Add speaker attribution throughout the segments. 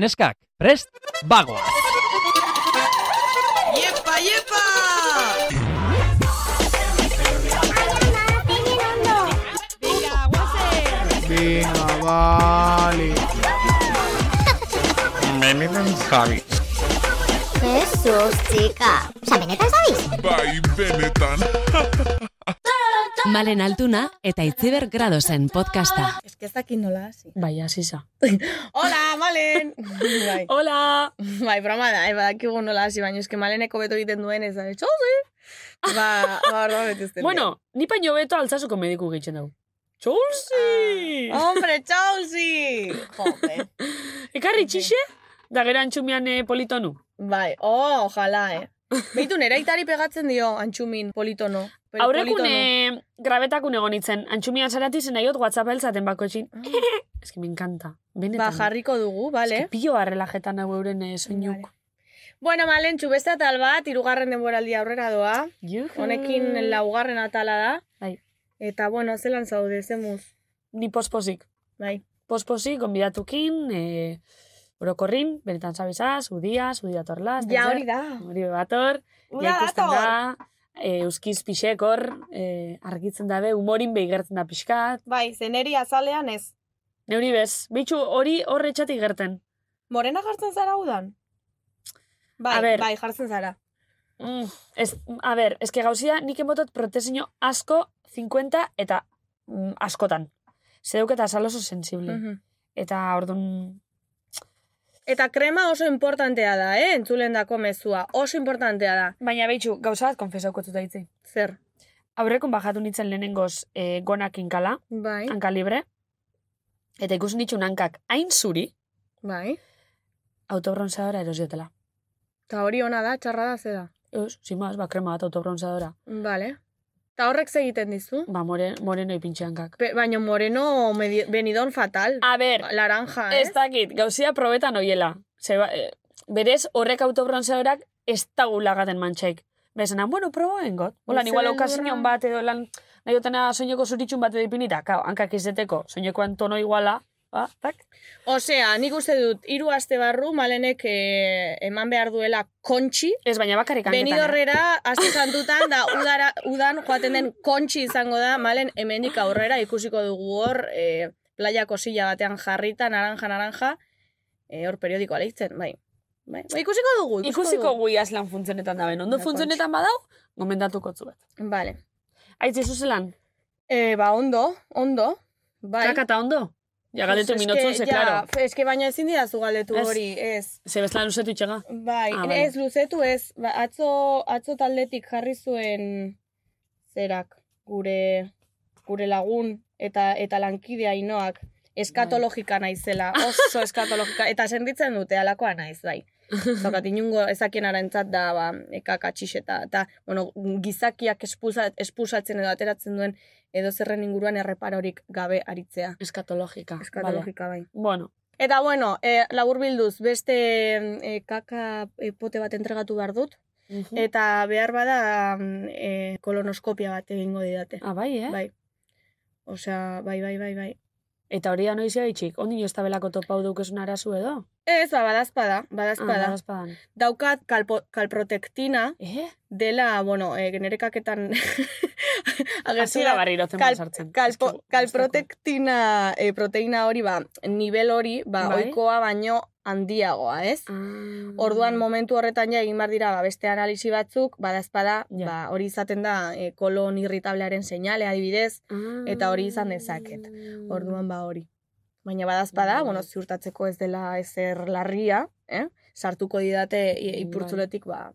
Speaker 1: Neskak, prest, bagoa!
Speaker 2: ¡Yepa, yepa!
Speaker 3: Venga, guazen!
Speaker 4: Venga, vale.
Speaker 5: Jesus, txika. Osa, benetan zabiz?
Speaker 6: Bai, benetan.
Speaker 7: Malen Altuna eta Itziber Gradosen podcasta.
Speaker 8: Ez que ez dakit nola hasi.
Speaker 9: Bai, asisa.
Speaker 8: Hola, Malen! bai,
Speaker 9: Hola!
Speaker 8: bai, broma da, eh, badakigu nola hasi, baina eske Maleneko beto egiten duen ez da, etxo, Ba, ba, orduan beti ez
Speaker 9: Bueno, ni paino beto altzasuko mediku gehitzen dugu. Ah, Chelsea!
Speaker 8: Hombre, Chelsea! Jope. ah,
Speaker 9: Ekarri txixe, da gero antxumian eh, politonu.
Speaker 8: Bai, oh, ojalá, eh. Beitu nera itari pegatzen dio, antxumin, politono. Pe-
Speaker 9: Aurrekun
Speaker 8: politono.
Speaker 9: eh, grabetakun egon itzen, antxumian sarati zen aiot WhatsApp elzaten bako etxin.
Speaker 8: Ah,
Speaker 9: Ez que me encanta.
Speaker 8: Ba,
Speaker 9: Benetan.
Speaker 8: jarriko dugu,
Speaker 9: Ez
Speaker 8: bale?
Speaker 9: que pilo arrelajetan hau euren eh, soinuk.
Speaker 8: Bueno, Malen, beste atal bat, irugarren denboraldi aurrera doa.
Speaker 9: Juhu.
Speaker 8: Honekin laugarren atala da.
Speaker 9: Bai.
Speaker 8: Eta, bueno, zelan zaude, zemuz.
Speaker 9: Ni pospozik.
Speaker 8: Bai.
Speaker 9: Pospozik, gonbidatukin, eh, orokorrin, benetan zabizaz, udia, udia torla.
Speaker 8: Ja, hori da.
Speaker 9: Hori bator. Ja, ikusten da, e, euskiz pixek hor, e, argitzen dabe, humorin behigertzen da pixkat.
Speaker 8: Bai, zeneri azalean ez.
Speaker 9: Neuri bez, bitxu hori horre etxatik gerten.
Speaker 8: Morena jartzen zara udan? Bai,
Speaker 9: A ber.
Speaker 8: bai, jartzen zara.
Speaker 9: Mm, ez, a ber, eske gauzia nik emotot protezio asko 50 eta mm, askotan. Zeuk eta azal oso sensible. Eta orduan...
Speaker 8: Eta krema oso importantea da, eh? Entzulen dako mezua. Oso importantea da.
Speaker 9: Baina behitxu, gauza bat konfesauko zuta hitzi.
Speaker 8: Zer?
Speaker 9: Aurrekon bajatu nintzen lehenengoz e, gonak inkala,
Speaker 8: Bai,
Speaker 9: hanka libre. Eta ikusi nitxun hankak hain zuri,
Speaker 8: bai.
Speaker 9: autobronzadora erosiotela.
Speaker 8: Ta hori ona da, txarra da, zeda.
Speaker 9: Ez, sin más, ba, krema bat autobronzadora.
Speaker 8: Vale. Ta horrek segiten dizu.
Speaker 9: Ba, more, moreno ipintxeankak.
Speaker 8: Pe, baina moreno medi- benidon fatal.
Speaker 9: A ber,
Speaker 8: Laranja, eh?
Speaker 9: ez dakit, gauzia probetan oiela. Ze, ba, eh, berez, horrek autobronzadorak ez taulagaten mantxaik. Bezanan, bueno, proboen got. Olan,
Speaker 8: Ze
Speaker 9: igual,
Speaker 8: beldurra.
Speaker 9: okasinon bat edo lan, nahi otena soineko zuritxun bat edo ipinita. Kau, hankak izeteko, soinekoan tono iguala. Ba, tak?
Speaker 8: Osea, nik uste dut, hiru aste barru malenek eh, eman behar duela kontxi,
Speaker 9: Ez, baina bakarrik hanketan. eh?
Speaker 8: Benidorrera, azte santutan, da udara, udan joaten den kontxi izango da, malen hemendik aurrera ikusiko dugu hor, e, playako silla batean jarrita, naranja, naranja, eh, hor periodikoa leitzen, bai. bai. Ba, ikusiko dugu, ikusiko,
Speaker 9: Ikusiko gui aslan funtzenetan da ben. Ondo
Speaker 8: Da,
Speaker 9: funtzenetan badau, gomendatuko zuet.
Speaker 8: dugu. Vale.
Speaker 9: Aitzi, zuzelan,
Speaker 8: E, ba, ondo, ondo. Bai.
Speaker 9: kakata ondo? Ja, galdetu
Speaker 8: Pues es
Speaker 9: minotzu,
Speaker 8: que,
Speaker 9: ze,
Speaker 8: ja,
Speaker 9: klaro.
Speaker 8: Es que baina ezin dira zu galdetu
Speaker 9: Ez.
Speaker 8: hori, ez.
Speaker 9: Ze bezala luzetu itxega.
Speaker 8: Bai,
Speaker 9: Ah, vale.
Speaker 8: ez luzetu ez, ba, atzo, atzo taldetik jarri zuen zerak gure, gure lagun eta eta lankidea inoak eskatologika
Speaker 9: Bai.
Speaker 8: naizela, oso eskatologika, eta senditzen dute alakoa naiz, bai. Zokat, inungo ezakien arantzat da, ba, ekaka txixeta, eta, bueno, gizakiak espusa, espusatzen edo ateratzen duen edo zerren inguruan erreparorik gabe aritzea.
Speaker 9: Eskatologika. Vale.
Speaker 8: Eskatologika, bai.
Speaker 9: Bueno,
Speaker 8: Eta bueno, e, labur bilduz, beste e, kaka eh, pote bat entregatu behar dut,
Speaker 9: Et,
Speaker 8: eta behar bada mm, eh, kolonoskopia bat egingo didate.
Speaker 9: ah, bai, eh?
Speaker 8: Bai. Osea, bai, bai, bai, bai.
Speaker 9: Eta hori da noiz gaitxik, ondino ez da belako topau dukesun arazu edo?
Speaker 8: Ez, ba, badazpada,
Speaker 9: Ah,
Speaker 8: badazpada.
Speaker 9: badazpadan.
Speaker 8: Daukat kalpo, kalprotektina
Speaker 9: Eh?
Speaker 8: dela, bueno, e, genere kaketan agertu
Speaker 9: Hasi da
Speaker 8: da.
Speaker 9: barriro tema
Speaker 8: Kal,
Speaker 9: sartzen.
Speaker 8: kalpo,
Speaker 9: Ez que-
Speaker 8: kalprotektina eh, proteina hori, ba, nivel hori, ba,
Speaker 9: Bai.
Speaker 8: oikoa baino handiagoa, ez?
Speaker 9: Ah.
Speaker 8: Orduan momentu horretan ja egin bar dira ba, beste analisi batzuk, badazpada,
Speaker 9: Ja.
Speaker 8: ba, hori izaten da e, kolon irritablearen seinale adibidez,
Speaker 9: Ah.
Speaker 8: eta hori izan dezaket.
Speaker 9: Mm.
Speaker 8: orduan ba hori. Baina badazpada,
Speaker 9: Bai.
Speaker 8: bueno, ziurtatzeko ez dela ezer larria, eh? sartuko didate
Speaker 9: Bai.
Speaker 8: i- ipurtzuletik ba,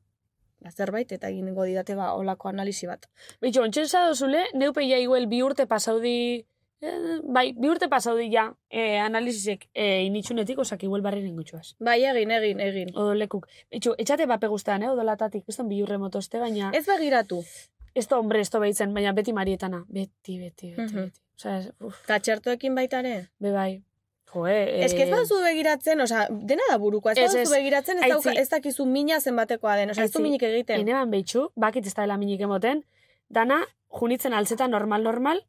Speaker 8: ba zerbait eta egingo didate ba olako analisi bat.
Speaker 9: Bitxo, ontsen zadozule, neupe ja iguel bi urte pasaudi... Eh, bai, bi urte pasaudi ja eh, analizisek eh, initxunetik, osak iguel barri ningutxuaz.
Speaker 8: Bai, egin, egin, egin.
Speaker 9: Odolekuk. Bitxo, etxate bape guztan, eh, odolatatik, ez bi urre motoste, baina...
Speaker 8: Ez begiratu,
Speaker 9: ez da hombre, ez da behitzen, baina beti marietana. Beti, beti, beti,
Speaker 8: Mhm.
Speaker 9: beti. Osea, uf,
Speaker 8: eta txertoekin baita ere.
Speaker 9: be bai. Jo, eh,
Speaker 8: Ez que ez baduzu begiratzen, osea, dena da burukoa, ez,
Speaker 9: Ez,
Speaker 8: baduzu
Speaker 9: ez.
Speaker 8: begiratzen, ez, dauka,
Speaker 9: Aitzi.
Speaker 8: ez dakizu mina zenbatekoa den, osea, ez du
Speaker 9: Aitzi,
Speaker 8: minik egiten.
Speaker 9: Eneban behitxu, bakit ez da dela minik emoten, dana, junitzen altzeta normal-normal,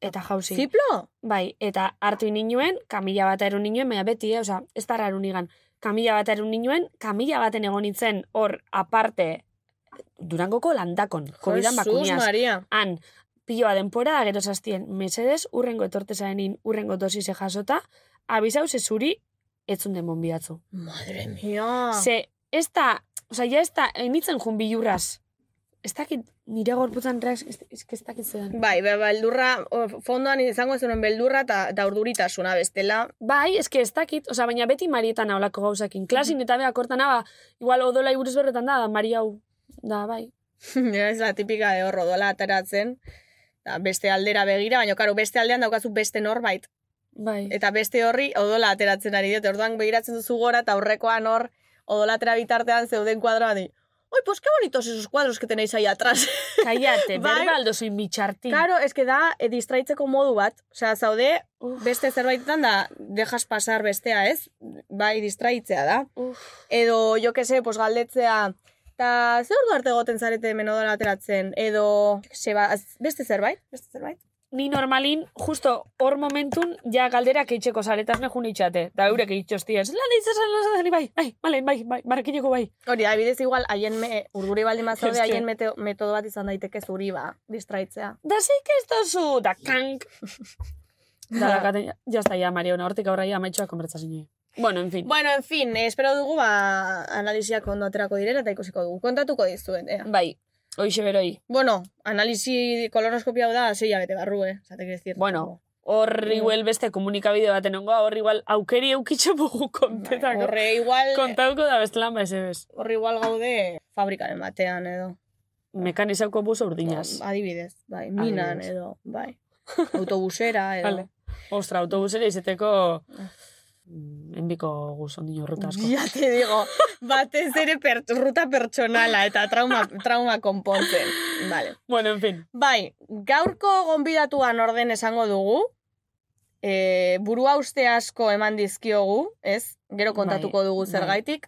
Speaker 9: eta jauzi.
Speaker 8: Ziplo?
Speaker 9: Bai, eta hartu ninuen, kamila bat erun ninuen, baina beti, eh? Osa, ez da rarun igan. Kamila bat erun ninuen, kamila baten egon nintzen, hor, aparte, durangoko landakon, COVID-an bakuniaz.
Speaker 8: Maria.
Speaker 9: Han, piloa denpora, gero zaztien, mesedes, urrengo etortezarenin, urrengo dosize jasota, abizau zezuri, etzun den bombiatzu.
Speaker 8: Madre mia.
Speaker 9: Ze, ez da, oza, ja ez da, enitzen jun bilurraz. Ez dakit, nire gorputzan reak, ez, ez, ez dakit zedan.
Speaker 8: Bai, be- beldurra, o, fondoan izango ez duen beldurra eta da urduritasuna bestela.
Speaker 9: Bai, eske ez dakit, oza, baina beti marietan haulako gauzakin. Klasin eta beha kortan haba, igual odola iburuz berretan da, da mari hau. Da, bai.
Speaker 8: Ja, ez da tipika de horro dola ateratzen. Da, beste aldera begira, baina karo, beste aldean daukazu beste norbait.
Speaker 9: Bai.
Speaker 8: Eta beste horri odola ateratzen ari diote. Orduan begiratzen duzu gora eta aurrekoan hor odola atera bitartean zeuden kuadroa di. Oi, pues qué bonitos esos cuadros que tenéis ahí atrás.
Speaker 9: Kaiate,
Speaker 8: Bai.
Speaker 9: berbaldo zoin bitxartin.
Speaker 8: Claro, es que da eh, distraitzeko modu bat. Osea, zaude beste zerbaitetan da dejas pasar bestea, ez? Bai, distraitzea da.
Speaker 9: Uf.
Speaker 8: Edo, jo que se, pues galdetzea eta ze ordu arte egoten zarete menodola ateratzen edo jo que se, ba, az- beste zerbait, beste zerbait.
Speaker 9: ni normalin, justo hor momentun, ja galderak eitzeko zaretazne jun itxate. Da eurek eitzostia, ez lan eitzazan lan zazan, bai, bai, bale, bai, bai, marrakineko bai.
Speaker 8: Hori da, bidez igual haien me, urduri baldin bazaude
Speaker 9: Eske.
Speaker 8: haien mete- metodo bat izan daiteke zuri ba, distraitzea.
Speaker 9: Da zeik ez dozu, da kank. da, dakaten, jazta ja, Mariona, hortik aurraia amaitxoa konbertsazioa. Bueno, en fin.
Speaker 8: Bueno, en fin, eh, espero dugu ba analisiak ondo aterako direla eta ikusiko dugu. Kontatuko dizuet, eh. ea.
Speaker 9: Bai, hoxe beroi.
Speaker 8: Bueno, analisi kolonoskopia hau da, sei bete barru, eh? Zate, decir.
Speaker 9: Bueno, hor
Speaker 8: Bai.
Speaker 9: igual beste komunikabide baten ongoa, hor igual aukeri eukitxo bugu kontetako.
Speaker 8: Horre igual,
Speaker 9: Kontauko da bestelan ba, ez ebes.
Speaker 8: horre igual gaude fabrikaren batean edo.
Speaker 9: Mekanizauko buzo urdinaz.
Speaker 8: Adibidez, bai, minan
Speaker 9: Adibidez.
Speaker 8: edo, bai. Autobusera edo.
Speaker 9: Vale. Ostra, autobusera izeteko mm, enbiko guz ondino ruta asko.
Speaker 8: Bai. Ya te digo, batez ere per, ruta pertsonala eta trauma, trauma konpontzen. Vale.
Speaker 9: Bueno, en fin.
Speaker 8: Bai, gaurko gonbidatuan orden esango dugu. E, burua uste asko eman dizkiogu, ez? Gero kontatuko
Speaker 9: Bai,
Speaker 8: dugu
Speaker 9: bai.
Speaker 8: zergaitik.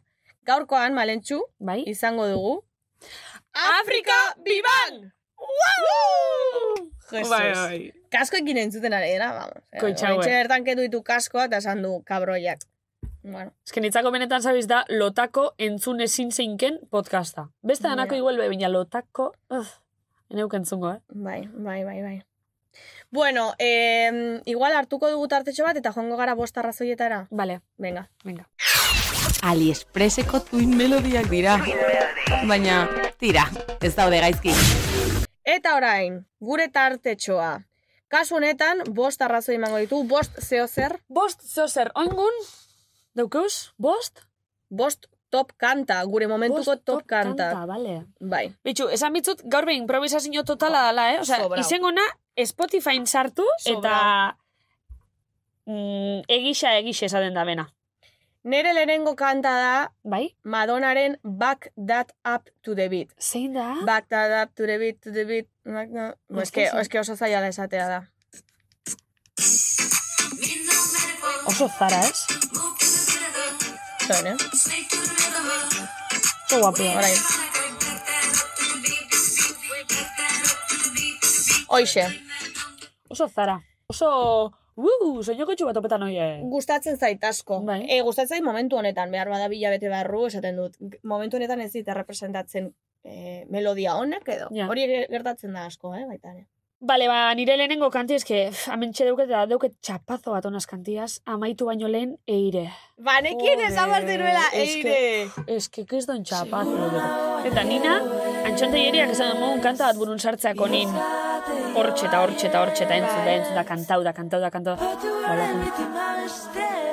Speaker 8: Gaurkoan, malentxu,
Speaker 9: Bai?
Speaker 8: izango dugu. Afrika biban! Jesus.
Speaker 9: Bai, bai.
Speaker 8: Kaskoekin entzuten ari dena, vamos. Eh,
Speaker 9: Koitxaue.
Speaker 8: Oraintxe bertan kendu ditu kaskoa eta esan du kabroiak. Bueno,
Speaker 9: Ez que nitzako benetan zabiz da lotako entzun ezin zeinken podcasta. Beste
Speaker 8: Ja.
Speaker 9: danako igual be, baina lotako... Uf, eneuk entzungo, eh?
Speaker 8: bai, bai, bai, bai. Bueno, eh, igual hartuko dugu tartetxo bat eta joango gara bost arrazoietara.
Speaker 9: Vale,
Speaker 8: Venga.
Speaker 9: venga.
Speaker 2: Aliexpresseko tuin melodiak dira. Baina, tira, ez daude gaizki.
Speaker 8: Eta orain, gure tartetxoa. Kasu honetan, bost arrazoi emango ditu, bost zeo zer,
Speaker 9: Bost zozer, oingun? Daukeuz? Bost?
Speaker 8: bost top kanta, gure momentuko
Speaker 9: Bost
Speaker 8: top, kanta.
Speaker 9: Vale.
Speaker 8: Bai,
Speaker 9: Bitxu, esan bitzut, gaur behin improvisazio
Speaker 8: Ba,
Speaker 9: totala dala, eh? Osea,
Speaker 8: Sobrao.
Speaker 9: izengona Spotifyn sartu eta
Speaker 8: Sobrao.
Speaker 9: mm, egisa egisa esaten da bena.
Speaker 8: nere lehenengo kanta da
Speaker 9: Bai?
Speaker 8: Madonnaren Back That Up to the Beat.
Speaker 9: Zein da?
Speaker 8: Back that up to the beat, to the beat. Back that... Bo, eske,
Speaker 9: Oso-
Speaker 8: eske oso zaila da esatea da.
Speaker 9: Oso zara, ez?
Speaker 8: Zuen, eh?
Speaker 9: Oso guapia. eh?
Speaker 8: Orain. Hoxe,
Speaker 9: Oso zara. Oso... Uh, soinoko txu bat opetan oie.
Speaker 8: gustatzen zait asko.
Speaker 9: Bai.
Speaker 8: E, gustatzen zait momentu honetan, behar bada bete barru, esaten dut. G- Momentu honetan ez dit representatzen e, melodia honek edo.
Speaker 9: Ja.
Speaker 8: Hori ge- gertatzen da asko, eh, baita ere.
Speaker 9: Bale, ba, nire lehenengo kanti eske, pff, amentxe deuket, da, deuket txapazo bat onaz kantiaz, amaitu baino lehen eire.
Speaker 8: Banekien
Speaker 9: Joder,
Speaker 8: ez abartiruela,
Speaker 9: eske-
Speaker 8: eire!
Speaker 9: Eske, kriston txapazo. da. Eta nina, antxonte jeriak esan mogun kanta bat burun sartzeako nin. Hortxe eta hortxe eta hortxe eta entzun da, entzun da, kantau da, kantau da, kantau da. Balakun.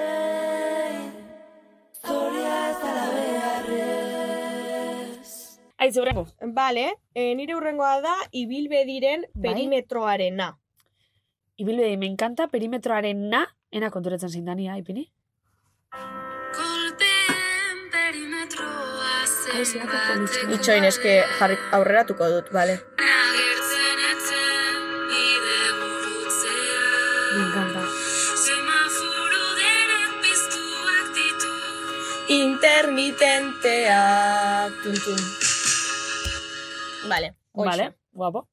Speaker 9: Aitze, horrengo.
Speaker 8: Bale, e, nire hurrengoa da, ibilbediren
Speaker 9: Bai.
Speaker 8: perimetroarena.
Speaker 9: Ibilbedi, me encanta perimetroaren na, ena konturatzen zindania, ipini?
Speaker 8: Itxoin eske jarri aurreratuko dut, bale.
Speaker 9: Me encanta.
Speaker 8: Intermitentea. Tuntun. Bale.
Speaker 9: Vale, guapo.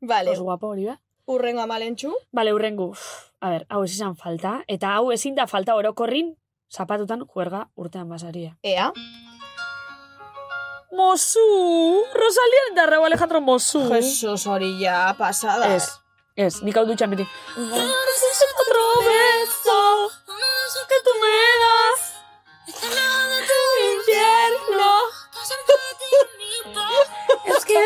Speaker 8: Vale.
Speaker 9: Oso guapo hori, ba.
Speaker 8: Urrengo amalentxu.
Speaker 9: Bale, urrengu. Uf, A ber, hau ez izan falta. Eta hau ezin da falta orokorrin, zapatutan juerga urtean basaria.
Speaker 8: Ea.
Speaker 9: Mozu! Rosalia da Raúl Alejandro Mozu.
Speaker 8: Jesus hori ja, pasada.
Speaker 9: Uh. Ez, ez, nik hau dutxan beti.
Speaker 8: Bai.
Speaker 9: Otro beso, que tú me das, infierno. Es que...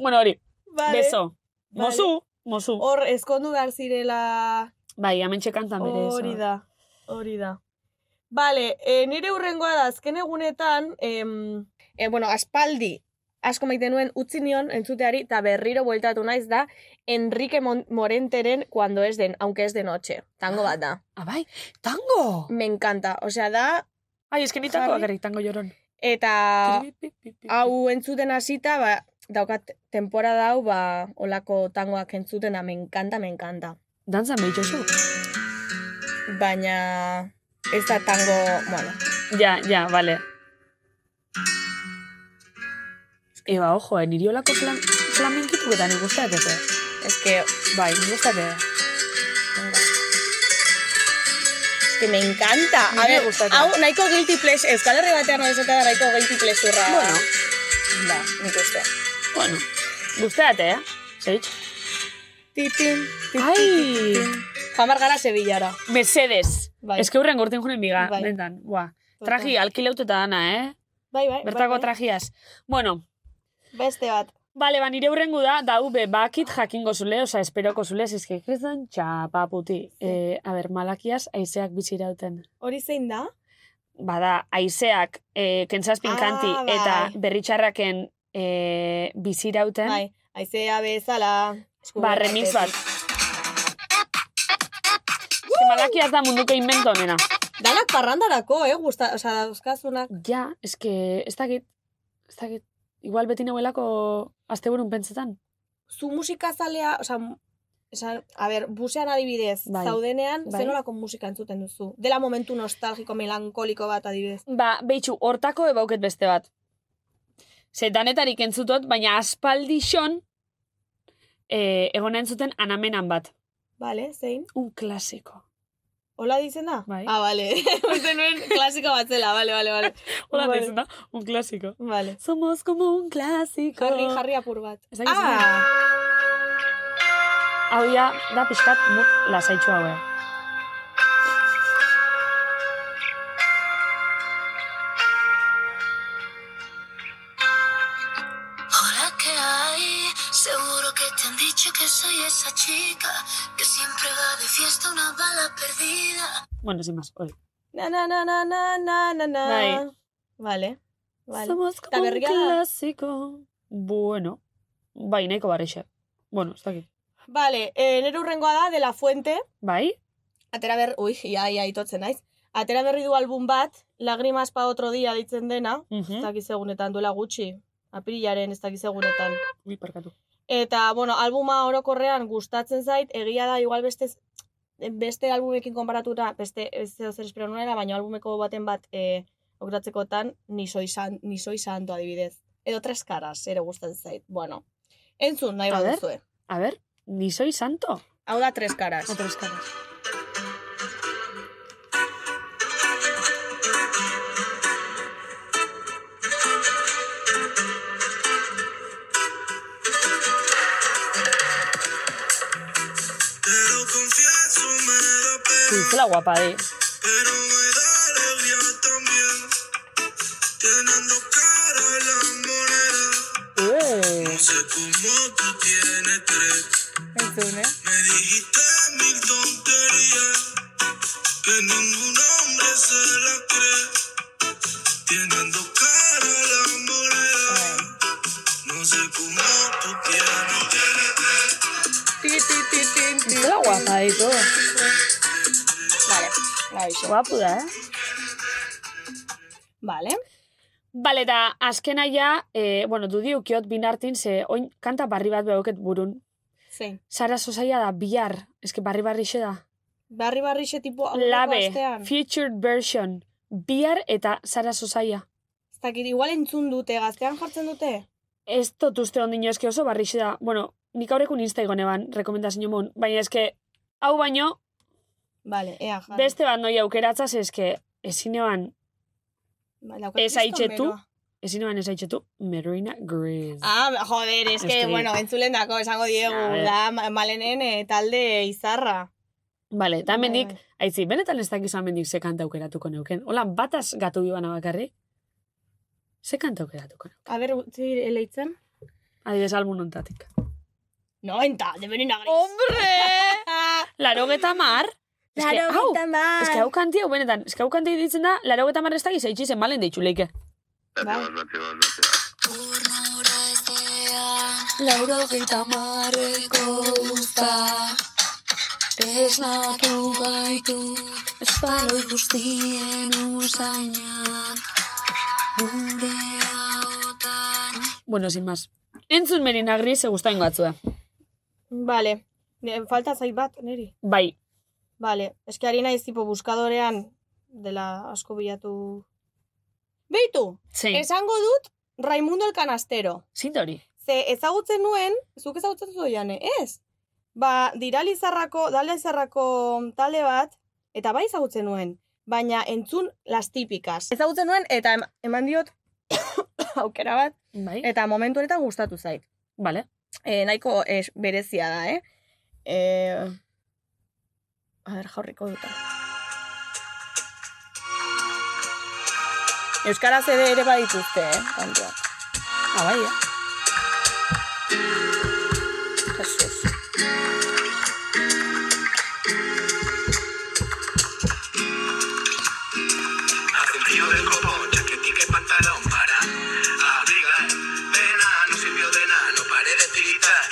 Speaker 9: Bueno, hori,
Speaker 8: Vale.
Speaker 9: beso.
Speaker 8: vale.
Speaker 9: Mozu, mozu.
Speaker 8: Hor, eskondu behar zirela
Speaker 9: Bai, hemen txekantan bere eso.
Speaker 8: Hori da, hori da. Bale, e, nire hurrengoa da, azken egunetan, em, e, bueno, aspaldi, asko maite nuen utzi nion entzuteari, eta berriro bueltatu naiz da, Enrique Mon- Morenteren cuando es den, aunque es de noche. Tango bat da.
Speaker 9: Ah, bai, tango!
Speaker 8: Me encanta, osea da,
Speaker 9: Ai, esken tango
Speaker 8: Jarri. Ah,
Speaker 9: agarri, tango lloron.
Speaker 8: eta
Speaker 9: Pi, pi, pi, pi, pi.
Speaker 8: hau entzuten hasita, ba, daukat temporada hau, ba, olako tangoak entzuten da, me encanta, me encanta.
Speaker 9: Dantzan behitxosu.
Speaker 8: Baina, ez da tango, bueno,
Speaker 9: Ja, ja, vale. Eba, ojo, eh, niri olako flam, flamenkituketan ikusteat ez.
Speaker 8: es que
Speaker 9: eh. Bai, ikusteat
Speaker 8: Es que me encanta.
Speaker 9: Niri
Speaker 8: A ver,
Speaker 9: gustatu.
Speaker 8: hau nahiko guilty pleasure, Euskal Herri batean hori da nahiko guilty pleasure'a.
Speaker 9: Bueno,
Speaker 8: da, nik uste.
Speaker 9: bueno. Gusteat, eh? Zeitz?
Speaker 8: Titin, titin.
Speaker 9: Ai!
Speaker 8: Joan behar gara Sevillara.
Speaker 9: Mesedes.
Speaker 8: Bai.
Speaker 9: Ez que hurren gorten junen biga,
Speaker 8: Bai.
Speaker 9: bentan. Buah. Traji, alkilaututa dana, eh?
Speaker 8: Bai, bai.
Speaker 9: Bertako
Speaker 8: bai, bai.
Speaker 9: trajiaz. Bueno,
Speaker 8: Beste bat.
Speaker 9: Bale, ba, nire hurrengo da, da ube, bakit jakingo zule, oza, esperoko zule, zizke, kristan txapaputi. Eh, a ber, malakiaz, aizeak bizirauten.
Speaker 8: Hori zein da?
Speaker 9: bada, aizeak e, kentzazpin
Speaker 8: Ah,
Speaker 9: kanti
Speaker 8: bai.
Speaker 9: eta berritxarraken e, bizirauten,
Speaker 8: Bai. Aizea bezala. esku
Speaker 9: ba,
Speaker 8: batetik.
Speaker 9: remix bat. Uh! Malakiaz da munduko invento honena.
Speaker 8: Danak parrandarako, eh, gusta, osea, dauzkazunak.
Speaker 9: Ja, eske, ez dakit, ez dakit, igual beti nahuelako asteburun pentsetan.
Speaker 8: Zu musikazalea, osea, mu- esan, a ber, busean adibidez,
Speaker 9: Bai.
Speaker 8: zaudenean,
Speaker 9: Bai.
Speaker 8: zer nolako musika entzuten duzu? Dela momentu nostalgiko, melankoliko bat adibidez.
Speaker 9: Ba, behitxu, hortako ebauket beste bat. Ze danetarik entzutot, baina aspaldixon e, egona entzuten anamenan bat.
Speaker 8: Vale, zein?
Speaker 9: Un klasiko.
Speaker 8: Hola dizen da?
Speaker 9: Bai.
Speaker 8: Ah, bale. Uste nuen klasiko bat zela, bale, bale, bale.
Speaker 9: Hola,
Speaker 8: Vale.
Speaker 9: deitzen da? Un klasiko.
Speaker 8: Vale.
Speaker 9: Somos como un clásico.
Speaker 8: Jarri, jarri apur bat. Ah!
Speaker 9: Ez dakit Hau ja, da pixkat mut eh. lasaitxu hauea.
Speaker 6: Hola, ¿qué hay? Seguro que te han dicho que soy esa chica que siempre va de fiesta una bala perdida.
Speaker 9: Bueno, sin más, hori.
Speaker 8: Na, na, na, na, na, na, na, na.
Speaker 9: Bai.
Speaker 8: Vale. Vale.
Speaker 9: Somos
Speaker 8: Eta
Speaker 9: como un
Speaker 8: berria da?
Speaker 9: clásico. Bueno, bai, nahiko barexe. Bueno, ez dakit.
Speaker 8: Vale, eh, nire hurrengoa da, de la fuente.
Speaker 9: Bai?
Speaker 8: Atera berri, ui, ia, ia, itotzen naiz. Atera berri du album bat, Lagrimas pa otro dia ditzen dena.
Speaker 9: Mhm.
Speaker 8: Ez dakiz egunetan, duela gutxi. Apirilaren ez dakiz egunetan.
Speaker 9: Ui, parkatu.
Speaker 8: Eta, bueno, albuma orokorrean gustatzen zait, egia da igual beste beste albumekin konparatuta, beste ez zer espero nuena, baina albumeko baten bat e, okuratzekotan, ni soy, san, ni soy santo adibidez. Edo tres caras, ere gustatzen zait. Bueno, entzun nahi
Speaker 9: A ber.
Speaker 8: baduzue.
Speaker 9: A ver, ni soy santo.
Speaker 8: Hau da tres caras.
Speaker 9: Otra escala. Uy, fue la guapa eh. de... Eh.
Speaker 8: Entzun, eh?
Speaker 9: Fue la guapa de todo.
Speaker 8: Vale, bravo.
Speaker 9: Guapo da, eh?
Speaker 8: Vale.
Speaker 9: Bale, eta azkena ja, e, bueno, du diukiot binartin, ze oin kanta barri bat behoket burun.
Speaker 8: Zein.
Speaker 9: Sara sozaia da, bihar, eske barri barri xe da.
Speaker 8: Barri barri xe tipo aurreko
Speaker 9: Labe,
Speaker 8: astean.
Speaker 9: featured version, bihar eta Sara sozaia.
Speaker 8: Ez dakit, igual entzun dute, gaztean jartzen dute.
Speaker 9: ez dut uste ondino eske oso barrixe da. Bueno, nik aurrekun insta igon eban, rekomendazio mun. Baina eske, hau baino,
Speaker 8: Bale, ea, jarri.
Speaker 9: beste bat noi aukeratzaz eske, ezin eban,
Speaker 8: Ba, daukat
Speaker 9: Ez
Speaker 8: kriston
Speaker 9: aitzetu.
Speaker 8: beroa.
Speaker 9: ezin eban ez haitxetu, Merina Griz.
Speaker 8: Ah, joder, es
Speaker 9: Ez
Speaker 8: que,
Speaker 9: que-
Speaker 8: bueno, entzulen dako, esango
Speaker 9: A
Speaker 8: diegu,
Speaker 9: ver.
Speaker 8: da, ma- malenen eh, talde izarra.
Speaker 9: Vale, eta
Speaker 8: Bai,
Speaker 9: mendik,
Speaker 8: bai.
Speaker 9: aitzi, benetan ez dakizu mendik ze kanta aukeratuko neuken. Hola, bataz gatu joan bakarrik. Ze kanta aukeratuko neuken.
Speaker 8: A ber, utzi eleitzen?
Speaker 9: Adibidez, albun ontatik.
Speaker 8: No, enta, de Benina Gris. ¡Hombre!
Speaker 9: Laro geta mar. Ez que, hau, ez que hau kanti hau benetan, ez que hau kanti ditzen da, laro geta mar ez dakiz eitzen malen deitzuleike.
Speaker 8: Bai.
Speaker 6: Burnura ez dean, lauro gita marreko usta. Ez natu gaitu, espaloi guztien usainan. Gure hautan,
Speaker 9: Bueno, sin más. Entzun merin agri, ze guztain batzua.
Speaker 8: Vale, Ne- falta zait bat, niri.
Speaker 9: Bai,
Speaker 8: Vale, es que harina tipo buskadorean dela asko bilatu... Beitu,
Speaker 9: zein,
Speaker 8: esango dut Raimundo el Canastero.
Speaker 9: zein da hori?
Speaker 8: Ze ezagutzen nuen, zuk ezagutzen duzu jane, ez? Ba, dira lizarrako, dala izarrako talde bat, eta bai ezagutzen nuen, baina entzun las típicas. Ezagutzen nuen, eta em- eman diot aukera bat,
Speaker 9: Bai,
Speaker 8: eta momentu honetan gustatu zait.
Speaker 9: vale.
Speaker 8: E, nahiko es, berezia da, eh? E, a ber, jaurriko dut. Euskaraz ere ere badituzte, eh? Kantua.
Speaker 9: Ah, bai, eh?
Speaker 8: Jesus.
Speaker 10: Hace un frío del copón, chaquetica y pantalón para abrigar. Pena, no sirvió de nada, no paré de tiritar.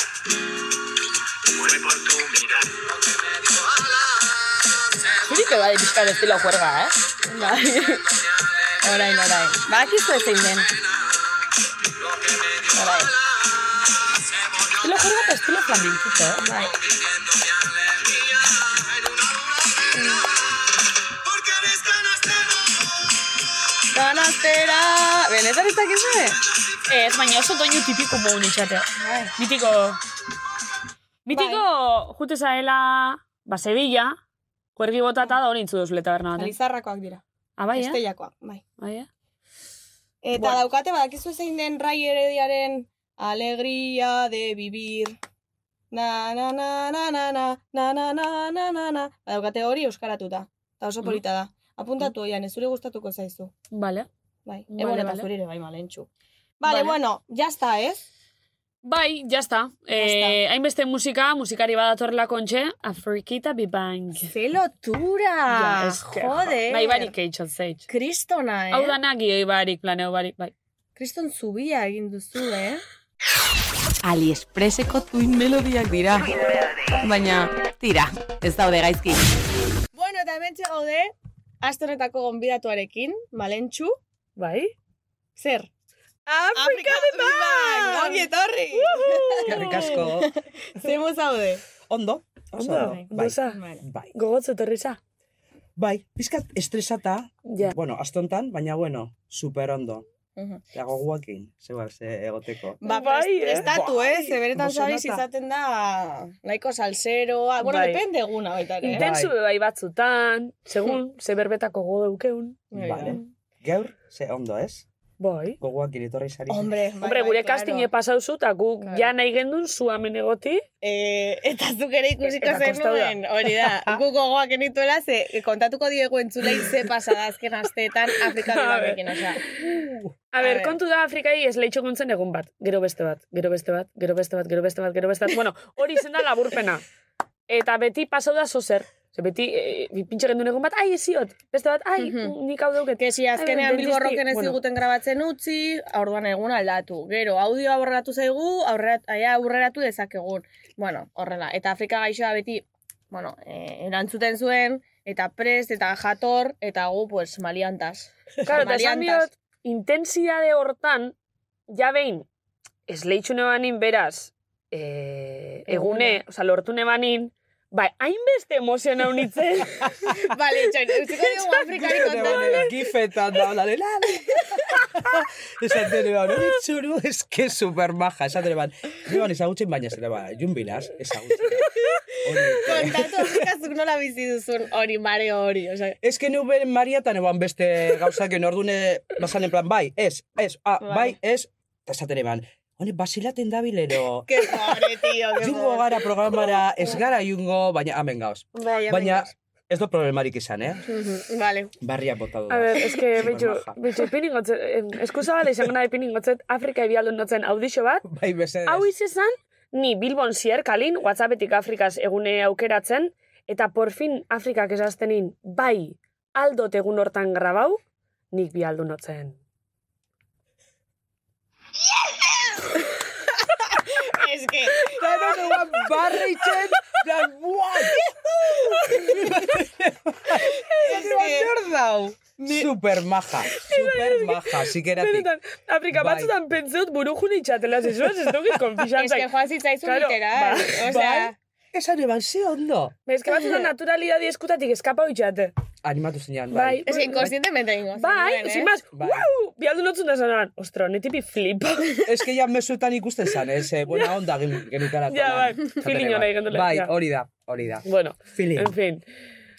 Speaker 10: Fue por tu mirar.
Speaker 8: Zuri que bai, bizka estilo juerga, eh? Bai. orain, orain. Badakizu ez zein den. Orain.
Speaker 9: Estilo juerga eta estilo flamenkito, eh?
Speaker 8: Bai. Ganastera. Benetan ez dakizu?
Speaker 9: Ez, baina oso doinu tipiko mogun itxatea.
Speaker 8: Bai.
Speaker 9: Mitiko... Mitiko, jute zaela, ba, Sevilla, kuergi botata da hori intzu duzule taberna baten.
Speaker 8: Alizarrakoak dira.
Speaker 9: Ah, bai, eh?
Speaker 8: Estellakoak, bai.
Speaker 9: Bai, eh?
Speaker 8: Eta
Speaker 9: Bueno.
Speaker 8: daukate badakizu zein den rai herediaren alegria de vivir. Na na na na na na na na na na na na. Badaukate hori euskaratuta. Eta oso
Speaker 9: Mhm.
Speaker 8: polita da. Apuntatu oian, ez zure gustatuko zaizu.
Speaker 9: Vale.
Speaker 8: Bai,
Speaker 9: Vale,
Speaker 8: e, bueno, eta
Speaker 9: vale.
Speaker 8: zuri ere bai malentxu. Vale,
Speaker 9: Vale.
Speaker 8: bueno, ya está, ez?
Speaker 9: Bai, jazta. Eh, hainbeste musika, musikari badatorrela kontxe, Afrikita Bibang.
Speaker 8: Ze lotura!
Speaker 9: Ja, eske, jo. Bai, barik eitxot zeitz.
Speaker 8: Kristona, eh?
Speaker 9: Hau da nagi, oi barik, planeo barik, bai.
Speaker 8: Kriston zubia egin duzu, eh?
Speaker 2: AliExpresseko tuin melodiak dira. Baina, tira, ez daude gaizki.
Speaker 8: bueno, eta hemen gaude, aste honetako gonbidatuarekin, malentxu.
Speaker 9: Bai?
Speaker 8: Zer? Afrika de Bang!
Speaker 9: Bai.
Speaker 8: Ongi etorri!
Speaker 9: Uh.
Speaker 11: Eskerrik asko.
Speaker 8: Zemo zaude.
Speaker 11: Ondo? Oso ondo. Bai. Bai.
Speaker 9: Gogotzu torriza.
Speaker 11: Bai, pizkat estresata.
Speaker 9: Ja.
Speaker 11: Bueno, astontan, baina bueno, super ondo.
Speaker 8: Mhm.
Speaker 11: Ja goguakin, ze ba, ze egoteko.
Speaker 8: Ba,
Speaker 9: Bai,
Speaker 8: bai,
Speaker 9: eh?
Speaker 8: prestatu, eh? Ze beretan
Speaker 11: Bosanata.
Speaker 8: zabiz izaten da nahiko salseroa. Bueno,
Speaker 9: Bai.
Speaker 8: depende eguna baita ere. eh?
Speaker 9: Intensu bai batzutan, segun, ze berbetako gogo eukeun.
Speaker 11: Vale. Gaur, ze ondo, ez?
Speaker 9: Bai.
Speaker 11: Goguakin etorri zari.
Speaker 8: Hombre, bai,
Speaker 9: Hombre,
Speaker 8: bai,
Speaker 9: gure
Speaker 8: claro.
Speaker 9: castinge pasauzu, eta guk
Speaker 8: Claro.
Speaker 9: ja nahi gendun zu hemen egoti.
Speaker 8: Eh, eta zuk ere ikusiko
Speaker 9: Eta kostau da.
Speaker 8: zenuen, hori da, guk gogoak enituela, ze kontatuko diegu entzulei ze pasada azken asteetan Afrika bibarekin, osea.
Speaker 9: A
Speaker 8: A
Speaker 9: ber,
Speaker 8: ber.
Speaker 9: kontu da Afrikai ez lehitxo gontzen egun bat. Gero beste bat, gero beste bat, gero beste bat, gero beste bat, gero beste bat. Bueno, hori izen da laburpena. Eta beti pasau da zozer. Ze beti, e, pintxe gendun egun bat, ai, eziot. Beste bat, ai,
Speaker 8: Mhm.
Speaker 9: nik hau dauket.
Speaker 8: Kesi azkenean
Speaker 9: Ai,
Speaker 8: bilborroken ez
Speaker 9: dentisti-
Speaker 8: diguten grabatzen utzi, orduan egun aldatu. Gero, audioa aurreratu zaigu, aurrerat, aia aurreratu dezakegun. Bueno, horrela. Eta Afrika gaixoa beti, bueno, eh, erantzuten zuen, eta prest, eta jator, eta gu, pues, maliantas.
Speaker 9: Claro, eta esan
Speaker 8: Maliantas.
Speaker 9: diot, intensidade hortan, ja behin, ez lehitxu nebanin beraz, e, egune,
Speaker 8: Egune.
Speaker 9: oza, lortu nebanin, bai, hainbeste emozio nau nintzen.
Speaker 8: Bale, txon, utziko dugu Afrikari kontatu.
Speaker 11: Gifetan da, la, la, la, la. Esaten eban, hori txuru, eske super maja. Esaten eban, joan ezagutzen baina zer eban, jun bilaz, ezagutzen. Hori,
Speaker 8: Kontatu horrekazuk nola bizi duzun hori, mare hori. Osea,
Speaker 11: Ez que neu beren mariatan eban beste gauzak, en ordune bazan en plan, bai, ez, ez, ah, bai, ez, eta esaten eban, hone, basilaten dabilero.
Speaker 8: que pobre, tío, que
Speaker 11: Jungo
Speaker 8: pobre.
Speaker 11: gara programara, ez gara jungo, baina hemen gauz.
Speaker 8: Bai, hemen
Speaker 11: Baina,
Speaker 8: gauz.
Speaker 11: ez do problemarik izan, eh?
Speaker 8: Mhm, Vale.
Speaker 11: Barria bota du.
Speaker 9: A ber, eske,
Speaker 11: Bai,
Speaker 9: bitxu,
Speaker 11: Supermaja.
Speaker 9: bitxu, ipinin gotzet, eskuzabala izango nahi ipinin gotzet, Afrika ibialdun notzen audixo bat,
Speaker 11: Bai, mesedez.
Speaker 9: hau izan, ni Bilbon zier kalin, WhatsAppetik Afrikaz egune aukeratzen, eta porfin Afrikak esaztenin, bai, aldot egun hortan grabau, nik bi aldun notzen.
Speaker 8: Es que...
Speaker 11: Dano duan barritzen, dan buan!
Speaker 8: Zer dau?
Speaker 11: Super maja, super maja, zikeratik.
Speaker 9: Benetan, Afrika
Speaker 11: Bai.
Speaker 9: batzutan pentseut buru june itxatela, zezuaz, ez dugit
Speaker 8: Es que
Speaker 9: konfixantzak.
Speaker 8: joan zitzaizun
Speaker 9: Claro,
Speaker 8: literal.
Speaker 9: ba-
Speaker 8: o sea,
Speaker 11: Bai, Esan eban, ze ondo.
Speaker 9: Ez que batzutan naturalidadi eskutatik eskapau itxate.
Speaker 11: Animatu zinean,
Speaker 9: Bai,
Speaker 11: bai.
Speaker 8: es que inconscientemente ingo.
Speaker 9: Bai,
Speaker 8: ¿eh?
Speaker 9: sin más,
Speaker 11: Bai.
Speaker 9: wow, bi aldun notzen da zanan, ostro, netipi flipa.
Speaker 11: Ez que ja mesuetan ikusten zan, ez, eh, buena onda gen- genitara.
Speaker 9: Ja, bai,
Speaker 11: Esaten
Speaker 9: feeling
Speaker 11: eban.
Speaker 9: ona egin dela,
Speaker 11: Bai,
Speaker 9: ja.
Speaker 11: hori da, hori da.
Speaker 9: Bueno,
Speaker 11: Feeling.
Speaker 9: en fin.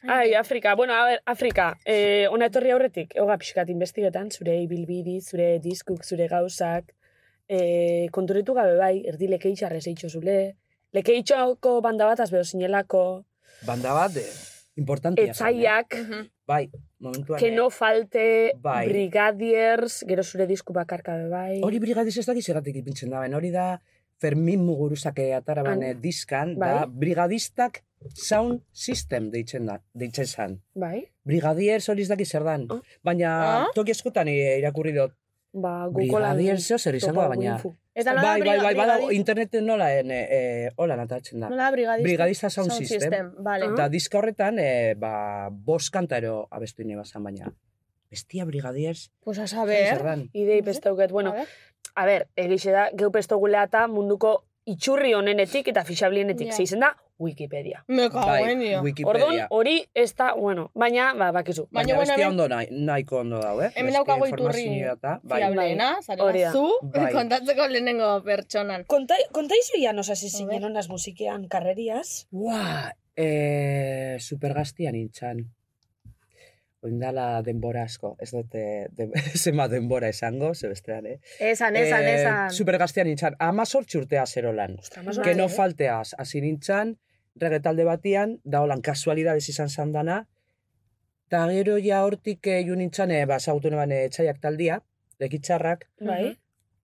Speaker 9: Ai, Afrika. Bueno, a ver, Afrika, eh, ona etorri aurretik, egoga pixkat investigetan, zure ibilbidi, zure diskuk, zure gauzak, eh, konturetu gabe bai, erdi lekeitxarrez eitxo zule, lekeitxoko banda bat azbeo zinelako,
Speaker 11: Banda bat, eh, importantia. zan, eh.
Speaker 9: etzaiak,
Speaker 11: Bai, momentuan.
Speaker 9: que no falte,
Speaker 11: Bai.
Speaker 9: brigadiers, gero zure disku bakarka be bai.
Speaker 11: Hori brigadiz ez dakiz erratik ipintzen da, baina hori da Fermin Muguruzak atara
Speaker 9: Han.
Speaker 11: baina eh, diskan, da
Speaker 9: Ah, Bai.
Speaker 11: brigadistak sound system deitzen da, deitzen zan.
Speaker 9: Bai,
Speaker 11: Brigadier hori ez dakiz zer dan.
Speaker 9: Ah.
Speaker 11: Baina
Speaker 8: Ah.
Speaker 11: toki askotan eh, irakurri dut.
Speaker 9: ba, gukolan.
Speaker 11: Brigadier zeo zer izango da, baina.
Speaker 8: Ez da nola
Speaker 11: Bai, bai,
Speaker 8: briga-
Speaker 11: bai, badago
Speaker 8: brigadi-
Speaker 11: interneten nola, en, eh, eh, hola natatzen da.
Speaker 8: Nola brigadista?
Speaker 11: Brigadista sound system.
Speaker 8: Vale.
Speaker 11: Eta diska horretan, eh, ba, bost kantaro abestu ine bazan, baina. Bestia brigadier,
Speaker 8: Pues a
Speaker 11: zer
Speaker 8: saber.
Speaker 11: dan.
Speaker 9: Idei
Speaker 8: No sé.
Speaker 9: bestauket, bueno,
Speaker 8: A ver.
Speaker 9: A ber, egixe da, geu pestogulea eta munduko itxurri honenetik eta fixablienetik
Speaker 8: Ja.
Speaker 9: yeah. zeizen da Wikipedia.
Speaker 8: Me
Speaker 11: Bai,
Speaker 8: cago en dio.
Speaker 9: Orduan,
Speaker 11: Wikipedia.
Speaker 9: hori ez da, bueno, baina, ba, bakizu.
Speaker 11: Baina,
Speaker 8: Baina,
Speaker 11: bestia
Speaker 8: bueno, hemen-
Speaker 11: ondo nahi, nahiko ondo dau, eh?
Speaker 8: Hemen
Speaker 11: Beste
Speaker 8: daukagu iturri
Speaker 11: informazioa eta, bai,
Speaker 8: Fiablena,
Speaker 9: Hori da.
Speaker 8: zarela zu,
Speaker 11: Bai.
Speaker 8: kontatzeko lehenengo pertsonan.
Speaker 9: Konta, kontaizu ya nos hasi
Speaker 8: A ber.
Speaker 9: zinen onaz musikean karreriaz?
Speaker 11: Ua, e, supergaztia nintzen. Oindala denbora asko. Ez dute, den, zema denbora esango, ze bestean, eh?
Speaker 8: Esan,
Speaker 11: Eh, Supergaztia nintzen. Ama sortzi urtea zerolan.
Speaker 9: Bai,
Speaker 11: Que
Speaker 9: eh?
Speaker 11: no falteaz, hasi nintzen, regetalde batian, da holan kasualidades izan zandana, eta gero ja hortik eh, jo nintzen, eh, ba, zautu neban eh, etxaiak taldia, lekitzarrak,
Speaker 9: Bai,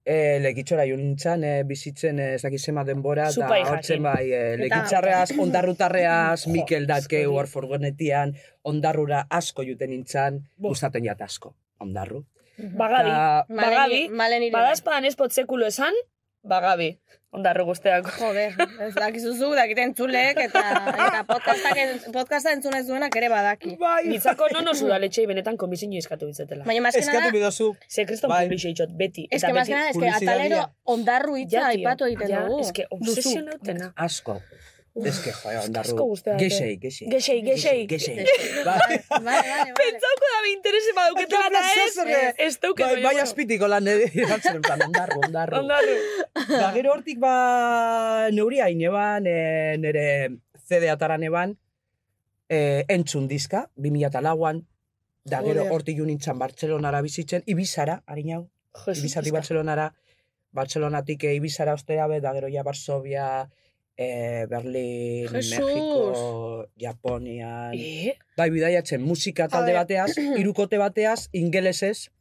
Speaker 11: E, lekitxora jo nintzen, e, bizitzen e, ez dakit zema denbora, eta
Speaker 9: Zupai
Speaker 11: hortzen
Speaker 9: jakin.
Speaker 11: bai, e, lekitxarreaz, ondarrutarreaz, Mikel Datkeu hor furgonetian, ondarrura asko juten nintzen, gustaten jat asko, ondarru.
Speaker 9: bagabi.
Speaker 11: Ta-
Speaker 9: Bagabi,
Speaker 8: malen iri.
Speaker 9: Badazpadan ez potzekulo esan, bagabi. Ondarro guzteako.
Speaker 8: Joder, ez dakizuzu, dakiten entzulek, eta, eta podcastak, en- podcasta entzunez duenak ere badaki.
Speaker 11: Bai,
Speaker 9: Nitzako non oso daletxei benetan komisinio eskatu bitzetela.
Speaker 8: Baina maskena
Speaker 11: eskatu
Speaker 8: da,
Speaker 11: bidozu.
Speaker 9: Ze kriston
Speaker 11: Bai.
Speaker 9: publixo itxot, beti.
Speaker 8: Bai. es
Speaker 9: eta
Speaker 8: que
Speaker 9: beti.
Speaker 8: maskena, es que
Speaker 11: publizitatea.
Speaker 8: atalero ondarru
Speaker 9: Ja,
Speaker 8: hitza
Speaker 9: tio,
Speaker 8: aipatu egiten
Speaker 9: ja,
Speaker 8: dugu.
Speaker 9: Es que obsesionautena.
Speaker 11: Asko. Ez que, joa,
Speaker 9: asko
Speaker 11: ondarru.
Speaker 9: gustatzen.
Speaker 11: Gexei, gexei.
Speaker 9: Gexei, gexei.
Speaker 11: Gexei. Ba,
Speaker 8: Vale, vale, vale.
Speaker 9: Pentsauko da bi interese badauketela eta ez,
Speaker 11: Zer,
Speaker 9: ez duket.
Speaker 11: Bai, bai azpitiko lan ere, erantzen, en plan, ondarru, ondarru.
Speaker 9: Ondarru.
Speaker 11: Da, gero hortik ba neuri hain eban, e, nere CD ataran eban, e, entzun diska, 2004an, da gero
Speaker 8: Joder.
Speaker 11: hortik jo nintzen Bartzelonara bizitzen, Ibizara, harin hau, Ibizati Bartzelonara, Bartzelonatik e, Ibizara ostea be, da gero ja Varsovia, e, Berlin,
Speaker 8: Jesus.
Speaker 11: Mexiko, Japonian,
Speaker 9: Eh?
Speaker 11: bai bidaiatzen musika talde
Speaker 8: ver.
Speaker 11: bateaz, irukote bateaz, ingelesez,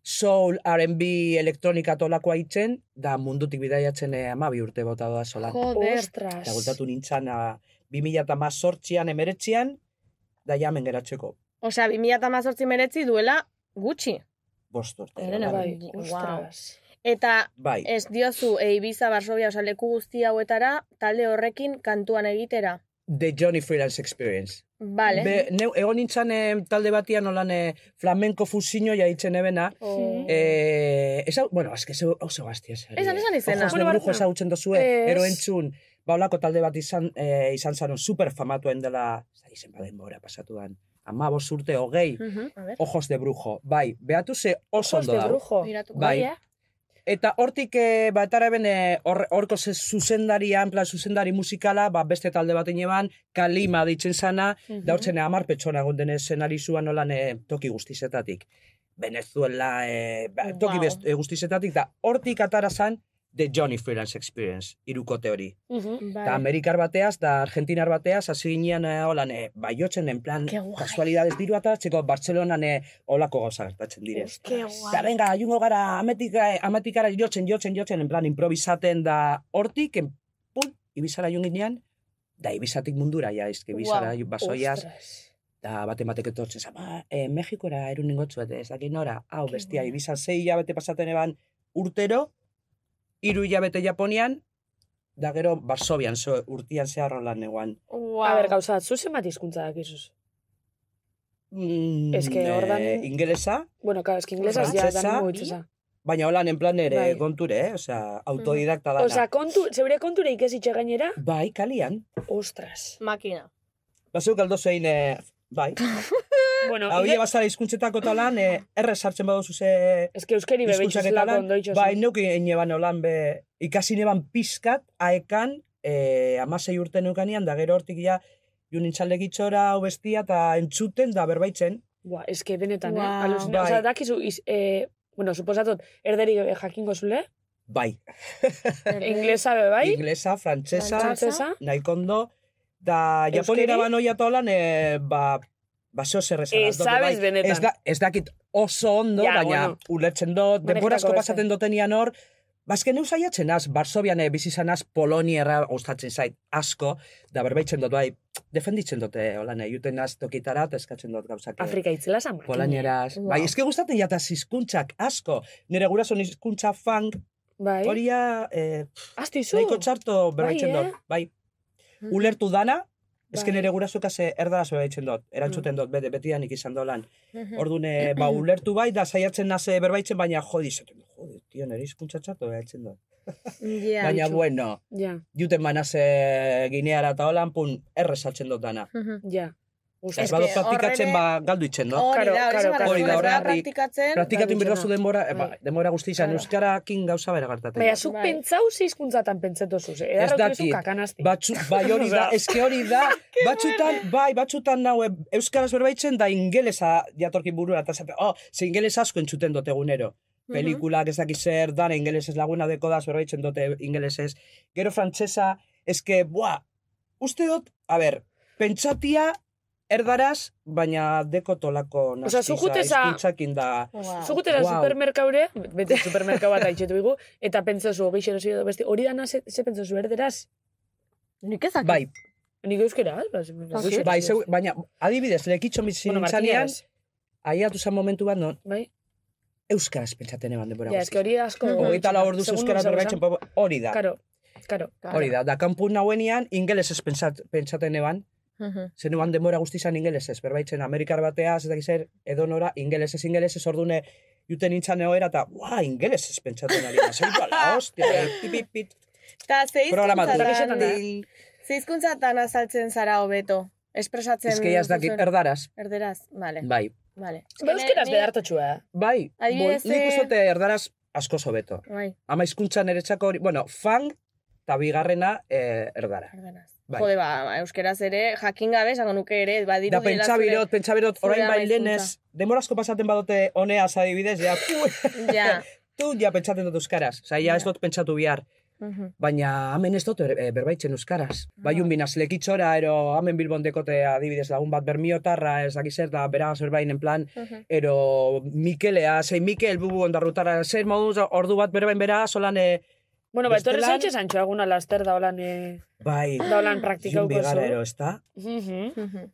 Speaker 11: soul, R&B, elektronika tolakoa itzen, da mundutik bidaiatzen eh, amabi urte bota doa solan.
Speaker 8: Joder.
Speaker 9: Ostras.
Speaker 11: Eta gultatu nintzen, ah, 2008an, emeretzian, da jamen geratzeko
Speaker 8: Osea, 2018 meretzi duela gutxi.
Speaker 11: bost urte.
Speaker 8: Herena,
Speaker 11: Bai.
Speaker 9: Bai,
Speaker 8: Wow.
Speaker 9: ostras.
Speaker 8: Eta
Speaker 11: Bai,
Speaker 8: ez diozu e, Ibiza, Varsovia, osea, leku guzti hauetara, talde horrekin kantuan egitera.
Speaker 11: The Johnny Freelance Experience.
Speaker 8: Vale.
Speaker 11: Be, neu, egon nintzen eh, talde batian olan eh, flamenko fusiño jaitzen ebena.
Speaker 9: Mm.
Speaker 8: Oh.
Speaker 11: Eh, esa, bueno, eske zeu oso gaztia zer.
Speaker 8: Esan, esan izena.
Speaker 11: Ojos de
Speaker 9: Bueno,
Speaker 11: brujo
Speaker 9: barkatu.
Speaker 11: ezagutzen dozue,
Speaker 9: Ez.
Speaker 11: ero entzun, ba, holako talde bat izan, eh, izan zaron super famatuen dela, zari zen baden bora pasatu dan, ama urte hogei,
Speaker 9: A ver.
Speaker 11: ojos de brujo. Bai, behatu ze oso
Speaker 9: Mm. Ojos
Speaker 11: ondo
Speaker 9: de
Speaker 11: dago.
Speaker 9: brujo.
Speaker 8: Miratuko
Speaker 11: Bai.
Speaker 9: Bai, eh?
Speaker 11: Eta hortik eh, batara ben eh, hor, horko ze- zuzendaria, en plan zuzendari musikala, ba, beste talde bat ineban, kalima ditzen sana,
Speaker 9: Mhm.
Speaker 11: da hortzen amar pertsona gonden eszenari zuan nolan eh, toki guztizetatik. Venezuela, eh, ba, toki
Speaker 8: Wow.
Speaker 11: best- eh, guztizetatik, da hortik atara zan, The Johnny Freelance Experience, irukote hori.
Speaker 9: Mhm.
Speaker 8: Bai.
Speaker 11: Eta Amerikar bateaz, da Argentinar bateaz, hasi ginean eh, holan, eh, baiotzen, en plan,
Speaker 8: Ke guai.
Speaker 11: kasualidades diru atatzeko, Bartzelonan eh, holako gauza gertatzen dire.
Speaker 8: Ke
Speaker 11: Da,
Speaker 8: guai.
Speaker 11: venga, jungo gara, ametika, ametikara jotzen, jotzen, jotzen, en plan, improvisaten da hortik, en, pum, ibizara junginean, da ibizatik mundura, ja, izke, ibizara wow. basoiaz, da baten batek etortzen, zama, eh, Mexikora erun ningotzu, ez dakit nora, hau,
Speaker 8: Ke
Speaker 11: bestia,
Speaker 8: guai.
Speaker 11: ibizan zei hilabete pasaten eban urtero, hiru hilabete Japonian, da gero Barsobian, zo, urtian zehar lan eguan.
Speaker 8: Wow.
Speaker 9: A ber, gauza bat, zuzen bat izkuntza dakizuz.
Speaker 11: Mm,
Speaker 9: Ez que ordan-
Speaker 11: eh, ingelesa,
Speaker 9: Bueno, claro, es que inglesas ya
Speaker 11: Frantsesa.
Speaker 9: dan mugitzesa.
Speaker 11: baina holan, en plan ere,
Speaker 9: Bai.
Speaker 11: konture, eh? Osea, autodidakta
Speaker 8: Bai.
Speaker 11: dana.
Speaker 9: Osa, kontu, zeure kontura ikesitxe gainera,
Speaker 11: Bai, kalian.
Speaker 9: ostras.
Speaker 8: Makina.
Speaker 11: Bazeuk aldo zein, eh, bai.
Speaker 9: Bueno,
Speaker 11: Hau
Speaker 9: ike-
Speaker 11: hile bazara hizkuntzetako talan, eh, erre sartzen baduzu ze
Speaker 9: Ez que euskeri
Speaker 11: hizkuntzak
Speaker 9: bebetxuzela
Speaker 11: talan.
Speaker 9: kondoitxo.
Speaker 11: Bai, neuk ineban holan, be, ikasi neban pizkat, aekan, eh, amasei urte neukanean, da gero hortik ja, junintzalde gitzora, hau bestia, eta entzuten, da berbaitzen.
Speaker 9: Buah, ez que benetan, eh?
Speaker 8: Guau.
Speaker 9: Alucina.
Speaker 11: Bai.
Speaker 9: Osa, dakizu, iz, eh, bueno, suposatot, erderi eh, jakingo zule,
Speaker 11: Bai,
Speaker 9: inglesa be bai,
Speaker 11: inglesa, frantsesa,
Speaker 9: frantzesa,
Speaker 11: naikondo, da japonera
Speaker 9: Euskeri?
Speaker 11: banoia tolan, eh, ba, ba zeo zer esan
Speaker 9: Ez
Speaker 11: aldot, be,
Speaker 9: Eh, sabes benetan.
Speaker 11: Ez, da, ez dakit oso ondo,
Speaker 9: Ja,
Speaker 11: baina
Speaker 9: bueno.
Speaker 11: ulertzen dut,
Speaker 9: Manejatako
Speaker 11: denborazko
Speaker 9: beste.
Speaker 11: pasaten dotenian hor, Bazken neu saiatzen az, Barsobian eh, bizi izanaz Polonierra gustatzen zait asko, da berbaitzen dut bai, defenditzen dute, holan, eh, juten az tokitara, eta eskatzen dut gauzak. eh,
Speaker 9: Afrika itzela zan makin.
Speaker 11: Polonieraz.
Speaker 9: Wow.
Speaker 11: Bai, eske gustatzen jataz hizkuntzak asko. Nire gurason hizkuntza funk,
Speaker 9: Bai.
Speaker 11: horia, eh,
Speaker 9: Aztu izu.
Speaker 11: nahiko txarto berbaitzen
Speaker 9: Bai, Mm-hmm.
Speaker 11: dut. Bai, ulertu dana, eske
Speaker 9: Bai. Mm.
Speaker 11: nire gurasoka ze erdaraz berbaitzen dut, erantzuten dut, bete, betidanik izan dolan.
Speaker 8: Mhm.
Speaker 11: Orduan, eh,
Speaker 9: Mm-hmm.
Speaker 11: ba, ulertu bai, da saiatzen naze berbaitzen, baina jodi, izaten dut, jodi, tio, nire hizkuntza txarto berbaitzen dut.
Speaker 8: Ja.
Speaker 11: Baina,
Speaker 8: bitxu.
Speaker 11: bueno,
Speaker 9: Ja,
Speaker 11: juten banaze gineara eta holan, pun, errezatzen dut dana.
Speaker 8: Mhm.
Speaker 9: ja. Ostras,
Speaker 11: Ez
Speaker 8: que
Speaker 11: badu
Speaker 8: horren
Speaker 11: praktikatzen,
Speaker 8: ere-
Speaker 11: ba, galdu itzen, no?
Speaker 8: Hori
Speaker 9: Karo,
Speaker 8: da, hori
Speaker 9: karo,
Speaker 8: zen
Speaker 9: karo.
Speaker 8: bakarrik,
Speaker 11: Hori da,
Speaker 8: ez da,
Speaker 11: horri-
Speaker 8: praktikatzen.
Speaker 11: Praktikatu
Speaker 9: galdu
Speaker 11: inberdazu
Speaker 9: itzena.
Speaker 11: denbora, eh,
Speaker 9: Bai.
Speaker 11: ba, denbora guztizan,
Speaker 9: Claro.
Speaker 11: euskarakin gauza bera gertatzen.
Speaker 9: Baina,
Speaker 11: da.
Speaker 9: zuk
Speaker 8: Bai.
Speaker 9: pentsau zizkuntzatan pentsetozuz, eh? Edarrautu izu
Speaker 11: dakit.
Speaker 9: kakanazti.
Speaker 11: Batzu, bai hori da, eske hori da, batzutan, bai, batzutan nau, eh, euskaraz berbaitzen da ingelesa jatorki burura, eta zaten, oh, ze ingeles asko entzuten dut egunero.
Speaker 9: Mhm.
Speaker 11: Pelikulak ez dakiz zer, dan ingelesez laguna deko da, berbaitzen dute ingelesez. Gero frantsesa, eske, buah, uste dut, a ber, pentsatia, erdaraz, baina deko tolako
Speaker 9: Osea, zu juteza-
Speaker 11: izkuntzakin da.
Speaker 8: Wow.
Speaker 9: Zugutera
Speaker 11: Wow.
Speaker 9: supermerkaure, beti supermerkau bat aitxetu igu, eta pentsozu, geixero edo beste, hori dana ze, ze pentsozu erderaz?
Speaker 2: Nik
Speaker 9: Ah,
Speaker 2: ezak.
Speaker 11: Bai,
Speaker 9: Nik euskera, eh? Ba, ze- goixero
Speaker 11: bai,
Speaker 9: edo
Speaker 11: zeu,
Speaker 9: beste.
Speaker 11: baina, adibidez, lekitxo mitzin
Speaker 9: Bueno,
Speaker 11: bueno,
Speaker 9: Martínez,
Speaker 11: aiatu zen momentu bat, non,
Speaker 9: bai?
Speaker 11: euskaraz pentsaten eban denbora
Speaker 9: Ja, eske hori asko...
Speaker 11: Hogeita lau orduz
Speaker 9: Segun
Speaker 11: euskaraz
Speaker 9: nola
Speaker 11: berbaitzen
Speaker 9: izan.
Speaker 11: popo, hori da.
Speaker 9: Karo, karo.
Speaker 11: Hori da, da kanpun nauenian ingeles ez pentsat, pentsaten eban,
Speaker 8: Mhm.
Speaker 11: zen eban demora guztizan ingeles ez, berbaitzen Amerikar bateaz, ez dakiz zer, edo nora, ingeles ez, ingeles ez, ordune, juten nintzen egoera, eta, ua, ingeles ez pentsaten ari, da, zeitu ala, hostia, pipipit,
Speaker 8: Ta ze
Speaker 11: Programatu.
Speaker 8: hizkuntzatan- ze hizkuntzatan azaltzen zara hobeto. Espresatzen.
Speaker 11: izkeia ez dakit,
Speaker 8: duzuen-
Speaker 11: erdaraz,
Speaker 8: Erderaz, vale,
Speaker 11: bai.
Speaker 8: vale.
Speaker 9: Ba, euskeraz bedartatxua, eh?
Speaker 11: Bai, bol,
Speaker 8: Adibidez,
Speaker 11: nik
Speaker 8: eh,
Speaker 11: uste dut erdaraz asko sobeto.
Speaker 8: Bai,
Speaker 11: Ama hizkuntza niretzako hori, bueno, fang, eta bigarrena eh, erdara.
Speaker 8: erderaz.
Speaker 11: Bai.
Speaker 8: Jode, ba, euskeraz ere, jakin gabe, esango nuke ere, badiru
Speaker 11: Da
Speaker 8: dela
Speaker 11: pentsabilot, pentsabilot,
Speaker 8: zure
Speaker 11: orain
Speaker 8: ama
Speaker 11: bai denez, demorazko pasaten badote honeaz adibidez, ja, pu,
Speaker 8: zure- Ja.
Speaker 11: tu, ja pentsaten dut euskaraz. Osea, ja ez dut pentsatu bihar.
Speaker 8: Mhm.
Speaker 11: Baina hemen ez dut er, eh, berbaitzen euskaraz. Bai, un binaz lekitzora, ero hemen bilbon dekote adibidez lagun bat bermiotarra, ez dakiz zer, da bera zerbain en plan,
Speaker 8: Mhm.
Speaker 11: ero Mikelea, zein Mikel, bubu ondarrutara, zer moduz, ordu bat berbain bera, solan, eh,
Speaker 9: Bueno, ba, etorri
Speaker 11: Bestelan-
Speaker 9: zaitxe zantxo aguna laster da holan, eh,
Speaker 11: bai,
Speaker 9: da holan praktikauko
Speaker 11: Jun bigara
Speaker 9: zu.
Speaker 11: ero, ez da?
Speaker 9: Mhm.
Speaker 8: Mhm.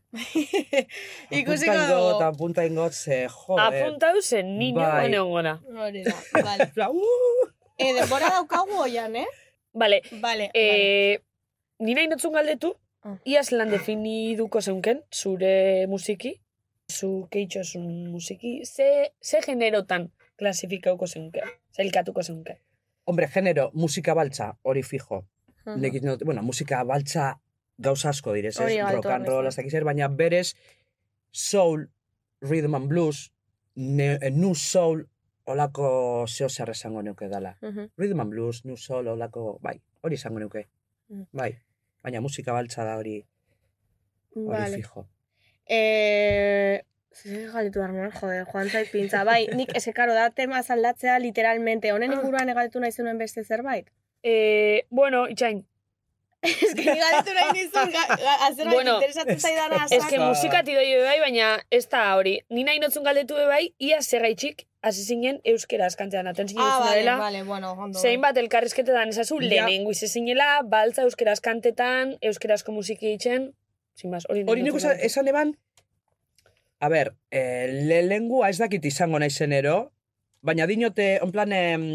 Speaker 11: Ikusiko
Speaker 8: Ikusiko
Speaker 11: dugu.
Speaker 8: dugu.
Speaker 11: Apunta ingot, ze, joder.
Speaker 9: Apuntau zen, niño,
Speaker 11: Bai.
Speaker 9: bane ongona.
Speaker 8: Hori da, vale.
Speaker 11: Pla, uh!
Speaker 8: E, denbora daukagu oian, eh?
Speaker 9: Vale,
Speaker 8: Vale, vale.
Speaker 9: eh, ni nahi notzun galdetu,
Speaker 8: Ah.
Speaker 9: iaz lan definiduko zeunken, zure musiki, zu keitxosun musiki, ze, ze generotan klasifikauko zeunken, zailkatuko zeunken.
Speaker 11: Hombre, genero, musika baltza, hori fijo.
Speaker 8: Mhm.
Speaker 11: Nik, not- bueno, musika baltza gauza asko direz,
Speaker 8: Hori
Speaker 11: ez?
Speaker 8: bai,
Speaker 11: Rock and
Speaker 8: torres,
Speaker 11: roll,
Speaker 8: bai.
Speaker 11: ez dakiz zer, baina berez, soul, rhythm and blues, ne, eh, new soul, olako zeo zer esango neuke dala.
Speaker 9: Mhm.
Speaker 11: Rhythm and blues, new soul, olako, bai, hori esango neuke.
Speaker 8: Mm.
Speaker 9: Mhm.
Speaker 11: Bai, baina musika baltza da hori, hori
Speaker 8: Vale.
Speaker 11: fijo.
Speaker 8: Eh, zer galdetu behar nuen, joder, joan zait pintza. Bai, nik eske karo da tema zaldatzea literalmente. Honen inguruan galdetu nahi zenuen beste zerbait.
Speaker 9: Eh, bueno, itxain.
Speaker 8: Ez que ni galdetu nahi nizun, ga- ga- azerbait
Speaker 9: Bueno,
Speaker 8: interesatzen zaidana.
Speaker 9: Ez que
Speaker 8: azaldu.
Speaker 9: musika tidoi be bai, baina ez da hori. Ni nahi notzun galdetu be bai, ia zergaitxik hasi zinen euskera askantzean. Aten zinen
Speaker 8: Ah,
Speaker 9: ah,
Speaker 8: vale,
Speaker 9: dela,
Speaker 8: vale, bueno, ondo.
Speaker 9: zein ba- bat elkarrizketetan ezazu,
Speaker 11: Ja.
Speaker 9: lehenengo izan zinela, baltza euskera askantetan, euskarazko musiki itxen, zin bas, hori nahi
Speaker 11: Hori nik
Speaker 9: nizun
Speaker 11: esan,
Speaker 9: galdetu.
Speaker 11: esan eban, a ber, eh, lehengua ez dakit izango nahi zenero, baina dinote, onplan, em,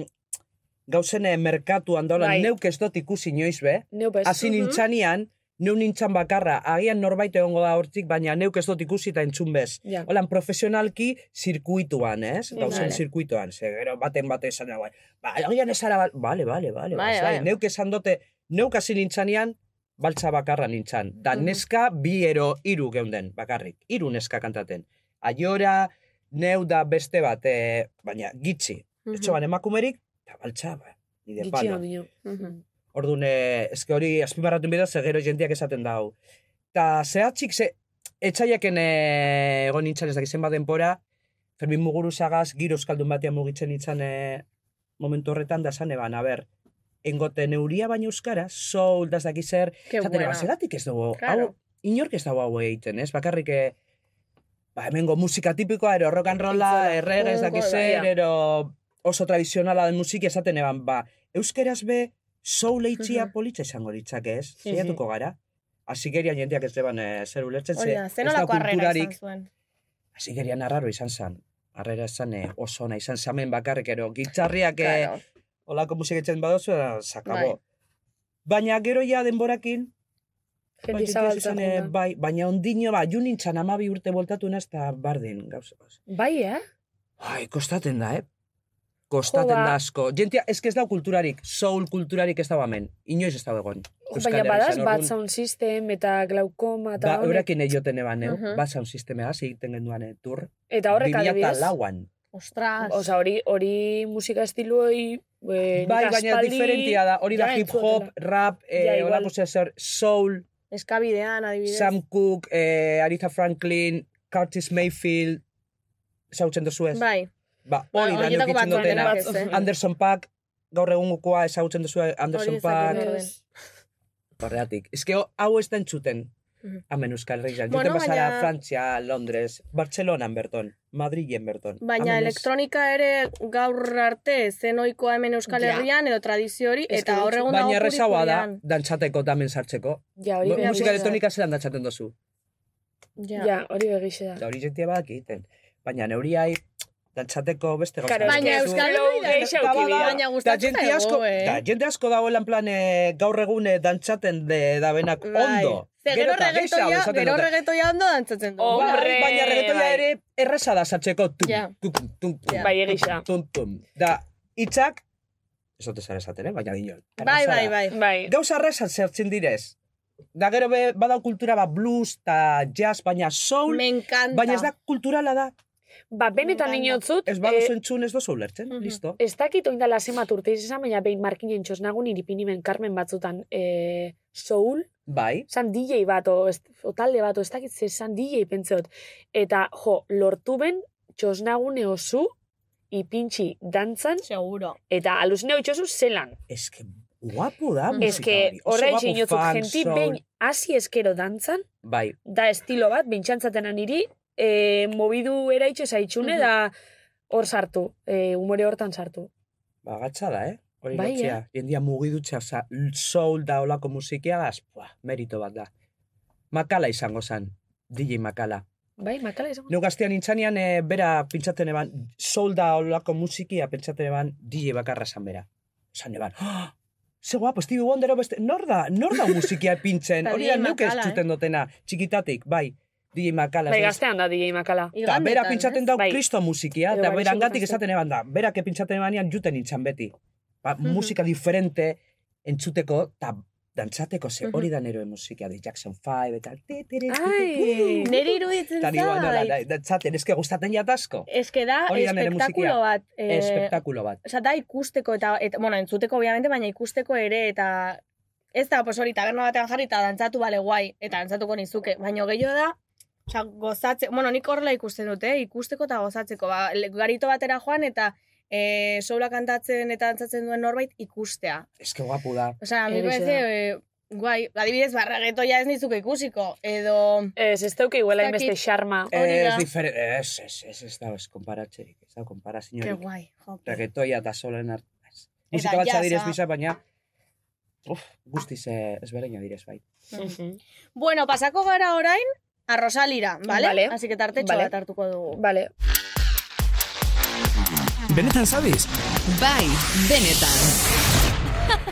Speaker 11: gauzen eh, merkatuan daula,
Speaker 9: Bai.
Speaker 11: neuk ez dut ikusi inoiz be,
Speaker 9: Neu Mhm. bez.
Speaker 11: hasi nintzanean, neu nintzan bakarra, agian norbait egongo da hortik, baina neuk ez dut ikusi eta entzun bez.
Speaker 9: Ja.
Speaker 11: Holan, profesionalki zirkuituan, ez? Gauzen
Speaker 9: Vale.
Speaker 11: zirkuituan, ze gero baten bate esan da, bai, ba, agian esara, bal- bale, bale, bale, bai,
Speaker 8: Bai, bai.
Speaker 11: neuk esan dute, neuk hasi nintzanean, baltza bakarra nintzan. Da
Speaker 9: Mhm.
Speaker 11: neska bi ero hiru geunden, bakarrik. Hiru neska kantaten. Aiora, neu da beste bat, eh, baina gitxi.
Speaker 8: Mhm.
Speaker 11: Etxo ban emakumerik, eta baltza, ba, nire
Speaker 9: Gitxi
Speaker 11: palo.
Speaker 9: ondino.
Speaker 8: Mhm.
Speaker 11: Orduan, eh, eske hori azpimarratu bidez, ze gero jendeak esaten dau. Ta zehatzik ze, etxaiaken eh, egon nintzen ez dakizen bat denpora, Fermin Muguruzagaz, giro euskaldun batean mugitzen nintzen eh, momentu horretan da "E, zan eban, aber, engote neuria baina euskara, soul, da ez dakizer,
Speaker 8: Ke
Speaker 11: Zaten,
Speaker 8: buena.
Speaker 11: eba, zeratik "E, ba, ez dugu,
Speaker 8: Claro.
Speaker 11: hau, inork ez dago hau egiten, ez? Bakarrik, eh, ba, hemengo musika tipikoa, ero rock and rolla, errege ez dakiz zer,
Speaker 9: Ja.
Speaker 11: ero oso tradizionala den musik esaten eban, ba, euskeraz be, soul eitzia
Speaker 8: Mhm.
Speaker 11: politza izango litzak ez?
Speaker 8: Mhm.
Speaker 11: Saiatuko gara? Azigerian jendeak ez deban eh, zer ulertzen,
Speaker 8: Hori
Speaker 11: ze
Speaker 8: da,
Speaker 11: ez da
Speaker 8: zenolako harrera izan
Speaker 11: kulturarik,
Speaker 8: zuen.
Speaker 11: azigerian arraro izan zan. Arrera zan eh, oso ona izan zamen bakarrik, ero gitzarriak eh,
Speaker 8: Claro.
Speaker 11: olako musiketzen badozu, eh, sakabo.
Speaker 8: Bai.
Speaker 11: Baina gero ja denborakin,
Speaker 9: Jende
Speaker 11: Baina
Speaker 9: zabaltza
Speaker 11: izan, eh,
Speaker 9: jundan.
Speaker 11: bai, baina ondino, ba, ju nintzen amabi urte voltatu naz, eta bardin, gauza.
Speaker 9: Bai, eh?
Speaker 11: Ai, kostaten da, eh? Kostaten
Speaker 9: Jo, ba.
Speaker 11: da asko. Jentia, ez que ez da kulturarik, soul kulturarik ez da bamen. Inoiz ez da egon. Euskal
Speaker 9: Baina
Speaker 11: Herrian,
Speaker 9: badaz,
Speaker 11: orduan,
Speaker 9: bat sound system eta glaukoma eta
Speaker 11: Ba,
Speaker 9: honek.
Speaker 11: eurekin eioten eban, eh?
Speaker 8: Mhm.
Speaker 11: Bat sound sistemea, egiten genduan, eh, tur.
Speaker 9: Eta horrek adibidez.
Speaker 11: lauan.
Speaker 8: Ostras.
Speaker 9: Osa, hori, hori musika estiloi...
Speaker 11: Bai,
Speaker 9: Eh,
Speaker 11: baina
Speaker 9: aspaldi-
Speaker 11: diferentia da. Hori da
Speaker 9: Ja,
Speaker 11: hip hop,
Speaker 9: entzutela.
Speaker 11: rap,
Speaker 9: Ja,
Speaker 11: eh,
Speaker 9: igual.
Speaker 11: holako zezer, soul,
Speaker 8: Eskabidean, adibidez.
Speaker 11: Sam Cooke, eh, Aretha Franklin, Curtis Mayfield, zautzen duzu ez?
Speaker 8: Bai.
Speaker 11: Ba, hori da
Speaker 8: horietako
Speaker 11: neukitzen
Speaker 8: batzuk
Speaker 11: dutena.
Speaker 8: denak ez, eh?
Speaker 11: Anderson Paak, gaur egungokoa ezagutzen duzu
Speaker 8: Hori
Speaker 11: Anderson
Speaker 8: ez dakit
Speaker 11: Paak.
Speaker 8: nor den.
Speaker 9: Ez.
Speaker 11: Horregatik. Ez que ho- hau ez da entzuten.
Speaker 8: Mhm.
Speaker 11: Hemen Euskal Herrian.
Speaker 8: Bueno,
Speaker 11: Bueno, Juten pasara
Speaker 8: baina-
Speaker 11: Frantzia, Londres, Bartzelonan berton, Madrilen berton.
Speaker 8: Baina
Speaker 11: Hemen ez.
Speaker 8: elektronika ere gaur arte zenoikoa hemen Euskal
Speaker 9: Ja.
Speaker 8: Herrian edo tradizio hori
Speaker 9: Ez
Speaker 8: eta
Speaker 9: que
Speaker 8: hor egun
Speaker 11: Baina
Speaker 8: dago
Speaker 11: errezagoa da,
Speaker 8: kurikulean.
Speaker 11: dantzateko eta hemen sartzeko.
Speaker 9: Ja, hori
Speaker 11: Mu-
Speaker 9: begixe
Speaker 11: Ba, Musika
Speaker 9: da.
Speaker 11: elektronika zelan dantzaten duzu.
Speaker 9: Ja, hori begixe da.
Speaker 11: Eta hori jentia badakiten. Baina neuriai dantzateko beste gauza.
Speaker 9: Claro,
Speaker 11: bat
Speaker 8: Baina
Speaker 11: duzu.
Speaker 8: Euskal Herrian
Speaker 9: Geixa
Speaker 11: Eta
Speaker 9: ukibila.
Speaker 11: bada-
Speaker 8: Baina gustatzen
Speaker 11: eta jende
Speaker 8: zaigu,
Speaker 11: asko,
Speaker 8: eh?
Speaker 11: eta jende asko dagoela en plan eh, gaur egun eh, dantzaten de, dabenak
Speaker 8: Bai.
Speaker 11: ondo.
Speaker 8: Ze gero
Speaker 11: eta gehiago
Speaker 8: reggaetoia,
Speaker 11: esaten
Speaker 8: gero
Speaker 11: dute.
Speaker 8: reggaetoia ondo dantzatzen du.
Speaker 9: Oh,
Speaker 11: Bai,
Speaker 9: Hombre,
Speaker 11: baina reggaetoia
Speaker 9: bai.
Speaker 11: ere erreza da sartzeko. Tum,
Speaker 8: Ja.
Speaker 11: tum, tum, tum,
Speaker 8: Ja.
Speaker 9: Bai, egisa.
Speaker 11: tum, tum. Da, itzak, ez dut esan esaten, eh? baina dinon.
Speaker 8: Bai, bai, bai.
Speaker 9: Bai,
Speaker 11: Gauza errezan zertzen direz. Da gero be, badau kultura ba blues eta jazz, baina soul,
Speaker 8: Me encanta.
Speaker 11: baina ez da kulturala da.
Speaker 9: ba, benetan
Speaker 8: Me encanta.
Speaker 9: niotzut,
Speaker 11: Bai. Ez baduzu
Speaker 9: eh,
Speaker 11: entzun ez dozu ulertzen, listo.
Speaker 9: ez dakit oindala zenbat urte izan, baina behin markinen txosnagun iripinimen Carmen batzutan eh, soul,
Speaker 11: Bai,
Speaker 9: zan DJ bat, o, ez, o talde bat, o ez dakit ze zan DJ pentseot. Eta, jo, lortu ben, txosnagune osu, ipintxi dantzan,
Speaker 8: Seguro.
Speaker 9: eta aluzineo itxosu zelan.
Speaker 11: ez que guapo da
Speaker 8: Mm.
Speaker 11: musika
Speaker 9: Ez que
Speaker 11: hori. Oso
Speaker 9: horrein
Speaker 11: guapo
Speaker 9: inotzut,
Speaker 11: funk,
Speaker 9: jenti
Speaker 11: soul.
Speaker 9: behin hasi eskero dantzan,
Speaker 11: Bai,
Speaker 9: da estilo bat, bintxantzatena niri, e, mobidu eraitxe zaitxune,
Speaker 8: Mhm.
Speaker 9: da hor sartu, e, umore hortan sartu.
Speaker 11: Ba, gatza da, eh? Hori
Speaker 9: Bai,
Speaker 11: bai, gotzea. Jendia mugidutza, oza, soul da olako musikia, az, buah, merito bat da. Makala izango zan, DJ Makala.
Speaker 9: Bai, makala izango.
Speaker 11: Neu gaztean nintzanean, eh, bera pintzaten eban, soul da olako musikia, pentsaten eban, DJ bakarra zan bera. Zan eban, oh, ze guapo, Stevie Wonder hau beste, nor da, nor da musikia pintzen,
Speaker 8: Ta
Speaker 11: hori da
Speaker 8: DJ
Speaker 11: nuke ez
Speaker 8: Makala, eh?
Speaker 11: txuten dotena, txikitatik, bai, DJ Makala.
Speaker 9: Bai,
Speaker 11: ez da-
Speaker 9: gaztean da DJ makala.
Speaker 11: Eta
Speaker 8: Igandetan,
Speaker 11: bera pintzaten dau
Speaker 9: Bai.
Speaker 11: kristo musikia,
Speaker 9: Edo
Speaker 11: eta
Speaker 9: bai,
Speaker 11: bera
Speaker 9: segurtasun.
Speaker 11: hangatik esaten eban da, berak
Speaker 8: Mhm.
Speaker 11: pintzaten ebanean juten nintzen beti. Ba, Musika diferente entzuteko, eta dantzateko ze hori da nero musika de Jackson 5 eta ti, ti, ti, ti,
Speaker 8: Mhm. Ai,
Speaker 11: ti.
Speaker 8: neri iruditzen
Speaker 11: Eta nioan, nola,
Speaker 8: zait.
Speaker 11: da- dantzaten, eske gustatzen jat asko.
Speaker 8: Ez que da,
Speaker 11: Hori da nere
Speaker 8: espektakulo
Speaker 11: musikia.
Speaker 8: bat. eh,
Speaker 11: Espektakulo bat.
Speaker 8: Osa, da ikusteko eta, et, bueno, entzuteko obviamente, baina ikusteko ere eta ez da, pues hori, taberna batean jarri eta dantzatu bale guai, eta dantzatuko nizuke. Baina gehiago da, osa, gozatze, bueno, nik horrela ikusten dute, eh? ikusteko eta gozatzeko. Ba, le- garito batera joan eta e, soula kantatzen eta dantzatzen duen norbait ikustea.
Speaker 11: Eske guapu da.
Speaker 8: Osa, mi
Speaker 12: Horixe
Speaker 8: parece, eh, guai, adibidez, barragetoia ez nizuke ikusiko, edo...
Speaker 12: Ez, ez dauke iguala
Speaker 8: Ez dakit.
Speaker 12: inbeste xarma.
Speaker 8: Hori
Speaker 11: Ez,
Speaker 8: da.
Speaker 11: difere- ez, ez, ez, ez da, ez konparatzerik, ez da, konparaziorik.
Speaker 8: Ke guai, jo.
Speaker 11: Reggaetoia eta solen art... ez.
Speaker 8: Eta
Speaker 11: Musika bat
Speaker 8: jazza.
Speaker 11: zadirez bisa, baina... Uf, guztiz eh, ezberdina direz, bai.
Speaker 8: Bueno, pasako gara orain, a Rosalira, ¿vale?
Speaker 12: Vale.
Speaker 8: Así que tartetxo
Speaker 12: Vale.
Speaker 8: bat hartuko dugu.
Speaker 12: Vale.
Speaker 1: Benetan zabiz?
Speaker 12: Bai, benetan.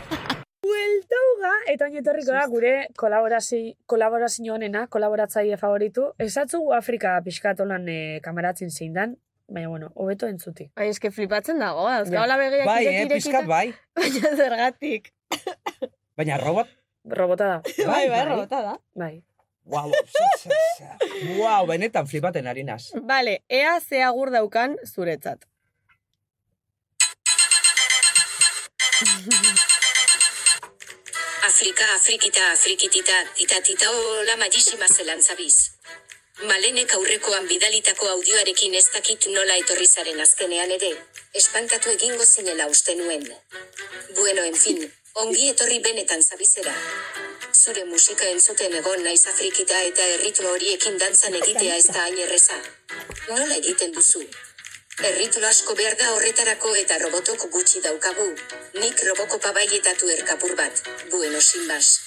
Speaker 12: Buelta uga, eta oin etorriko da gure kolaborazi, kolaborazio honena, kolaboratzaile favoritu. Esatzu Afrika pixkatolan e, kameratzen zein dan, baina bueno, hobeto entzuti.
Speaker 8: Ai, Bai, eske flipatzen dago, dauzkaola
Speaker 12: Ja.
Speaker 8: begiak
Speaker 11: Bai,
Speaker 8: ireki,
Speaker 11: eh,
Speaker 8: irekita.
Speaker 11: pixkat bai.
Speaker 8: Baina zergatik.
Speaker 11: Baina robot...
Speaker 12: Robota da.
Speaker 8: Bai, bai, robota da.
Speaker 12: Bai.
Speaker 11: Wow, za, za, za. wow, benetan flipaten ari naz.
Speaker 8: Vale, ea ze agur daukan zuretzat.
Speaker 13: Afrika, Afrikita, Afrikitita, itatita hola magisima zelantzabiz. Malenek aurrekoan bidalitako audioarekin ez dakit nola etorri zaren azkenean ere, espantatu egingo zinela uste nuen. Bueno, en fin, ongi etorri benetan zabizera. Zure musika entzuten egon naiz Afrikita eta erritmo horiekin dantzan egitea ez da hain erreza. Nola egiten duzu? Erritu asko behar da horretarako eta robotok gutxi daukagu. Nik robokopa bai eta erkapur bat. Bueno, sin más.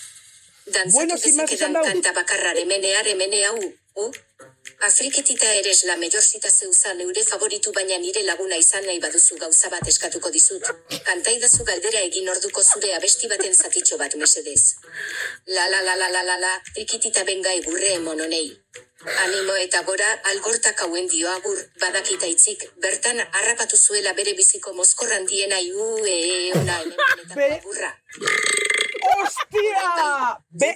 Speaker 13: Dantzatu
Speaker 11: Bueno, sin más
Speaker 13: dezakedan
Speaker 11: esan dau.
Speaker 13: kanta bakarrar emenear emene hau, u? Afriketita eres la mejor zita zeuza neure favoritu baina nire laguna izan nahi baduzu gauza bat eskatuko dizut. Kantaidazu galdera egin orduko zure abesti baten zatitxo bat mesedez. La la la la la la la, frikitita benga egurre emononei. Animo eta gora, algortak hauen dio agur, badakita itzik, bertan harrapatu zuela bere biziko mozkorran diena iu, e, e, ona, hemen benetako agurra. Bai,
Speaker 11: Hostia! Be,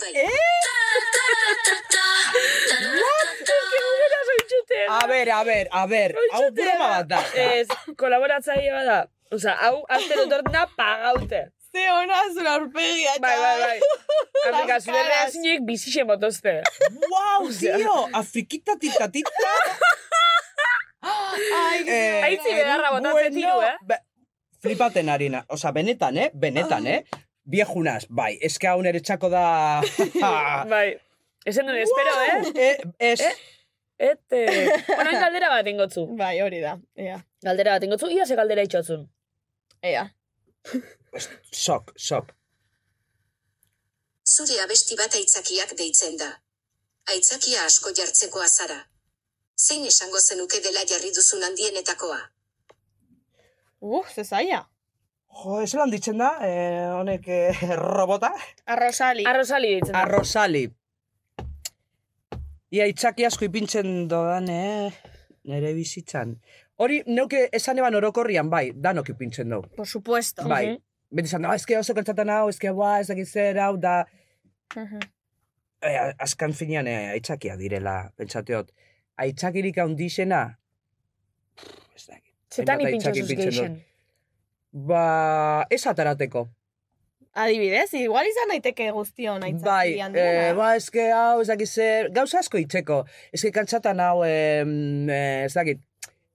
Speaker 12: Ah,
Speaker 11: A ber, a ber, a ber, hau broma bat da.
Speaker 12: Ez, kolaboratzaile bat da. Osa, hau, azte dut da pagaute.
Speaker 8: Ze hona zure aurpegia,
Speaker 12: Bai, bai, bai. Afrika,
Speaker 11: Las
Speaker 12: zure
Speaker 11: caras.
Speaker 12: reazinek bizixe motozte.
Speaker 11: Wow, tío, afrikita tita tita.
Speaker 12: Ai, eh, Aitzi begarra botatzen tiru, eh?
Speaker 11: Be- Flipaten harina. Osa, benetan, eh? Benetan, eh? Viejunas, bai, eske hau nere txako da... Ah.
Speaker 12: bai, esan duen, espero,
Speaker 11: Wow!
Speaker 12: eh?
Speaker 11: Ez.
Speaker 12: Ete. Bueno, hain galdera bat ingotzu.
Speaker 8: Bai, hori da, ea.
Speaker 12: Galdera bat ingotzu, ia ze galdera itxotzun.
Speaker 8: Ea.
Speaker 11: Sok, sok.
Speaker 13: Zure abesti bat aitzakiak deitzen da. Aitzakia asko jartzeko azara. Zein esango zenuke dela jarri duzun handienetakoa?
Speaker 8: Uh, ze zaila.
Speaker 11: Jo, ez lan ditzen da, eh, honek eh, robota.
Speaker 8: Arrosali.
Speaker 12: Arrosali ditzen da.
Speaker 11: Arrosali. Ia itzaki asko ipintzen dodan, eh? Nere bizitzan. Hori, neuke esan eban orokorrian, bai, danok ipintzen dugu.
Speaker 8: Por supuesto.
Speaker 11: Bai. Beti esan, ah, ezke oso kontzatan hau, ezke ba, ez dakit zer hau, da...
Speaker 8: Mhm.
Speaker 11: E, azkan finean e, aitzakia direla, pentsateot. Aitzakirik handixena, pff, ez dakit.
Speaker 12: Zetan
Speaker 11: Hainbat
Speaker 12: ipintxo
Speaker 11: aitzaki
Speaker 12: zuz
Speaker 11: ipintzen
Speaker 12: geixen.
Speaker 11: dut. Ba, ez atarateko.
Speaker 8: Adibidez, igual izan daiteke guztion
Speaker 11: Bai,
Speaker 8: aitzakian.
Speaker 11: eh, ba, eske hau, ez dakit zer, gauza asko itzeko. Eske kantzatan hau, em, eh, ez dakit,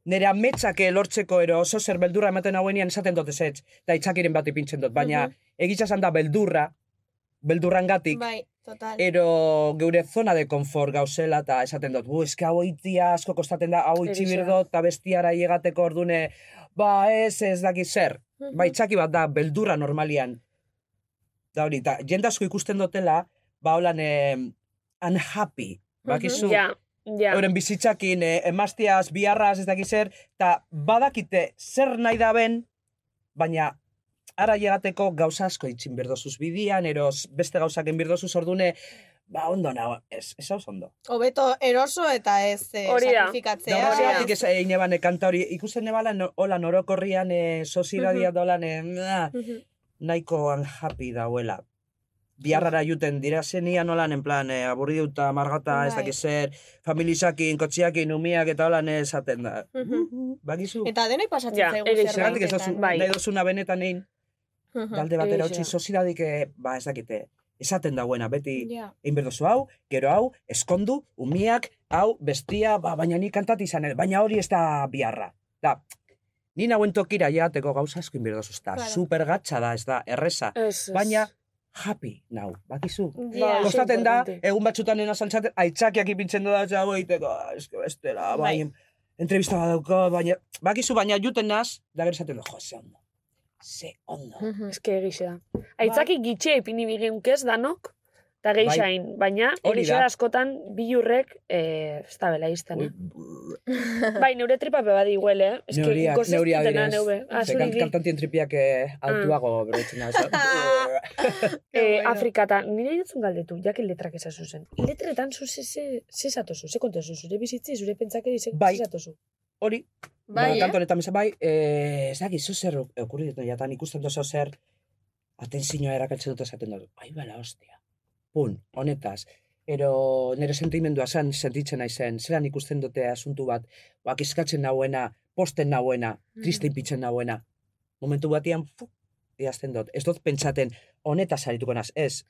Speaker 11: nire ametsak lortzeko ero oso zer beldurra ematen hauenian esaten dut ezetz, eta itzakiren bat ipintzen dut, baina
Speaker 8: Mhm.
Speaker 11: egitzasan da beldurra, beldurrangatik,
Speaker 8: Bai, total.
Speaker 11: Eh, ero geure zona de konfort gauzela, eta esaten dut, bu, eske hau itia asko kostaten da, hau itxi
Speaker 12: Egia.
Speaker 11: birdo, eta bestiara llegateko ordune, ba ez, ez dakit zer.
Speaker 12: Mhm.
Speaker 11: Ba, itzaki bat da, beldurra normalian. Da hori, eta jende asko ikusten dutela, ba holan, eh, unhappy, bakizu.
Speaker 12: Mhm, Ja, ja.
Speaker 11: Euren bizitzakin, eh, emaztiaz, biharraz, ez dakit zer, eta badakite zer nahi da ben, baina ara llegateko gauza asko itxin berdozuz bidian, eros beste gauzak enbirdozuz ordune, ba ondo nago, ez, ez hau ondo.
Speaker 8: Hobeto eroso eta ez eh,
Speaker 12: Hori da.
Speaker 8: sakrifikatzea.
Speaker 11: Da horregatik ez egin eban kanta hori, ikusten ebala no, hola
Speaker 12: Mhm.
Speaker 11: norokorrian, eh, soziradia dolan, eh, na, nahiko unhappy dauela. biharrara juten dira zenia nolan, en plan, eh, aburri duta, margata, ez
Speaker 8: Bai.
Speaker 11: dakiz zer, familizakin, kotxiakin, umiak eta holan esaten da. Bakizu.
Speaker 8: Eta bai. denei pasatzen
Speaker 11: Ja,
Speaker 8: zaigu
Speaker 11: ere
Speaker 8: zerbaitetan.
Speaker 11: zergatik ez dozu, nahi dozuna benetan egin, dalde batera utzi sozidadik, eh, ba ez dakite, esaten dagoena, beti
Speaker 8: Ja.
Speaker 11: egin berdozu hau, gero hau, eskondu, umiak, hau, bestia, ba, baina ni kantati izan, eh, baina hori ez da biharra. Da, ni nauen tokira jateko gauza asko egin berdozu, ez da,
Speaker 8: Claro.
Speaker 11: super gatza da, ez da, erreza.
Speaker 8: Ez, ez.
Speaker 11: Baina, happy, nau, bakizu.
Speaker 12: Ba,
Speaker 8: Ja.
Speaker 11: Kostaten da,
Speaker 8: Importante.
Speaker 11: egun batzutan nena saltzaten, aitzakiak ipintzen da, eta hau egiteko, "Ah, eske bestela, bai,
Speaker 8: Bai.
Speaker 11: entrevista bat dauka, baina, bakizu, baina juten naz, da gero esaten da, jo, ze ondo, ze ondo.
Speaker 12: Ez que egixe da.
Speaker 11: Bai.
Speaker 12: Aitzaki gitxe ipini bigeunk ez danok, eta geixain, baina
Speaker 9: Hori
Speaker 12: hori
Speaker 9: da.
Speaker 12: da askotan bilurrek eh, ez da bela izten. eh? bai, neure tripa beba di huele, eh? Ez que
Speaker 11: Neuriak,
Speaker 12: ikoz ez
Speaker 11: neuria
Speaker 12: dutena
Speaker 11: direz.
Speaker 12: neube. Ah,
Speaker 11: Ze
Speaker 12: zuri Ah.
Speaker 11: kan-
Speaker 12: di.
Speaker 11: Kantantien tripiak eh, altuago berotzen da.
Speaker 12: Eh, Afrikata, nire ditzen galdetu, jakin letrak ezazu zen. Letretan zu ze, ze, ze zatozu, ze kontezu, zure bizitzi, zure pentsakeri, ze,
Speaker 11: Bai.
Speaker 12: ze zatozu.
Speaker 11: Hori, Bai,
Speaker 8: eh?
Speaker 11: ba, kanto honetan bezala, bai, eh, ez dakit, zo zer okurri dut, jatan ikusten dozo zer, atentzioa erakatzen dut esaten dut, ai bala, ostia, pun, honetaz, ero nire sentimendua zan sentitzen naizen, zelan ikusten dute asuntu bat, ba, kiskatzen nauena, posten nauena, triste ipitzen nauena, momentu batean, fu, diazten dut, ez dut pentsaten, honetaz arituko naz, ez,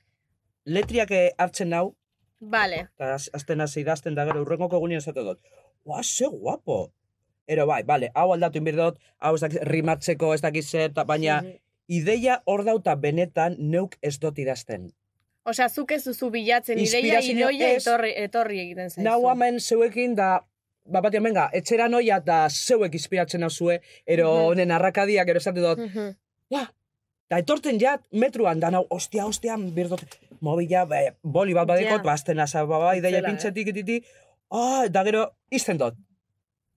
Speaker 11: letriak eh, hartzen nau,
Speaker 8: Vale.
Speaker 11: eta az- azten hasi idazten da gero urrengoko gunean zate dut. Ua, ze guapo! Ero bai, bale, hau aldatu inbir dut, hau ez dakiz, rimatzeko ez dakiz zer, ta- baina
Speaker 8: Mhm.
Speaker 11: ideia hor dauta benetan neuk ez dut idazten.
Speaker 8: Osea, zuk ez duzu bilatzen, ideia
Speaker 11: Inspirazio
Speaker 8: idoia
Speaker 11: ez.
Speaker 8: etorri, etorri egiten zaizu.
Speaker 11: Nau hemen zeuekin da, ba, batean, benga, etxera noia da zeuek inspiratzen nauzue, ero
Speaker 8: Mhm.
Speaker 11: honen arrakadiak, ero esate dut, Da etorten jat, metruan, da nau, ostia, ostia, birdot, mobila, be, boli bat badekot,
Speaker 8: Ja.
Speaker 11: yeah. bazten asa, ba, bai, daia
Speaker 8: Itzela, eh?
Speaker 11: pintxetik, ititi, ah, da gero, izten dut,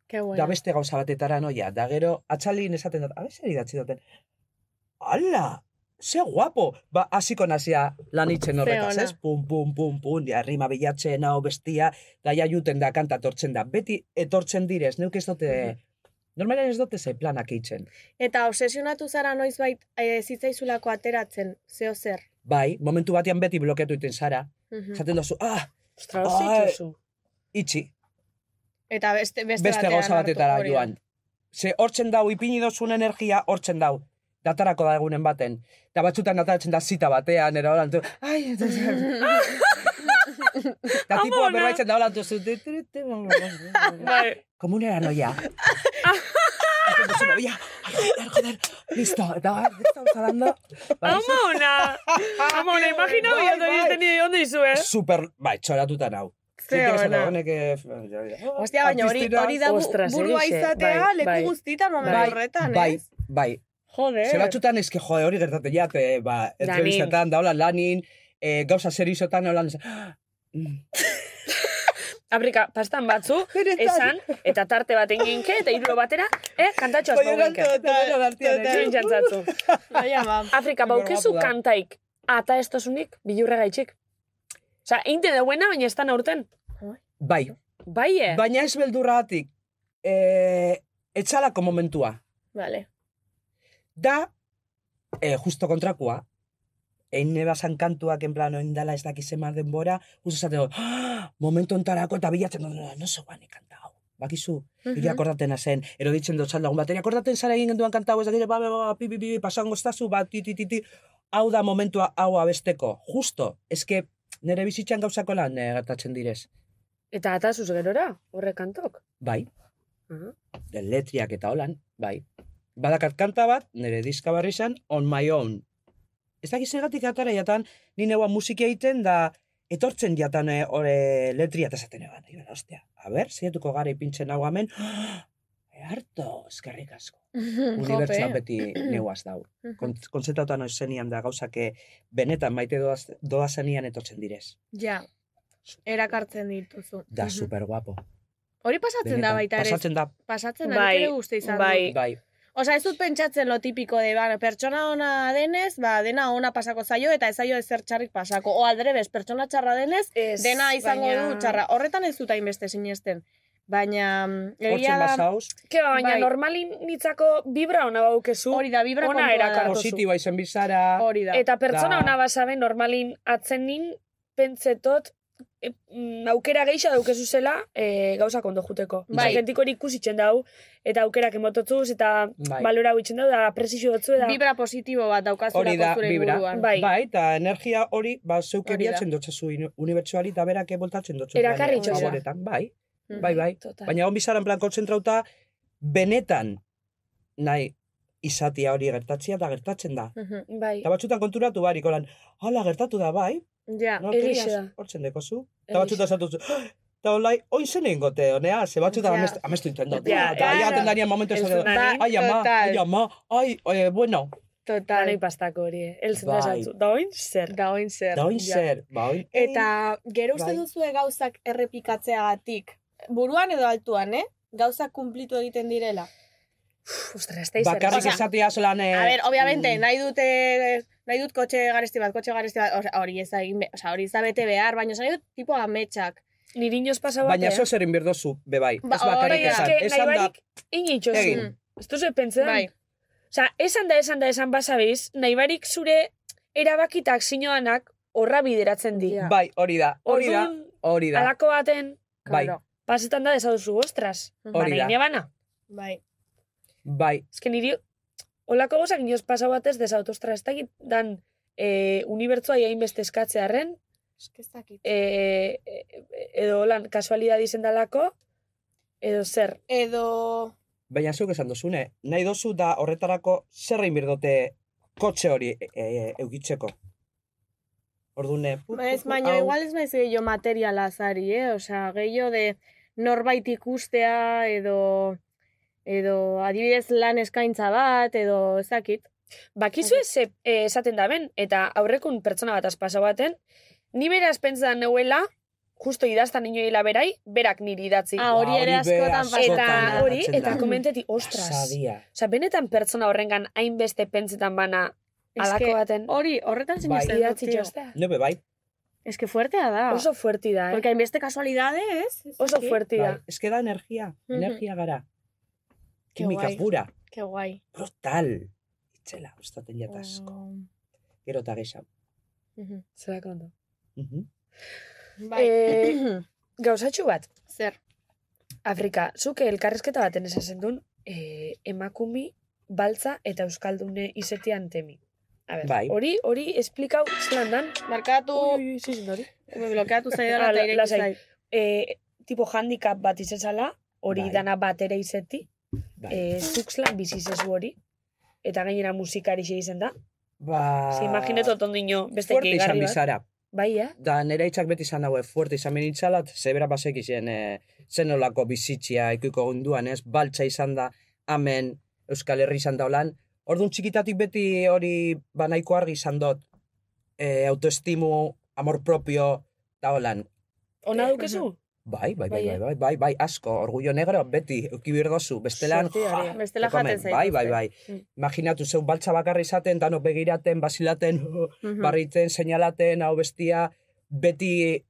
Speaker 8: Ke bueno.
Speaker 11: da beste gauza batetara noia, da gero, atxalin esaten dut, abezer idatzi duten, ala, ze guapo, ba, hasiko nazia lan itzen
Speaker 8: Ze
Speaker 11: horretaz,
Speaker 8: ona.
Speaker 11: ez? Pum, pum, pum, pum, ja, rima bilatzen, hau bestia, daia juten da, kanta tortzen da, beti etortzen direz, neuk ez dute,
Speaker 8: Mm-hmm.
Speaker 11: normalen ez dute ze planak itzen.
Speaker 8: Eta obsesionatu zara noizbait e, zitzaizulako ateratzen, zeo zer.
Speaker 11: Bai, momentu batean beti blokeatu iten zara,
Speaker 8: Mhm.
Speaker 11: Jaten dozu, ah!
Speaker 12: Ostra,
Speaker 8: hor zaituzu.
Speaker 11: Itxi,
Speaker 8: Eta beste, beste,
Speaker 11: beste
Speaker 8: batean
Speaker 11: gauza
Speaker 8: hartu,
Speaker 11: batetara
Speaker 8: hori da.
Speaker 11: joan. Ze hortzen dau, ipini dozun energia, hortzen dau. Datarako da egunen baten. Da batzutan dataratzen da zita batean, era holan, tu, Ai, eta da tipo berbaitzen da holan, tu, zu, tu, tu, tu,
Speaker 8: Bai.
Speaker 11: komunera noia. Eta zu, noia, ai, joder, joder, listo, eta ba, bar, listo, zalando.
Speaker 12: Amona! Amona, imagina
Speaker 11: Bai,
Speaker 12: hori ondo
Speaker 11: bai.
Speaker 12: izten nire ondo eh. izue.
Speaker 8: eh.
Speaker 11: Super, bai, txoratuta nau.
Speaker 12: Ze
Speaker 11: Nik esan
Speaker 12: ona.
Speaker 11: dut, honek, eh, ja, ja.
Speaker 8: Ostia, baina hori,
Speaker 11: Artistina-
Speaker 8: hori da bu- burua izatea leku guztietan momentu
Speaker 11: Bai,
Speaker 8: horretan,
Speaker 11: bai,
Speaker 8: ez?
Speaker 11: Bai,
Speaker 8: Joder.
Speaker 11: Ze batzutan eske jode hori gertatzen jat, eh, ba,
Speaker 8: Lanin.
Speaker 11: entrevistetan, da hola lanin, eh, gauza seriosotan, hola... "Ah,
Speaker 12: Afrika, pastan batzu, esan, eta tarte bat eginke, eta iruro batera, eh, kantatxo
Speaker 11: Baina
Speaker 12: azpa guinke.
Speaker 11: erantzun eta bero dartian, eh?
Speaker 12: Afrika, baukezu
Speaker 11: Guapo da.
Speaker 12: kantaik, ata ez tozunik, bilurre gaitxik. Osa, inte dauena, baina ez da aurten.
Speaker 11: Bai.
Speaker 12: Bai, eh?
Speaker 11: Baina ez beldurratik, eh, etxalako momentua.
Speaker 8: Vale.
Speaker 11: Da, eh, justo kontrakoa, egin nebazan kantuak, en plan, oindala ez dakizema denbora, justo zateo, ah, momentu ontarako, eta bilatzen, no, no, no, so guan ekanta hau. Bakizu,
Speaker 8: Mhm.
Speaker 11: Iri akordaten zen, ero ditzen dut zaldagun bat, iri akordaten zara egin genduan kanta hau, ez dakire, ba, ba, ba, pi, pi, pi, pasango estazu, ba, ti, ti, ti, ti, hau da momentua hau abesteko, justo, eske, nere bizitzan gauzako lan eh, gertatzen direz,
Speaker 12: Eta atazuz gerora, horre kantok.
Speaker 11: bai,
Speaker 12: Ah.
Speaker 11: letriak eta holan, bai. Badakat kanta bat, nere diska barri zen, on my own. Ez dakiz egatik atara jatan, ni neua musik egiten da, etortzen jatan eh, ore letria eta esaten eban. Iban, ostia, a ber, zeiatuko gara ipintzen hau hemen, harto, eskerrik asko. Unibertsua beti neuaz dau. Kont- Konzentratuta noiz zenian da gauzake benetan maite doaz, doazenian etortzen direz.
Speaker 8: Ja, erakartzen dituzu.
Speaker 11: Da,
Speaker 8: Mhm.
Speaker 11: super guapo.
Speaker 8: Hori pasatzen da baita ere. E,
Speaker 11: Pasatzen da.
Speaker 8: Pasatzen da,
Speaker 12: Bai,
Speaker 8: nik ere guzti izan
Speaker 12: bai.
Speaker 8: dut.
Speaker 11: Bai.
Speaker 8: Osa, ez dut pentsatzen lo tipiko de, ba, pertsona ona denez, ba, dena ona pasako zaio eta ez zaio ezer txarrik pasako. O aldrebez, pertsona txarra denez, dena izango
Speaker 12: baina-
Speaker 8: du txarra. Horretan ez dut hainbeste sinesten. Baina, mm, egia
Speaker 11: Hortzen
Speaker 8: da...
Speaker 11: bazaoz.
Speaker 9: Ke ba, baina
Speaker 8: Bai.
Speaker 9: normalin nitzako vibra ona baukezu.
Speaker 8: Hori da, vibra
Speaker 9: ona
Speaker 8: kontua
Speaker 9: erakartu zu.
Speaker 11: Positiba izen bizara.
Speaker 8: Hori da.
Speaker 9: Eta pertsona
Speaker 11: Da.
Speaker 9: ona basabe normalin atzenin pentsetot e, mm, aukera geixa daukezu zela e, gauzak ondo juteko.
Speaker 8: Bai.
Speaker 9: Bai. Gentik hori ikusitxen dau, eta aukerak emototzuz, eta
Speaker 11: Bai.
Speaker 9: balora bitxen dau, da presizio dutzu, eta...
Speaker 8: Vibra positibo bat daukazura
Speaker 11: Hori da,
Speaker 8: zure
Speaker 11: vibra.
Speaker 8: buruan.
Speaker 11: Bai, eta energia hori, ba, zeuk
Speaker 8: Hori da.
Speaker 11: ebiatzen dotzazu inu- unibertsuari, eta berak eboltatzen dotzazu.
Speaker 9: Erakarri
Speaker 11: planetan,
Speaker 9: itxosu.
Speaker 11: favoretan, Bai,
Speaker 8: Mm.
Speaker 11: bai, bai.
Speaker 9: Total.
Speaker 11: Baina hon bizaren plan kontzentrauta, benetan nahi izatia hori gertatzia da gertatzen da.
Speaker 8: Mhm,
Speaker 9: Bai.
Speaker 11: Eta batzutan konturatu barik, holan, hala gertatu da, bai,
Speaker 8: Ja,
Speaker 11: no,
Speaker 9: Elixe
Speaker 11: keriaz,
Speaker 9: Ah, da.
Speaker 11: hortzen dekozu.
Speaker 9: Elixe.
Speaker 11: Eta batzutan esatu zu, "Ah, eta olai, oin zen ingote, honea, ze batzutan
Speaker 9: Ja.
Speaker 11: amestu, amestu intendo.
Speaker 9: Ja,
Speaker 11: Eta
Speaker 9: claro.
Speaker 11: ja, tendaria momentu
Speaker 9: Ez
Speaker 11: esan,
Speaker 9: da ni.
Speaker 11: ai, ama,
Speaker 9: Total.
Speaker 11: ai, ama, ai, eh, bueno,
Speaker 8: Total.
Speaker 9: Danoi pastako hori, eh? Elzen
Speaker 11: Bai.
Speaker 9: da esatzu. Da oin zer.
Speaker 8: Da oin zer.
Speaker 11: da oin
Speaker 8: ja.
Speaker 11: zer, ba, oin,
Speaker 8: Eta gero uste
Speaker 11: Bai.
Speaker 8: duzue gauzak errepikatzeagatik. Buruan edo altuan, eh? Gauzak kumplitu egiten direla.
Speaker 9: Ostra, ez da izan.
Speaker 11: Bakarrik
Speaker 8: Osea,
Speaker 11: esatia zelan... eh, mm,
Speaker 8: A ber, obviamente, nahi dute nahi dut kotxe garesti bat, kotxe garesti bat, osea, hori ez da egin, be- osea, hori ez da bete behar, baina esan nahi dut tipo ametsak.
Speaker 9: Niri inoz pasa bat,
Speaker 11: Baina
Speaker 9: eh.
Speaker 11: zo zer inbirdozu, bebai. bai.
Speaker 8: Ba,
Speaker 11: Ez bakarrik
Speaker 8: hori da.
Speaker 11: esan.
Speaker 9: Eske, nahi
Speaker 11: Esan da,
Speaker 9: barik, initxozu.
Speaker 11: Egin.
Speaker 9: Ez duzu pentsetan.
Speaker 8: Bai.
Speaker 9: Osa, esan da, esan da, esan basabiz, nahi barik zure erabakitak sinoanak horra bideratzen di. Ba,
Speaker 11: bai, hori da, hori da,
Speaker 9: Orduan,
Speaker 11: hori da.
Speaker 9: Alako baten,
Speaker 11: Bai,
Speaker 9: pasetan da desaduzu, ostras.
Speaker 11: Hori da.
Speaker 9: Baina ine bana.
Speaker 8: Bai.
Speaker 11: bai.
Speaker 9: Ez que niri, olako gozak inoz pasau batez desaut, ostras, ez dakit dan e, unibertsua iain beste eskatzearen,
Speaker 8: Eske ez dakit.
Speaker 9: e, e, edo lan, kasualidad izen dalako, edo zer.
Speaker 8: Edo...
Speaker 11: Baina zeuk esan duzune, nahi dozu da horretarako zer inbirdote kotxe hori e, e, eukitzeko. Ordune,
Speaker 8: Ez, baina igual ez maiz gehiago materiala azari, eh? Osea, gehiago de norbait ikustea edo edo adibidez lan eskaintza bat edo ez dakit.
Speaker 9: Bakizu
Speaker 8: Bai.
Speaker 9: ez e, esaten da ben, eta aurrekun pertsona bat aspasa baten, ni bera espentsa neuela, justo idaztan inoela berai, berak niri idatzi.
Speaker 8: Ah, hori ere
Speaker 11: Ba, hori be
Speaker 8: askotan
Speaker 11: askotan
Speaker 8: pasatzen
Speaker 9: Eta
Speaker 8: da.
Speaker 9: hori,
Speaker 11: gertatzen
Speaker 9: eta
Speaker 11: da.
Speaker 9: komenteti, ostras.
Speaker 11: Sadia.
Speaker 9: Osa, benetan pertsona horrengan hainbeste pentsetan bana
Speaker 8: Eske,
Speaker 9: alako baten
Speaker 8: Hori, horretan
Speaker 11: Bai.
Speaker 8: sinesten dut,
Speaker 9: idatzi
Speaker 8: tio.
Speaker 9: txostea.
Speaker 11: Nebe bai.
Speaker 8: Es que fuertea da.
Speaker 9: Oso fuerti da, eh?
Speaker 8: Porque hainbeste kasualidade, ez?
Speaker 9: Oso fuerti
Speaker 11: bai.
Speaker 9: da.
Speaker 11: Ez que da energia,
Speaker 8: Mhm.
Speaker 11: energia gara.
Speaker 8: Ke
Speaker 11: Kimika
Speaker 8: guai.
Speaker 11: pura,
Speaker 8: Qué guai.
Speaker 11: brutal. Itzela, ustaten
Speaker 9: Oh.
Speaker 11: jatazko. Gero eta gehiago.
Speaker 8: Mhm.
Speaker 9: Zera kondo.
Speaker 11: Mhm.
Speaker 8: Bai.
Speaker 9: Eh, Gauzatxu bat,
Speaker 8: Zer.
Speaker 9: Afrika, zuke elkarrezketa baten esasen duen, eh, emakumi, baltza eta euskaldune izetian temi. A ber,
Speaker 11: Bai.
Speaker 9: hori, hori, esplikau, zelan dan,
Speaker 8: Markatu,
Speaker 9: Ui, ui, zezen hori.
Speaker 8: me blokeatu zaidala
Speaker 9: Ala,
Speaker 8: eta ireki
Speaker 9: lasai.
Speaker 8: zait.
Speaker 9: E, tipo handicap bat izezala, hori
Speaker 11: Bai.
Speaker 9: dana bat ere izeti,
Speaker 11: Bai.
Speaker 9: e, zuxlan bizi zezu hori, eta gainera musikari xe izen da.
Speaker 11: Ba...
Speaker 9: Se imagineto tondino beste
Speaker 11: Fuerte izan
Speaker 9: gehigarri bat.
Speaker 11: bizara.
Speaker 9: Bai, eh?
Speaker 11: Da, nera itzak beti izan daue, fuerte izan benitzalat, zebera basek izen, e, zenolako bizitzia ikuiko gunduan, ez, baltza izan da, amen, Euskal Herri izan da holan. Orduan txikitatik beti hori banaiko argi izan dut, e, autoestimu, amor propio, da holan.
Speaker 9: Ona
Speaker 8: Eh,
Speaker 9: dukezu?
Speaker 11: Bai, bai, bai,
Speaker 9: Bai,
Speaker 11: bai,
Speaker 9: eh?
Speaker 11: bai, bai, bai, asko, orgullo negro, beti, eukibirdozu, bestelan,
Speaker 9: Sortea,
Speaker 11: ja,
Speaker 9: hori.
Speaker 8: Bestela
Speaker 11: te comen.
Speaker 9: Ba.
Speaker 8: jaten zaituzte.
Speaker 11: Bai, bai, bai.
Speaker 8: Mm.
Speaker 11: Imaginatu, zeu baltza bakarra izaten, danok begiraten, basilaten, oh,
Speaker 8: Mhm.
Speaker 11: barritzen, seinalaten, hau bestia, beti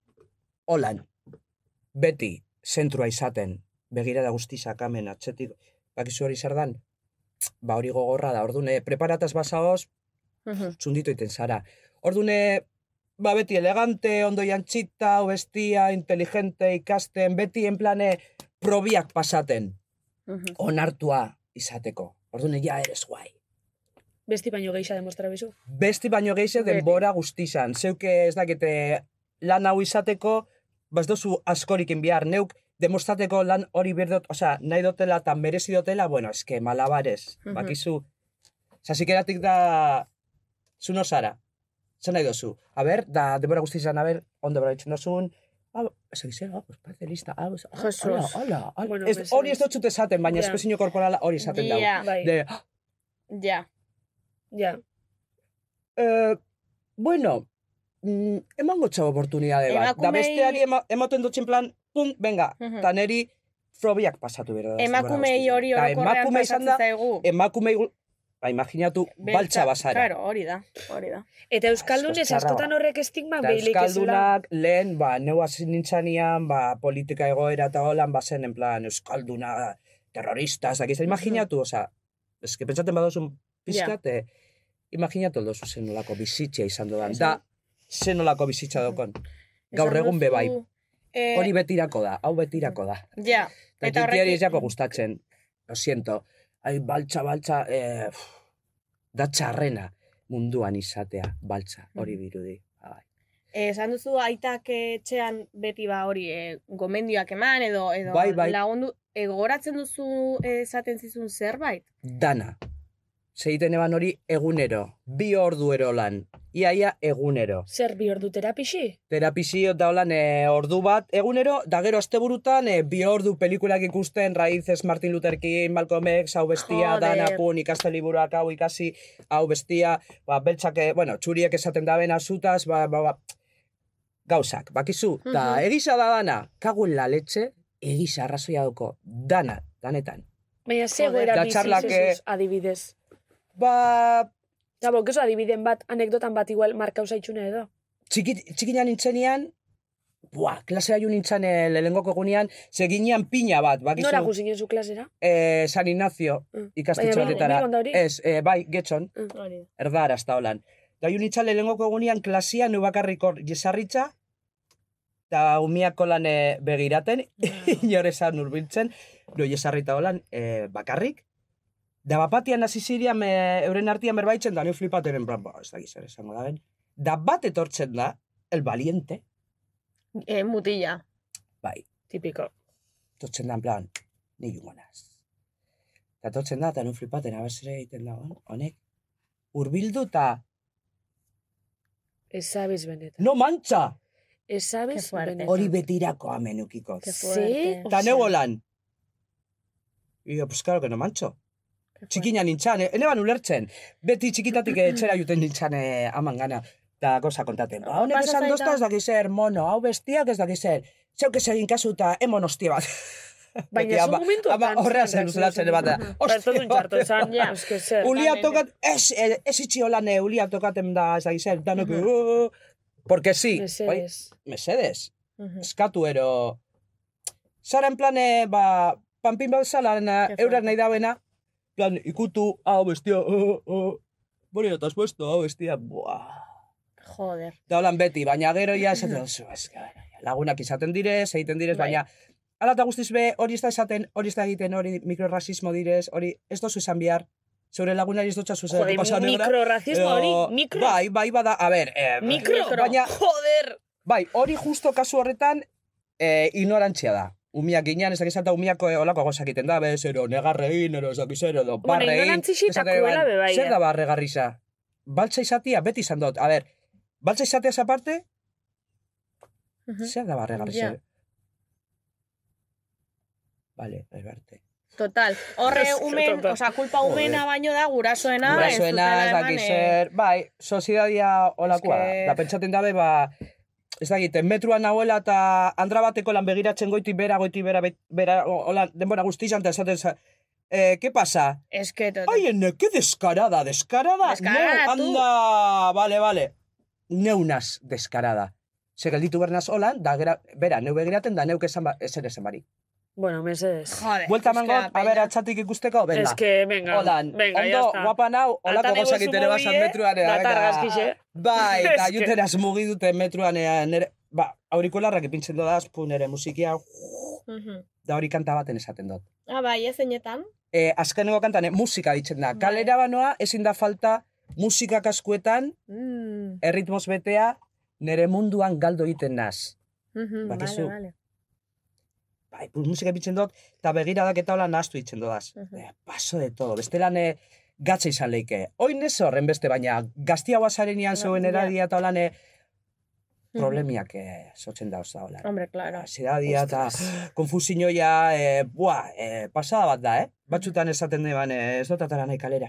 Speaker 11: holan, beti zentrua izaten, begirada guzti sakamen, atzetik, bakizu hori zer dan, ba hori gogorra da, ordune, preparataz basaoz,
Speaker 8: Mhm.
Speaker 11: txunditu iten zara. Ordune, ba beti elegante, ondo jantxita, hau bestia, inteligente, ikasten, beti en plane, probiak pasaten,
Speaker 8: Mhm.
Speaker 11: onartua izateko. Ordune, ja eres guai.
Speaker 9: Besti baino geisha demostra bizu.
Speaker 11: Besti baino gehize
Speaker 8: Beti.
Speaker 11: denbora guztizan. Zeuke eh, ez dakite lan hau izateko, baz dozu askorik inbiar. Neuk demostateko lan hori berdot, osea, nahi dotela eta merezi dotela, bueno, eske malabares.
Speaker 8: Mhm.
Speaker 11: Bakizu, zasikeratik da, zu no zara. Zer nahi dozu? A ber, da denbora guztizan, a ber, ondo beraitzen dozun, Ah, ez egizera, ah, pues parece lista, ah, pues, ah,
Speaker 8: Jesus.
Speaker 11: ala, ala, ala.
Speaker 9: Bueno,
Speaker 11: Ez-
Speaker 9: pues,
Speaker 11: hori ez dut esaten, baina
Speaker 9: Ja.
Speaker 11: espresio korporala hori esaten dau.
Speaker 8: Ja,
Speaker 9: Bai,
Speaker 11: De, ah,
Speaker 8: ja.
Speaker 9: ja.
Speaker 11: eh, bueno, mm, emango txau oportunidade bat. Da
Speaker 8: Emakumei-
Speaker 11: besteari ema, ematen dutxen plan, pum, venga,
Speaker 8: Mhm.
Speaker 11: ta neri frobiak pasatu bero. da, denbora
Speaker 8: Emakumei
Speaker 11: guztian.
Speaker 8: hori
Speaker 11: Ta
Speaker 8: orokorrean
Speaker 11: emakume izan
Speaker 8: pasatzen
Speaker 11: da,
Speaker 8: zaigu.
Speaker 11: emakumei gu- Ba, imaginatu, baltsa bazara.
Speaker 8: Claro, hori da, hori da.
Speaker 12: Eta Euskaldun ez
Speaker 11: Txarra
Speaker 12: askotan
Speaker 11: ba.
Speaker 12: horrek estigma
Speaker 11: Da,
Speaker 12: behilik
Speaker 11: Euskaldunak lehen, ba, neu hasi nintzanean, ba, politika egoera eta holan, ba, zen, en plan, Euskalduna, terrorista, ez dakiz, imaginatu, oza, eske pentsaten badozun pizkat, eh, imaginatu aldozu zen nolako bizitzia izan dodan, da, zen nolako bizitza dokon. Gaur
Speaker 8: Esan
Speaker 11: egun bebai,
Speaker 8: duzu, eh,
Speaker 11: hori betirako da, hau betirako da.
Speaker 8: Ja,
Speaker 11: Eta
Speaker 8: eta
Speaker 11: horrek... ez
Speaker 8: horrek... eh,
Speaker 11: jako gustatzen, lo siento, ai, baltsa, baltsa, eh, pff, da txarrena munduan izatea, baltsa, hori dirudi. Bai. Ai.
Speaker 8: Eh, Esan duzu aitak eh, etxean beti ba hori eh, gomendioak eman edo edo
Speaker 11: Bai, bai.
Speaker 8: lagundu eh, gogoratzen duzu eh, esaten zizun zerbait.
Speaker 11: dana. Zeiten eban hori egunero, bi orduero lan, iaia egunero.
Speaker 12: Zer bi ordu terapixi?
Speaker 11: Terapizio da holan e, ordu bat, egunero, da gero asteburutan e, bi ordu pelikulak ikusten, Raíces, Martin Luther King, Malcolm X, hau bestia,
Speaker 12: Joder.
Speaker 11: dana, pun, ikaste liburuak hau ikasi, hau bestia, ba, beltzak, e, bueno, txuriek esaten daben azutaz, ba, ba, ba, gauzak, bakizu, da,
Speaker 12: Mhm.
Speaker 11: egisa da dana, kagun la letxe, egisa arrazoia doko, dana, danetan.
Speaker 12: Baina ze
Speaker 11: Joder.
Speaker 12: goera
Speaker 11: Da
Speaker 12: bizi
Speaker 11: txarlak, eh,
Speaker 12: zuzuz adibidez.
Speaker 11: Ba...
Speaker 12: Da, bo, oso adibiden bat, anekdotan bat igual marka usaitxune edo.
Speaker 11: txiki, txikina nintzenean, buah, klasea jo nintzen eh, lehenengoko egunean, seginean pina bat, bakizu.
Speaker 12: Nora guzinen zu klasera?
Speaker 11: Eh, San Ignacio ikastetxe
Speaker 12: Baina
Speaker 11: horretara.
Speaker 12: Bilbon da hori?
Speaker 11: Ez, eh, bai, getxon,
Speaker 12: Mm.
Speaker 11: erdara hasta holan. Da jo nintzen lehenengoko egunean klasia nu bakarrik hor jesarritza, eta umiako lan eh, begiraten, inore zan urbiltzen, no jesarrita holan eh, bakarrik, Da bapatian hasi zirian, eh, euren artian berbaitzen, da nio flipateren, blan, ba, ez da gizar esango da ben. Da bat etortzen da, el valiente,
Speaker 8: Eh, mutila.
Speaker 11: bai,
Speaker 12: Tipiko.
Speaker 11: totzen da, en plan, ni jungonaz. Eta totzen da, eta nun flipaten, abezere egiten da, hon- honek, urbildu eta,
Speaker 12: Ez sabiz benetan.
Speaker 11: no mantxa!
Speaker 12: Ez sabiz benetan.
Speaker 11: Hori betirako amenukiko.
Speaker 12: Ke fuerte.
Speaker 11: Eta
Speaker 12: Ze?
Speaker 11: neu holan. Io, pues claro que no mantxo. Txikina nintzan, eh? eneban ulertzen. Beti txikitatik etxera juten nintzan eh, aman gana. Da goza kontaten. Ba, honek
Speaker 12: Pasa
Speaker 11: esan
Speaker 12: zaita.
Speaker 11: dozta ez dakizer, mono, hau bestiak ez dakizer. Zeuk ez egin kasu eta emon hostia bat.
Speaker 12: Baina
Speaker 11: Beti
Speaker 12: zu
Speaker 11: ama-
Speaker 12: momentu
Speaker 11: ama
Speaker 12: otan
Speaker 11: Horrea
Speaker 12: zen,
Speaker 11: zen uzulatzen bat da.
Speaker 12: Hostia, dut txarto esan, ja, eske zer.
Speaker 11: Ulia tokat, ez, eh, ez itxi holan, eh, ulia tokaten da, ez da gizar, danok,
Speaker 12: Mhm.
Speaker 11: uh, porque sí.
Speaker 12: Mesedes.
Speaker 11: Bai, mesedes.
Speaker 12: Mhm.
Speaker 11: Eskatu ero. Zara en plane, ba, panpin bat zala, na, eurak nahi dauena, plan, ikutu, hau bestia, oh, oh, Bueno, eta has puesto, hau bestia, buah.
Speaker 8: Joder.
Speaker 11: Da holan beti, baina gero ja esaten duzu, ez, gara, lagunak izaten direz, egiten direz, baina
Speaker 12: Bai.
Speaker 11: ala eta guztiz be, hori ez da esaten, hori ez da egiten, hori mikrorasismo direz, hori ez dozu esan behar, zeure lagunari ez dutxa zuzen.
Speaker 12: Jode, mikrorrasismo hori, mikro?
Speaker 11: Bai, bai, bada, a ber, eh,
Speaker 12: Mikro?
Speaker 11: baina,
Speaker 12: joder!
Speaker 11: Bai, hori justo kasu horretan, eh, ignorantzia da. Umiak ginean, ez dakiz eta umiako eh, olako gozak egiten da, bez, ero, negarrein, ero, ez dakiz, ero, edo,
Speaker 12: Bueno,
Speaker 11: barrein.
Speaker 12: ignorantzixi eta
Speaker 11: esaten eban,
Speaker 12: kruela be bai,
Speaker 11: Zer
Speaker 12: eh.
Speaker 11: da barregarriza? Baltza izatia, beti izan dut. A ber, baltza izatea aparte, zer da barregarriza?
Speaker 8: Ja.
Speaker 11: Vale, alberte.
Speaker 8: Total. Horre
Speaker 12: Ez,
Speaker 8: umen,
Speaker 12: total.
Speaker 8: oza, kulpa
Speaker 11: Joder.
Speaker 8: umena baino da gurasoena.
Speaker 11: Gurasoena,
Speaker 8: Bai, ez
Speaker 11: ez
Speaker 8: dutela
Speaker 11: dakiz
Speaker 8: eman, eh.
Speaker 11: zer, bai, soziedadia olakoa da.
Speaker 8: Eske-
Speaker 11: Da, pentsaten dabe, ba, ez dakit, metroan nahuela eta andra bateko lan begiratzen goiti bera, goiti bera, bet- bera, o- hola, denbora guztizan, eta esaten za, eh, ¿qué pasa?
Speaker 8: Es que total.
Speaker 11: Ai, ene, que deskarada, deskarada.
Speaker 8: Deskarada,
Speaker 11: Neu,
Speaker 8: tu.
Speaker 11: anda, vale, vale. Neunaz deskarada. Zer gelditu bernaz holan, da, gera, bera, neu begiraten, da neuk esan, ba, ezer esan bari.
Speaker 12: Bueno, mesedes.
Speaker 8: Joder.
Speaker 11: Buelta mango, a ber, atzatik ikusteko, venga.
Speaker 12: Es que, venga,
Speaker 11: Holan,
Speaker 12: venga, ya
Speaker 11: ondo,
Speaker 12: está.
Speaker 11: guapan hau, holako
Speaker 12: Atan
Speaker 11: gozak
Speaker 12: egozu
Speaker 11: itere bazan
Speaker 12: mobile,
Speaker 11: metruan. eh,
Speaker 12: datar
Speaker 11: venga.
Speaker 12: gaskixe.
Speaker 11: Bai,
Speaker 12: Es
Speaker 11: eta
Speaker 12: que-
Speaker 11: juten asmugi dute metruan, eh, nere, ba, aurikularrak ipintzen dodaz, pu, nere musikia,
Speaker 8: Mhm.
Speaker 11: da hori kanta baten esaten dut.
Speaker 8: Ah, bai, ezenetan.
Speaker 11: E, azkenengo kantan, eh, musika ditzen
Speaker 12: Bai.
Speaker 11: da. Kalera banoa, ezin da falta, musika kaskuetan,
Speaker 8: Mm.
Speaker 11: erritmoz betea, nere munduan galdo egiten naz.
Speaker 8: Mhm,
Speaker 11: Bakizu.
Speaker 8: Vale, vale.
Speaker 11: Bai, pu, musika ipintzen dut, eta begiradak eta hola nahaztu ditzen dodaz. Eh, paso de todo, bestelan eh, gatza izan leike. Oin ez horren beste, baina gaztia guazaren ian zeuen eradia eta holan eh, problemiak eh, sotzen dauzta holan.
Speaker 8: Hombre, claro.
Speaker 11: Zeradia eta konfusinoia, eh, bua, eh, pasada bat da, eh? Batzutan esaten deban, eh, ez dut atara nahi kalera.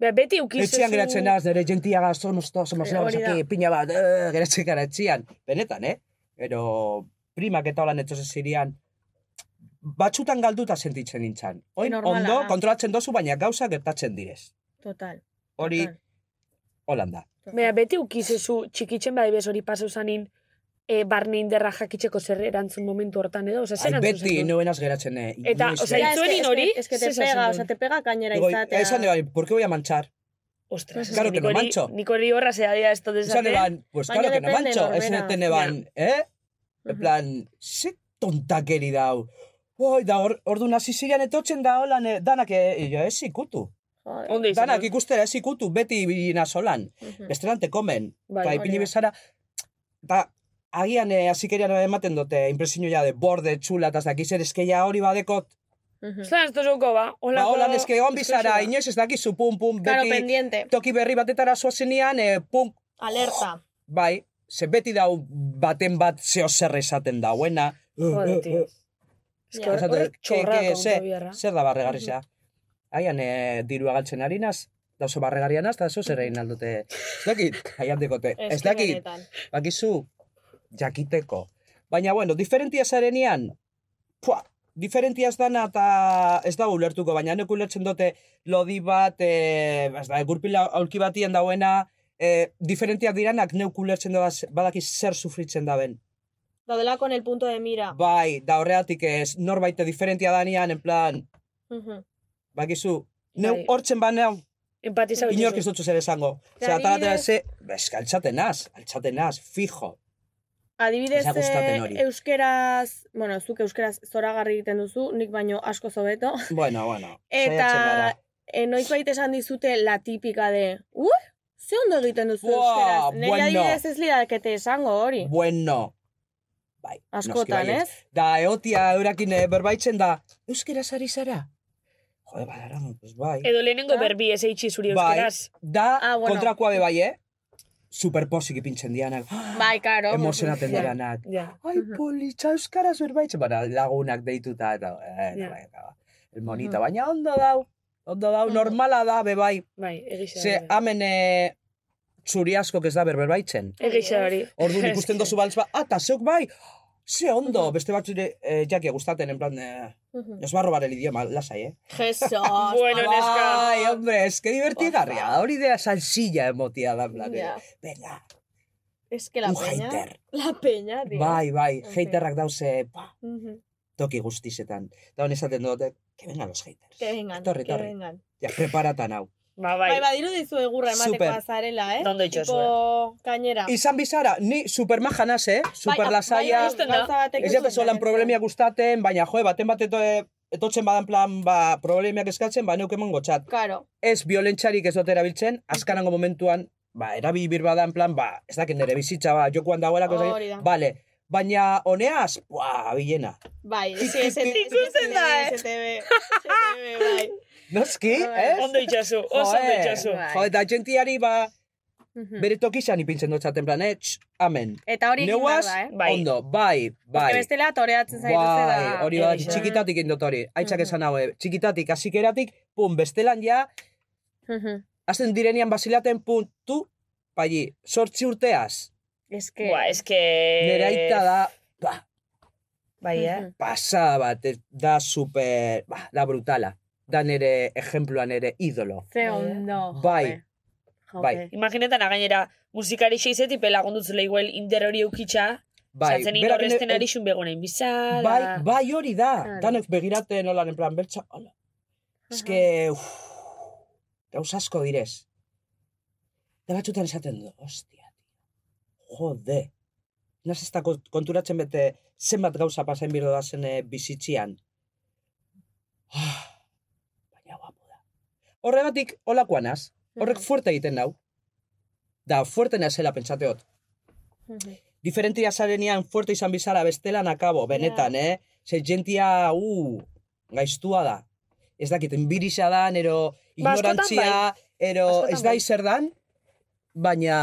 Speaker 12: Ba, beti ukizezu...
Speaker 11: Etxean geratzen naz, nire jentiaga, somos to, somos
Speaker 12: Eh,
Speaker 11: labas
Speaker 12: hori da.
Speaker 11: aquí, pina bat, eh, geratzen gara etxean. Benetan, eh? Pero primak eta holan etxozen zirian, batzutan galduta sentitzen nintzen. Oin,
Speaker 8: normala
Speaker 11: ondo,
Speaker 8: da.
Speaker 11: kontrolatzen dozu, baina gauza gertatzen direz.
Speaker 8: Total.
Speaker 11: Hori Holanda.
Speaker 9: Mea, beti ukizezu txikitzen bai bez hori pasau zanin e, barne inderra jakitzeko zer erantzun momentu hortan edo, osea, zer
Speaker 11: Ai,
Speaker 9: erantzun
Speaker 11: beti
Speaker 9: zenuen?
Speaker 11: novenas geratzen. Eh,
Speaker 9: Eta,
Speaker 11: inoiz,
Speaker 9: osea,
Speaker 11: eh.
Speaker 9: itzuerin hori,
Speaker 8: Es que te
Speaker 9: zer esan
Speaker 8: pega,
Speaker 9: zenuen?
Speaker 8: o sea, te pega gainera
Speaker 11: Digo,
Speaker 8: izatea.
Speaker 11: Esan de bai, ¿por qué voy a manchar?
Speaker 9: Ostras,
Speaker 11: Claro que no
Speaker 9: hori-
Speaker 11: mancho.
Speaker 9: Nik hori horra zehadea esto
Speaker 11: Esan
Speaker 9: desate.
Speaker 11: eban, pues
Speaker 9: Baina
Speaker 11: claro que no
Speaker 9: depende
Speaker 11: mancho. Esan
Speaker 9: norbera.
Speaker 11: eten eban, eh? En plan, ze tontakeri dau. Oi, da hor, ordun hasi ziren etotzen da holan eh, danak eh, jo, ez ikutu.
Speaker 9: Ondo izan
Speaker 11: Danak
Speaker 9: da.
Speaker 11: ikustera ez ikutu, beti bilina solan.
Speaker 9: Mhm.
Speaker 11: Bestelan te komen.
Speaker 9: Bai,
Speaker 11: Bai,
Speaker 9: hori
Speaker 11: pili
Speaker 9: da.
Speaker 11: bezara, ba, agian eh, azikerian ematen dute impresioa de borde, txula, eta ez dakizer eskeia hori badekot.
Speaker 9: Zan, esto zoko, ba.
Speaker 11: Ba,
Speaker 9: Hola,
Speaker 11: holan, eske egon bizara, inoiz ez dakizu, pum, pum, beti...
Speaker 9: Claro, pendiente.
Speaker 11: Toki berri batetara zoazenean, eh, pum...
Speaker 9: Alerta.
Speaker 11: Bai, ze beti dau baten bat zeo zer esaten dauena. Mm.
Speaker 9: Joder, tío.
Speaker 11: Eske horrek
Speaker 9: horrek txorra
Speaker 11: ke- ke- ze-
Speaker 9: konta bierra.
Speaker 11: Zer da barregarri zea? Aian, eh, dirua galtzen ari naz, da oso barregarria naz, da oso zer egin aldote. Ez dakit, aian dekote. Ez
Speaker 8: Eske
Speaker 11: dakit,
Speaker 8: benetan.
Speaker 11: bakizu, jakiteko. Baina, bueno, diferentia zarenean, pua, diferentia ez dana eta ez da ulertuko, baina nek ulertzen dute lodi bat, e, ez da, egurpila aulki batien dauena, e, diferentiak diranak neuk ulertzen dut badaki zer sufritzen daben.
Speaker 8: Daudela con el punto de mira.
Speaker 11: Bai, da horreatik ez, norbait diferentia danean, en plan,
Speaker 8: Ujú.
Speaker 11: bakizu, neu
Speaker 9: Bai.
Speaker 11: hortzen baneu,
Speaker 9: Empatiza hori
Speaker 11: inork
Speaker 9: zu.
Speaker 11: ez dutzu zer esango.
Speaker 8: Ze
Speaker 11: Zer, ataratera
Speaker 8: adibidez-
Speaker 11: ze, eske, altzaten naz, altzaten naz, fijo.
Speaker 8: Adibidez,
Speaker 11: Ez da gustatzen
Speaker 8: eh,
Speaker 11: hori.
Speaker 8: euskeraz, bueno, zuk euskeraz zoragarri egiten duzu, nik baino asko zobeto.
Speaker 11: Bueno, bueno, saiatzen gara.
Speaker 8: Eta eh, noiz baita esan dizute la típica de, uh, ze ondo egiten duzu euskeraz. Nire
Speaker 11: bueno.
Speaker 8: adibidez ez lidakete esango hori.
Speaker 11: Bueno. Bai, noski
Speaker 8: Askotan,
Speaker 11: baietz.
Speaker 8: ez?
Speaker 11: Da, eotia eurakin eh, berbaitzen da, euskera sari zara? Jode, badara, pues bai.
Speaker 8: E-
Speaker 9: Edo lehenengo berbi ez eitxi zuri
Speaker 11: Bai,
Speaker 9: euskeraz.
Speaker 11: da
Speaker 8: Ah,
Speaker 9: bueno.
Speaker 11: kontrakoa be bai, eh? Superposik ipintzen dianak.
Speaker 8: Bai, karo.
Speaker 11: Emozionaten dianak.
Speaker 9: Ja.
Speaker 11: Ai, politxa euskaraz berbaitzen, bara, lagunak deituta, eta, eh,
Speaker 9: Ja.
Speaker 11: bai, eta, ba. el monito, baina ondo dau, ondo dau, normala da, be bai.
Speaker 9: Bai, egisa.
Speaker 11: Ze, hamen, eh, zuri askok ez da berberbaitzen.
Speaker 9: Egisa hori.
Speaker 11: Orduan ikusten dozu baltz ba, ah, ta zeuk bai, ze ondo, beste batzure eh, jakia gustaten, en plan, eh, nos va a robar el idioma, lasai, eh?
Speaker 8: Jesus.
Speaker 9: Bueno, neska.
Speaker 11: Ai, hombre, eske divertigarria, hori de salsilla emotia da, en plan, eh.
Speaker 8: Ja.
Speaker 11: Venga.
Speaker 8: Es que la
Speaker 11: Un
Speaker 8: peña.
Speaker 11: hater.
Speaker 8: La peña, tío.
Speaker 11: bai, bai,
Speaker 8: En fin.
Speaker 11: haterrak dauze, pa,
Speaker 8: Ujú.
Speaker 11: toki guztizetan. Da hon esaten dut, "Eh, que vengan los haters.
Speaker 8: Que vengan,
Speaker 11: Etorri,
Speaker 8: que
Speaker 11: etorri.
Speaker 8: vengan.
Speaker 11: Ja, preparatan hau.
Speaker 9: Ba,
Speaker 8: Bai, badiru dizu egurra emateko
Speaker 11: Super.
Speaker 8: azarela, eh?
Speaker 11: Ondo
Speaker 8: Tipo,
Speaker 11: itxazue.
Speaker 8: kainera.
Speaker 11: Izan bizara, ni supermaja naz, eh?
Speaker 8: Bai,
Speaker 11: Superlasaia.
Speaker 8: bai, ikusten da. eh? Gauza batek
Speaker 11: Ez
Speaker 8: ikusten
Speaker 11: jaten solan problemia gustaten, baina joe, baten bat eto, eh, etotzen badan plan, ba, problemiak eskatzen, ba, neuk emango txat.
Speaker 8: Karo.
Speaker 11: Ez biolentxarik ez dut erabiltzen, azkanango momentuan, ba, erabi birbadan plan, ba, ez dakit nire bizitza, ba, jokoan dagoelako, ez dakit.
Speaker 8: Hori da.
Speaker 11: Vale, baina honeaz, buah, bilena.
Speaker 8: Bai, sí, ez ikusten da, eh? bai.
Speaker 11: Noski,
Speaker 8: Bai.
Speaker 11: eh?
Speaker 9: Ondo itxasu, oso ondo itxasu.
Speaker 11: Jo, eta jentiari, ba, bere tokizan ipintzen dut zaten plan, eh, tx, amen.
Speaker 8: Eta hori egin behar
Speaker 11: Neuaz,
Speaker 8: da, eh?
Speaker 11: ondo, bai, bai.
Speaker 8: Porque bestela toreatzen zaitu
Speaker 11: Bai,
Speaker 8: da.
Speaker 11: hori bat,
Speaker 8: Egia.
Speaker 11: txikitatik indot hori. Aitzak esan hau, eh, txikitatik, azikeratik, pum, bestelan ja,
Speaker 8: Mhm.
Speaker 11: azten direnean basilaten puntu, bai, sortzi urteaz.
Speaker 8: Eske...
Speaker 11: Bai.
Speaker 9: Ba, eske...
Speaker 11: Nera aita da, Mm-hmm. ba,
Speaker 9: Bai, eh?
Speaker 11: pasada bat, eh, da super, ba, da brutala. Da nere ejemploa, nere idolo.
Speaker 8: Ze ondo.
Speaker 11: Bai, bai,
Speaker 9: Imaginetan, gainera, musikari xeizeti pelagondutzu igual inder hori eukitxa,
Speaker 11: Bai,
Speaker 9: zatzen
Speaker 11: berak
Speaker 9: inorresten
Speaker 11: ne-
Speaker 9: ari xun begonein bizala.
Speaker 11: bai, bai hori da.
Speaker 9: Claro.
Speaker 11: Danok begirate nolan en plan, bertza, hola. Ez que, uff, gauz asko direz. Da batzutan esaten du, ostia, jode. Naz ez da kont- konturatzen bete zenbat gauza pasen birdo da zen eh, bizitzian. Ah, baina guapo da. Horregatik, olakoan az. Horrek fuerte egiten nau. Da, fuerte nazela pentsateot. diferentia zarenean fuerte izan bizara bestelan akabo, benetan, eh? Ze jentia, uh, gaiztua da. Ez dakit, enbirisa da, ero
Speaker 9: Ba, askotan
Speaker 11: ignorantzia,
Speaker 9: bai.
Speaker 11: ero
Speaker 9: Askotan
Speaker 11: ez da
Speaker 9: bai.
Speaker 11: izer dan, baina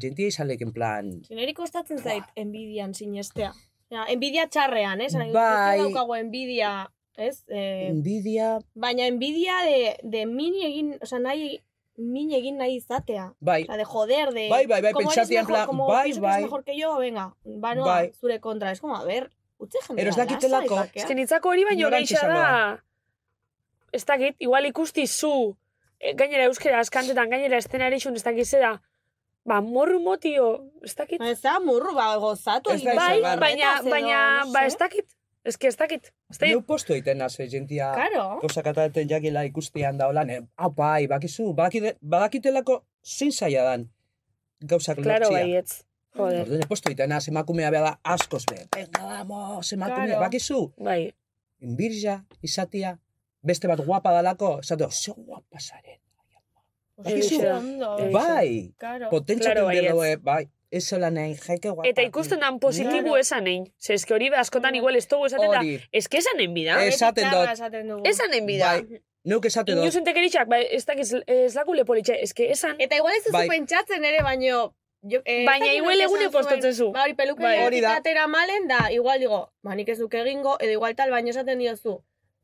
Speaker 11: jentia izan leken plan,
Speaker 8: Neri kostatzen zait enbidian sinestea. Ja, enbidia txarrean, ez? Eh?
Speaker 11: Bai. Mm.
Speaker 8: Ez daukago enbidia, ez? Eh,
Speaker 11: enbidia,
Speaker 8: baina enbidia de, de min egin, o sea, nahi, min egin nahi izatea.
Speaker 11: bai,
Speaker 8: O sea, de joder, de...
Speaker 11: Bai, bai, bai,
Speaker 8: como eres
Speaker 11: pentsatia en
Speaker 8: mejor,
Speaker 11: plan,
Speaker 8: como
Speaker 11: bai,
Speaker 8: pienso que
Speaker 11: bai.
Speaker 8: eres mejor que yo, venga, banoa,
Speaker 11: Bai.
Speaker 8: zure kontra. Es como, a ver, utze jendea.
Speaker 11: Ero ez dakitelako.
Speaker 8: lasai, bakea.
Speaker 9: Ez que nitzako hori baino
Speaker 11: Ignorantzi
Speaker 9: gaixa
Speaker 11: izango
Speaker 9: da. Ez dakit, igual ikusti zu e, gainera euskera askantetan, gainera estenari xun, ez dakit da, ba, morru motio, ez dakit.
Speaker 8: Ez da, morru, ba, gozatu.
Speaker 9: Ez da,
Speaker 8: egiten.
Speaker 9: bai, baina,
Speaker 8: Eta, zero,
Speaker 9: baina,
Speaker 8: no
Speaker 9: ba,
Speaker 8: sé.
Speaker 9: ez dakit. Ez que ez dakit. Ez dakit.
Speaker 11: Neu posto egiten nazo, jentia.
Speaker 8: Claro.
Speaker 11: Gozak ataten jakila ikustean da holan. eh, Hau bai, bakizu, badakite- badakitelako zein zaila dan. Gauzak
Speaker 9: Claro, bai,
Speaker 11: lortzia.
Speaker 9: baietz. Joder.
Speaker 11: Orduan, posto egiten naz, emakumea behar da askoz be. Venga, vamos, emakumea,
Speaker 9: Claro.
Speaker 11: bakizu.
Speaker 9: Bai.
Speaker 11: Birja, izatia, beste bat guapa dalako, esateo, ze guapa zaren. Bakizu,
Speaker 9: Egixe, ondo, egixe.
Speaker 11: bai,
Speaker 9: Claro. Claro,
Speaker 11: potentxatu
Speaker 9: baietz.
Speaker 11: claro, bai, ez hola nahi, jaike guapa. eh. Bai,
Speaker 9: Eta ikusten dan positibu
Speaker 11: Claro.
Speaker 9: esan egin. Ze eske hori askotan igual ez dugu esaten da.
Speaker 11: Hori.
Speaker 9: Eske esan egin bida.
Speaker 11: Esaten Beti txarra dut.
Speaker 9: Esan egin bida.
Speaker 11: Bai, neuk esate dut.
Speaker 9: Inuzen tekeritxak, bai, ez dakiz, ez laku lepolitxe, eske esan.
Speaker 8: Eta igual ez duzu
Speaker 11: Bai.
Speaker 8: pentsatzen ere, baino... Jo, eh,
Speaker 9: Baina
Speaker 8: ez dakit
Speaker 9: igual
Speaker 8: nork
Speaker 9: egune
Speaker 8: esan
Speaker 9: postatzen zu.
Speaker 8: Ba, hori peluke
Speaker 9: Bai. Hori da.
Speaker 8: atera malen, da, igual digo, ba, nik ez duk egingo, edo igual tal, baina esaten diozu.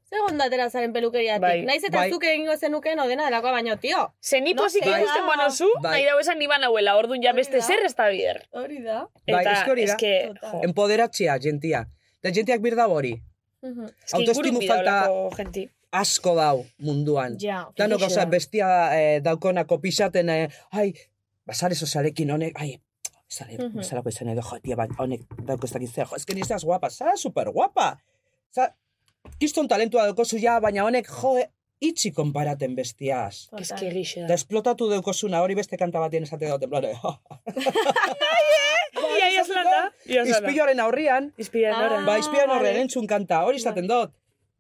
Speaker 8: Ze ondo atera zaren pelukeriatik.
Speaker 9: Bai.
Speaker 8: Naiz eta
Speaker 9: Bai.
Speaker 8: zuk egingo zenuken odena delakoa, baino, tio.
Speaker 9: Ze ni
Speaker 8: No
Speaker 9: pozik
Speaker 8: sé,
Speaker 9: ikusten
Speaker 8: da.
Speaker 9: bueno zu,
Speaker 11: Bai.
Speaker 9: nahi dago esan niban hauela, orduan ja beste zer ez da bider.
Speaker 8: Hori da.
Speaker 11: Bai,
Speaker 9: Eta,
Speaker 11: eske hori da.
Speaker 9: eske, jo.
Speaker 11: Empoderatzea, jentia. Eta jentiak bir dau hori.
Speaker 9: Eske
Speaker 11: Autoestimu
Speaker 9: ingurun
Speaker 11: falta-
Speaker 9: bidaulako jenti.
Speaker 11: asko dau munduan.
Speaker 9: Ja,
Speaker 11: Danok,
Speaker 9: horixe
Speaker 11: osea,
Speaker 9: da.
Speaker 11: bestia eh, daukonako pisaten, eh, ai, basare sozialekin honek, ai, zare,
Speaker 9: Mhm.
Speaker 11: bezalako izan edo, jo, tia bat, honek dauko ez dakit zer, jo, ezken izaz guapa, zara super guapa. Za, kiston talentua daukozu ja, baina honek, jo, eh, itxi konparaten bestiaz.
Speaker 9: Eske egixe
Speaker 11: Da
Speaker 9: da.
Speaker 11: esplotatu deukosuna, hori beste kanta batien esate dauten, blare,
Speaker 9: Ia, ia zelan da. Ia zelan da.
Speaker 11: Izpiloaren aurrian.
Speaker 9: Izpiloaren aurrean.
Speaker 11: Ba, izpiloaren
Speaker 9: Ah,
Speaker 11: aurrean
Speaker 9: vale.
Speaker 11: entzun kanta, hori izaten dut.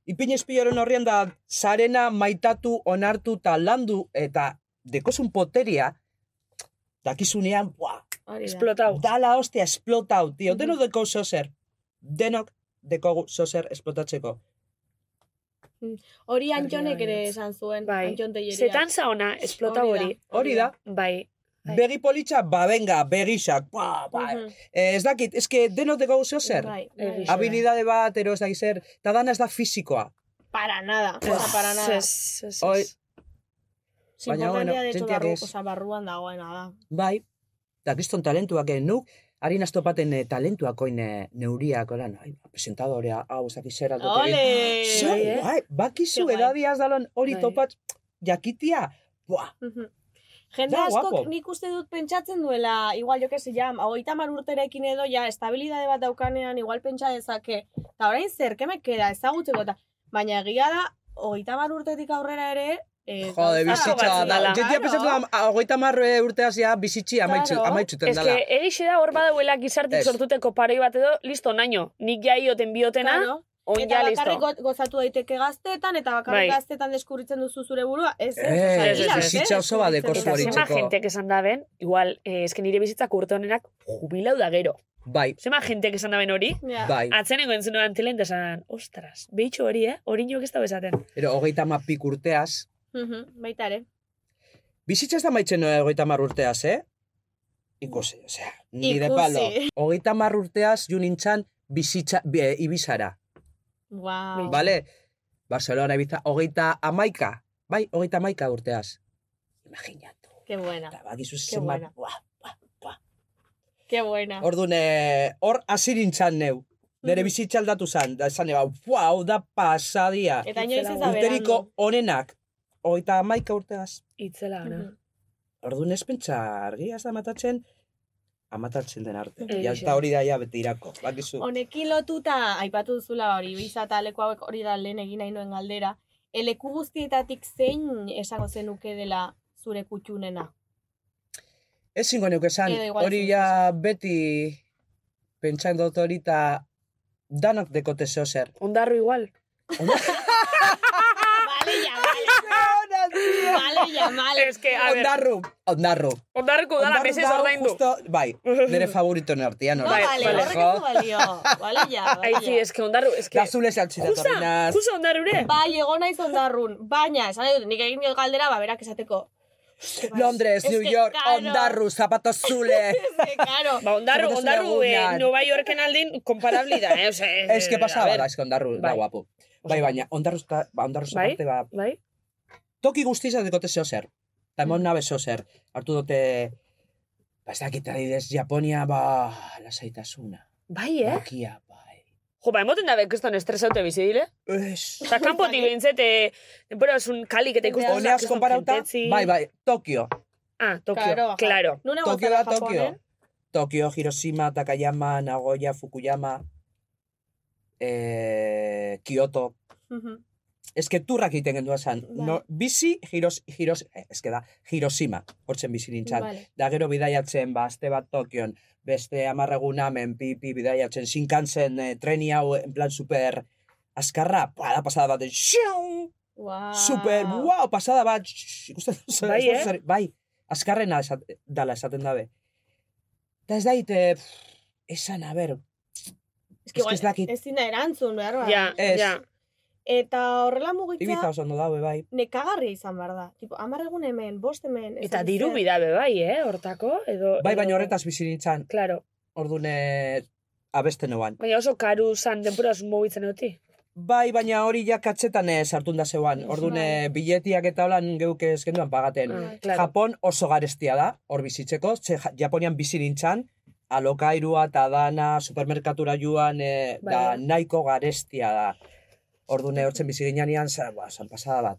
Speaker 11: Ipin izpiloaren aurrian da, zarena maitatu, onartu eta landu, eta dekosun poteria, dakizunean, buah,
Speaker 9: Esplotau.
Speaker 11: dala hostia, esplotau, tio, denok deko zozer, denok deko zozer esplotatzeko.
Speaker 8: Hori antxonek ere esan zuen, bai. antxon teieria.
Speaker 9: Zetan zaona, esplota hori.
Speaker 11: Hori da.
Speaker 9: Bai.
Speaker 11: Begi politxa, ba, benga, begixak, ba, ba.
Speaker 9: Mhm.
Speaker 11: Eh, ez dakit, eske denok deko zozer.
Speaker 8: Mm-hmm. Bai, bai.
Speaker 11: Habilidade bat, ero ez dakit zer, eta dana ez da fisikoa.
Speaker 8: Para nada, oza, para nada.
Speaker 9: Ez, ez,
Speaker 11: Hoi,
Speaker 8: Baina,
Speaker 11: Baina,
Speaker 8: bueno,
Speaker 11: bueno,
Speaker 8: de hecho,
Speaker 11: jendeak
Speaker 8: barru,
Speaker 11: ez.
Speaker 8: oza, barruan dagoena da.
Speaker 11: Bai, eta kriston talentuak egin nuk, harin aztopaten eh, talentuak oin eh, neuriak, oran, ai, presentadorea, hau, zaki zer aldot egin.
Speaker 8: Ole!
Speaker 11: Zer,
Speaker 8: Bai, eh?
Speaker 11: bai, bakizu edadiaz dalon hori
Speaker 8: Bai.
Speaker 11: topat, jakitia, buah,
Speaker 8: Mhm. Jende
Speaker 11: Da,
Speaker 8: askok
Speaker 11: guapo.
Speaker 8: nik uste dut pentsatzen duela, igual, jo kesi, ja, hogeita mar urterekin edo, ja, estabilidade bat daukanean, igual pentsa dezake, eta orain zer, keme queda, ezagutzeko, eta, baina egia da, hogeita mar urtetik aurrera ere, eh,
Speaker 11: jode,
Speaker 8: gauza
Speaker 11: bizitza,
Speaker 8: batzuk
Speaker 11: da,
Speaker 8: dala.
Speaker 11: jentia pentsatu da, a- hogeita marre urteaz ja bizitzi amaitzu,
Speaker 9: Claro.
Speaker 11: amaitzuten
Speaker 9: Ez
Speaker 11: dala.
Speaker 9: que egixe da hor badauela gizartik
Speaker 11: Ez.
Speaker 9: sortuteko paroi bat edo, listo, naino, nik ja ioten biotena,
Speaker 8: Claro.
Speaker 9: on
Speaker 8: Eta
Speaker 9: ja
Speaker 8: bakarrik
Speaker 9: listo.
Speaker 8: go- gozatu daiteke gaztetan, eta bakarrik
Speaker 9: Bai.
Speaker 8: gaztetan deskubritzen duzu zure burua, ez, ez,
Speaker 11: Ez,
Speaker 8: osea,
Speaker 11: Eh, ez,
Speaker 8: hilabete
Speaker 11: bizitza oso badeko
Speaker 8: deskubritzen
Speaker 11: zu hori Ba.
Speaker 8: duzu.
Speaker 9: Zema jentek esan da ben, igual, eh, eske nire bizitzak urte honenak jubilau da gero.
Speaker 11: Bai,
Speaker 9: Zema jentek esan da ben hori,
Speaker 11: Ja. Bai.
Speaker 9: atzeneko entzun noan tilen, da esan, ostras, behitxo hori, eh? Hori nioak ez da besaten.
Speaker 11: ero hogeita ma pik urteaz,
Speaker 8: Mhm, Baita ere.
Speaker 11: bizitza ez da maitzen eh, hogeita mar urteaz, eh? Ikusi, osea, nire
Speaker 8: Ikusi.
Speaker 11: palo. Hogeita mar urteaz, ju nintzan, bizitza, bi- eh, ibizara.
Speaker 8: Wow.
Speaker 11: Bale, Barcelona ibiza, hogeita amaika, bai, hogeita amaika urteaz. Imaginatu.
Speaker 8: Qué buena.
Speaker 11: Bakizu
Speaker 8: Qué
Speaker 11: zenbat.
Speaker 8: buena. Qué buena.
Speaker 11: Orduan, eh, hor azirintzan neu. Nere
Speaker 8: Mm.
Speaker 11: bizitza aldatu zan, da esan eba, "Fua, hau da pasadia.
Speaker 8: Eta inoiz ez da
Speaker 11: Urteriko onenak, hogeita amaika urteaz.
Speaker 9: Itzela gana.
Speaker 11: Orduan ez pentsa argia ez da matatzen, amatatzen den arte.
Speaker 8: Egixe.
Speaker 11: Ja, eta hori da ja betirako, bakizu.
Speaker 8: Honekin lotuta, aipatu duzula hori, biza eta leku hauek hori da lehen egin nahi nuen galdera. Eleku guztietatik zein esango zenuke dela zure kutxunena?
Speaker 11: Ez zingo neuk esan,
Speaker 8: Edo igual
Speaker 11: hori
Speaker 8: zingo
Speaker 11: ja beti pentsan dut hori eta danok dekote zeo zer.
Speaker 9: Ondarru igual.
Speaker 8: Vale, ya, vale.
Speaker 9: Es que, a ver,
Speaker 11: Ondarru, ondarru.
Speaker 9: ondarruko udala
Speaker 11: Ondarru
Speaker 9: mesez
Speaker 11: dau
Speaker 9: ordaindu.
Speaker 11: justo- Bai, nire favoritoen artean.
Speaker 8: Ah,
Speaker 9: No,
Speaker 11: hori.
Speaker 9: vale, horrek
Speaker 11: jo.
Speaker 9: ez du balio.
Speaker 8: Vale, ya, vale.
Speaker 9: Aizi,
Speaker 8: ya.
Speaker 9: es que ondarru, es que...
Speaker 11: Da Ba, zule saltzita
Speaker 9: Justa,
Speaker 11: torrinaz.
Speaker 9: justa ondarrure.
Speaker 8: Bai, egon naiz ondarrun, baina, esan nahi dut, nik egin diot galdera, ba, berak esateko.
Speaker 11: Londres,
Speaker 8: Es
Speaker 11: New
Speaker 8: que,
Speaker 11: York,
Speaker 8: claro.
Speaker 11: ondarru, zapato zule.
Speaker 8: Claro.
Speaker 9: Ba, ondarru,
Speaker 11: Zapatazio
Speaker 9: ondarru, eh,
Speaker 11: lagunak.
Speaker 9: Nueva Yorken aldin, komparabilida, eh? Ose,
Speaker 11: Ez que
Speaker 9: a
Speaker 11: pasaba
Speaker 9: ver.
Speaker 11: da, eske ondarru da
Speaker 9: Bai.
Speaker 11: guapo. Bai, baina ondarru, sta- ba, ondarru
Speaker 9: Bai,
Speaker 11: zaparte, ba,
Speaker 9: bai.
Speaker 11: toki guztiz ez dekote zeo zer. Eta
Speaker 9: Mm.
Speaker 11: emon nabe zeo zer. Artu dute, ba, ez dakit adidez, Japonia, ba, lasaitasuna.
Speaker 9: Bai, eh?
Speaker 11: Bakia, bai.
Speaker 9: Jo, ba, emoten dabe, kriston estresaute bizi dile.
Speaker 11: Ez.
Speaker 9: Eta kanpo tilintzete, denbora esun kalik eta ikusten.
Speaker 11: Honeaz konparauta, bai, bai, Tokio.
Speaker 9: Ah, Tokio,
Speaker 11: Claro,
Speaker 9: claro.
Speaker 11: ajá. Tokio da
Speaker 8: eh?
Speaker 11: Tokio. Tokio, Hiroshima, Takayama, Nagoya, Fukuyama, eh, Kyoto. Ez que turrak egiten gendua zan. No, bizi, Hiros, Hiros, eh, ez que da, Hiroshima, hortzen bizi nintzen.
Speaker 9: Vale.
Speaker 11: Da gero bidaiatzen, ba, aste bat Tokion, beste amarregun amen, pipi, bidaiatzen, sinkantzen, eh, treni hau, en plan super, azkarra, para, pasada bat, xiong,
Speaker 8: Wow.
Speaker 11: super, wow, pasada bat, shhh, ikusten duzu,
Speaker 8: Ah. Bai,
Speaker 11: bai,
Speaker 8: eh?
Speaker 11: eh? bai, azkarrena esat, dala esaten dabe. Da ez daite, pff, esan, a ber,
Speaker 8: Ez
Speaker 11: que ez dakit.
Speaker 8: ezin da erantzun, behar
Speaker 9: Bai.
Speaker 8: bat.
Speaker 11: Ja, Ez. ja.
Speaker 8: Eta horrela
Speaker 11: Ibiza
Speaker 8: mugitza,
Speaker 11: oso ondo dabe, bai.
Speaker 8: nekagarria izan behar da. Tipo, amar egun hemen, bost hemen.
Speaker 9: Eta diru bidabe bai, eh, hortako, edo...
Speaker 11: Bai, baina horretaz bizi nintzen.
Speaker 9: Claro.
Speaker 11: Ordune abesten noan.
Speaker 9: Baina oso karu zan denbora esun mugitzen oti.
Speaker 11: Bai, baina hori ja katzetan eh, sartun da zeuan.
Speaker 8: Bai.
Speaker 11: Ordune biletiak eta holan geuk ez genduan pagaten.
Speaker 9: Ah, claro.
Speaker 11: Japon oso garestia da, hor bizitzeko. Ze Ja- Japonian bizi nintzen, alokairua eta dana, supermerkatura joan, eh,
Speaker 9: Bai.
Speaker 11: da nahiko garestia da. Ordune hortzen bizi ginean, zan, ba, zan pasada bat.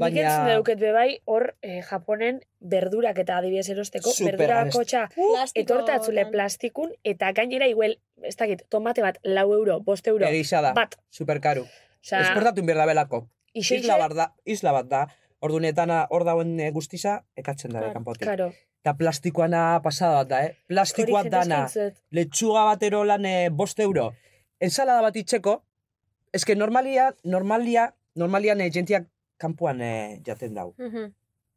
Speaker 9: Baina... Nik entzun dauket be bai, hor eh, Japonen berdurak eta adibidez erosteko,
Speaker 11: Super
Speaker 9: berdurako
Speaker 11: garesti.
Speaker 9: txa etortatzule plastikun, eta gainera iguel, ez dakit, tomate bat, lau euro, bost euro.
Speaker 11: Egisa da,
Speaker 9: Bat.
Speaker 11: superkaru.
Speaker 9: Osea-
Speaker 11: Esportatu inbier da belako.
Speaker 9: Ixe,
Speaker 11: Isla
Speaker 9: ixe.
Speaker 11: bat da, isla bat da. Ordunetana hor dauen eh, guztiza, ekatzen da kanpotik.
Speaker 9: Karo.
Speaker 11: Eta plastikoana pasada bat da, eh? Plastikoa
Speaker 9: Hori jendez
Speaker 11: dana.
Speaker 9: pentsuet.
Speaker 11: Letxuga batero lan eh, bost euro. Ensalada bat itxeko, ez que normalia, normalia, normalian eh, jentiak kanpoan eh, jaten dau.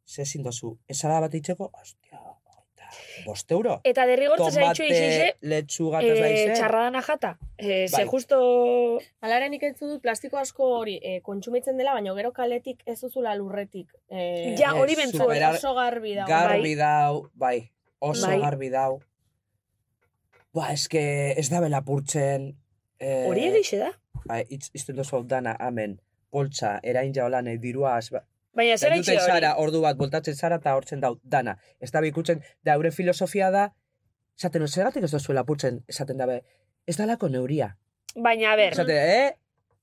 Speaker 11: Ze ezin dozu, ensalada bat itxeko, ostia, oita, bost euro.
Speaker 9: Eta derrigortza zaitxu
Speaker 11: Tomate,
Speaker 9: Eh, ixe,
Speaker 11: letxuga, eta zaiz,
Speaker 9: eh,
Speaker 11: eh?
Speaker 9: txarradana jata. Eh,
Speaker 11: Bai. Eh,
Speaker 9: Ze justo...
Speaker 8: Alare nik entzu dut plastiko asko hori eh, kontsumitzen dela, baina gero kaletik ez duzula lurretik. Eh,
Speaker 9: Ja, hori
Speaker 11: Ez,
Speaker 9: bentzu.
Speaker 11: superar-
Speaker 8: oso garbi dago.
Speaker 11: Garbi dau, bai, oso
Speaker 9: Bai.
Speaker 11: garbi dau. Ba, eske ez da belapurtzen. Eh,
Speaker 9: Hori egixe da.
Speaker 11: Ba, itz, izten dozu hau dana, amen, poltsa, erain jaolan, eh, dirua, az, ba,
Speaker 9: Baina zer
Speaker 11: Zaitute
Speaker 9: etxe hori?
Speaker 11: zara, ordu bat, voltatzen zara eta hortzen dau, dana. Ez da bikutzen, da eure filosofia da, esaten, zergatik ez dozu lapurtzen, esaten dabe, ez dalako neuria.
Speaker 9: Baina, a ber,
Speaker 11: Esate, eh?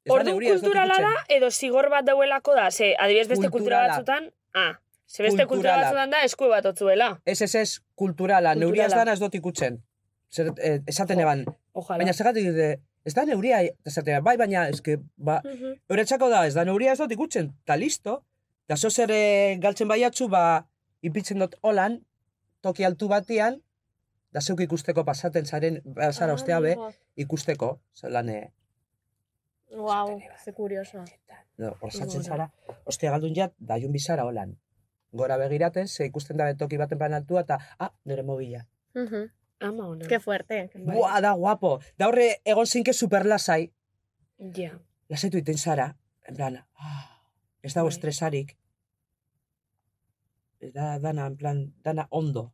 Speaker 11: Ez da
Speaker 9: ordu
Speaker 11: neuria, ez dut
Speaker 9: kulturala da,
Speaker 11: ikutzen.
Speaker 9: edo zigor bat dauelako da, ze, adibidez beste kultura
Speaker 11: Kulturala.
Speaker 9: batzutan, ah, ze beste kultura
Speaker 11: Kulturala.
Speaker 9: batzutan da, esku bat otzuela.
Speaker 11: Ez, ez, ez, kulturala, neuria ez
Speaker 9: Kulturala.
Speaker 11: dana ez dut ikutzen. Zer, eh, esaten eban.
Speaker 9: Ojalá.
Speaker 11: Baina zergatik dute, ez da neuria, esaten, bai, baina, eske, ba, Euretzako da, ez da neuria ez dut ikutzen, eta listo. Da zo zer eh, galtzen baiatzu, ba, ipitzen dut holan, toki altu batean, da zeuk ikusteko pasaten zaren, ba, zara
Speaker 8: Ah,
Speaker 11: ostea be,
Speaker 8: amigo.
Speaker 11: ikusteko, zelan, eh,
Speaker 8: Wow, ze kurioso.
Speaker 11: no, hor sartzen
Speaker 8: Igual.
Speaker 11: zara, ostea galdun jat, da jun bizara holan. Gora begiraten, ze ikusten da toki baten plan altua, eta, ah, nire mobila.
Speaker 9: Ama ona. Bai.
Speaker 8: Qué fuerte.
Speaker 11: Buah, da guapo. Da horre, egon zinke superlasai,
Speaker 9: Ja.
Speaker 11: lasaitu iten zara, en plan, ah, ez dago estresarik. Ez Da, dana, en plan, dana ondo.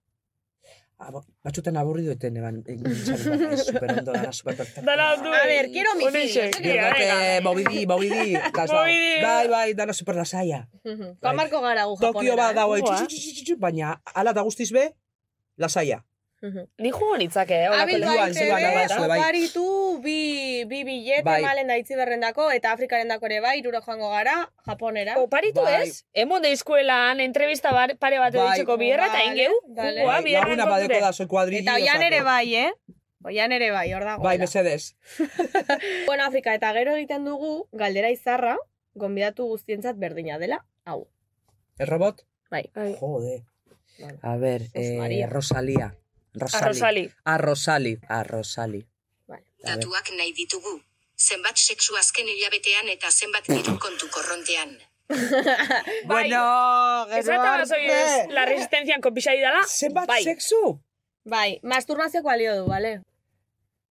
Speaker 11: Ah, Abo, batxutan aburrido eten, eban, nintzen, super ondo, dana super perfecta.
Speaker 9: Dala du.
Speaker 8: A ver, quiero mi
Speaker 9: Honexe, tira, venga.
Speaker 11: Bobidi, bobidi,
Speaker 9: Movidi.
Speaker 11: bai, bai, dana super lasaia.
Speaker 8: Kamarko gara gu
Speaker 11: Bai. Tokio bat dago,
Speaker 8: eh?
Speaker 11: txu, txu, txu, txu, txu, baina, ala da guztiz be, lasaia.
Speaker 9: Ni jugo nitzake, eh?
Speaker 8: eh. Abil
Speaker 9: holako
Speaker 11: Zuan,
Speaker 8: baitele,
Speaker 11: zuan, bai, zuan, bai.
Speaker 8: oparitu bi, bi billete
Speaker 11: Bai.
Speaker 8: malen da itziberrendako eta Afrikarendako ere bai, iruro joango gara, Japonera.
Speaker 9: Oparitu ez? Emon deizkuelan, entrevista bar- pare bat
Speaker 11: Bai.
Speaker 9: editzeko bierra, eta
Speaker 8: Vale,
Speaker 9: ingeu,
Speaker 8: vale.
Speaker 9: jugoa
Speaker 11: Bai,
Speaker 9: bierra
Speaker 11: laguna badeko da, soy kuadrillo.
Speaker 8: Eta oian ere bai, eh? Oian ere bai, hor dago.
Speaker 11: Bai, mesedes.
Speaker 8: Bueno, Afrika, eta gero egiten dugu, galdera izarra, gonbidatu guztientzat berdina dela, hau.
Speaker 11: El robot?
Speaker 8: Bai.
Speaker 9: Eh,
Speaker 11: Jode. A ver, eh,
Speaker 13: María.
Speaker 11: Rosalía. Rosali.
Speaker 13: Arrosali.
Speaker 11: A Rosali. A Rosali. A ver.
Speaker 13: Datuak nahi ditugu. Zenbat sexu azken hilabetean eta zenbat diru kontu korrontean.
Speaker 11: Bueno,
Speaker 9: Ez bat amazoi ez, la resistencian konpixai dala.
Speaker 11: Zenbat
Speaker 9: bai.
Speaker 11: sexu?
Speaker 8: Bai, masturbazioak balio du, bale?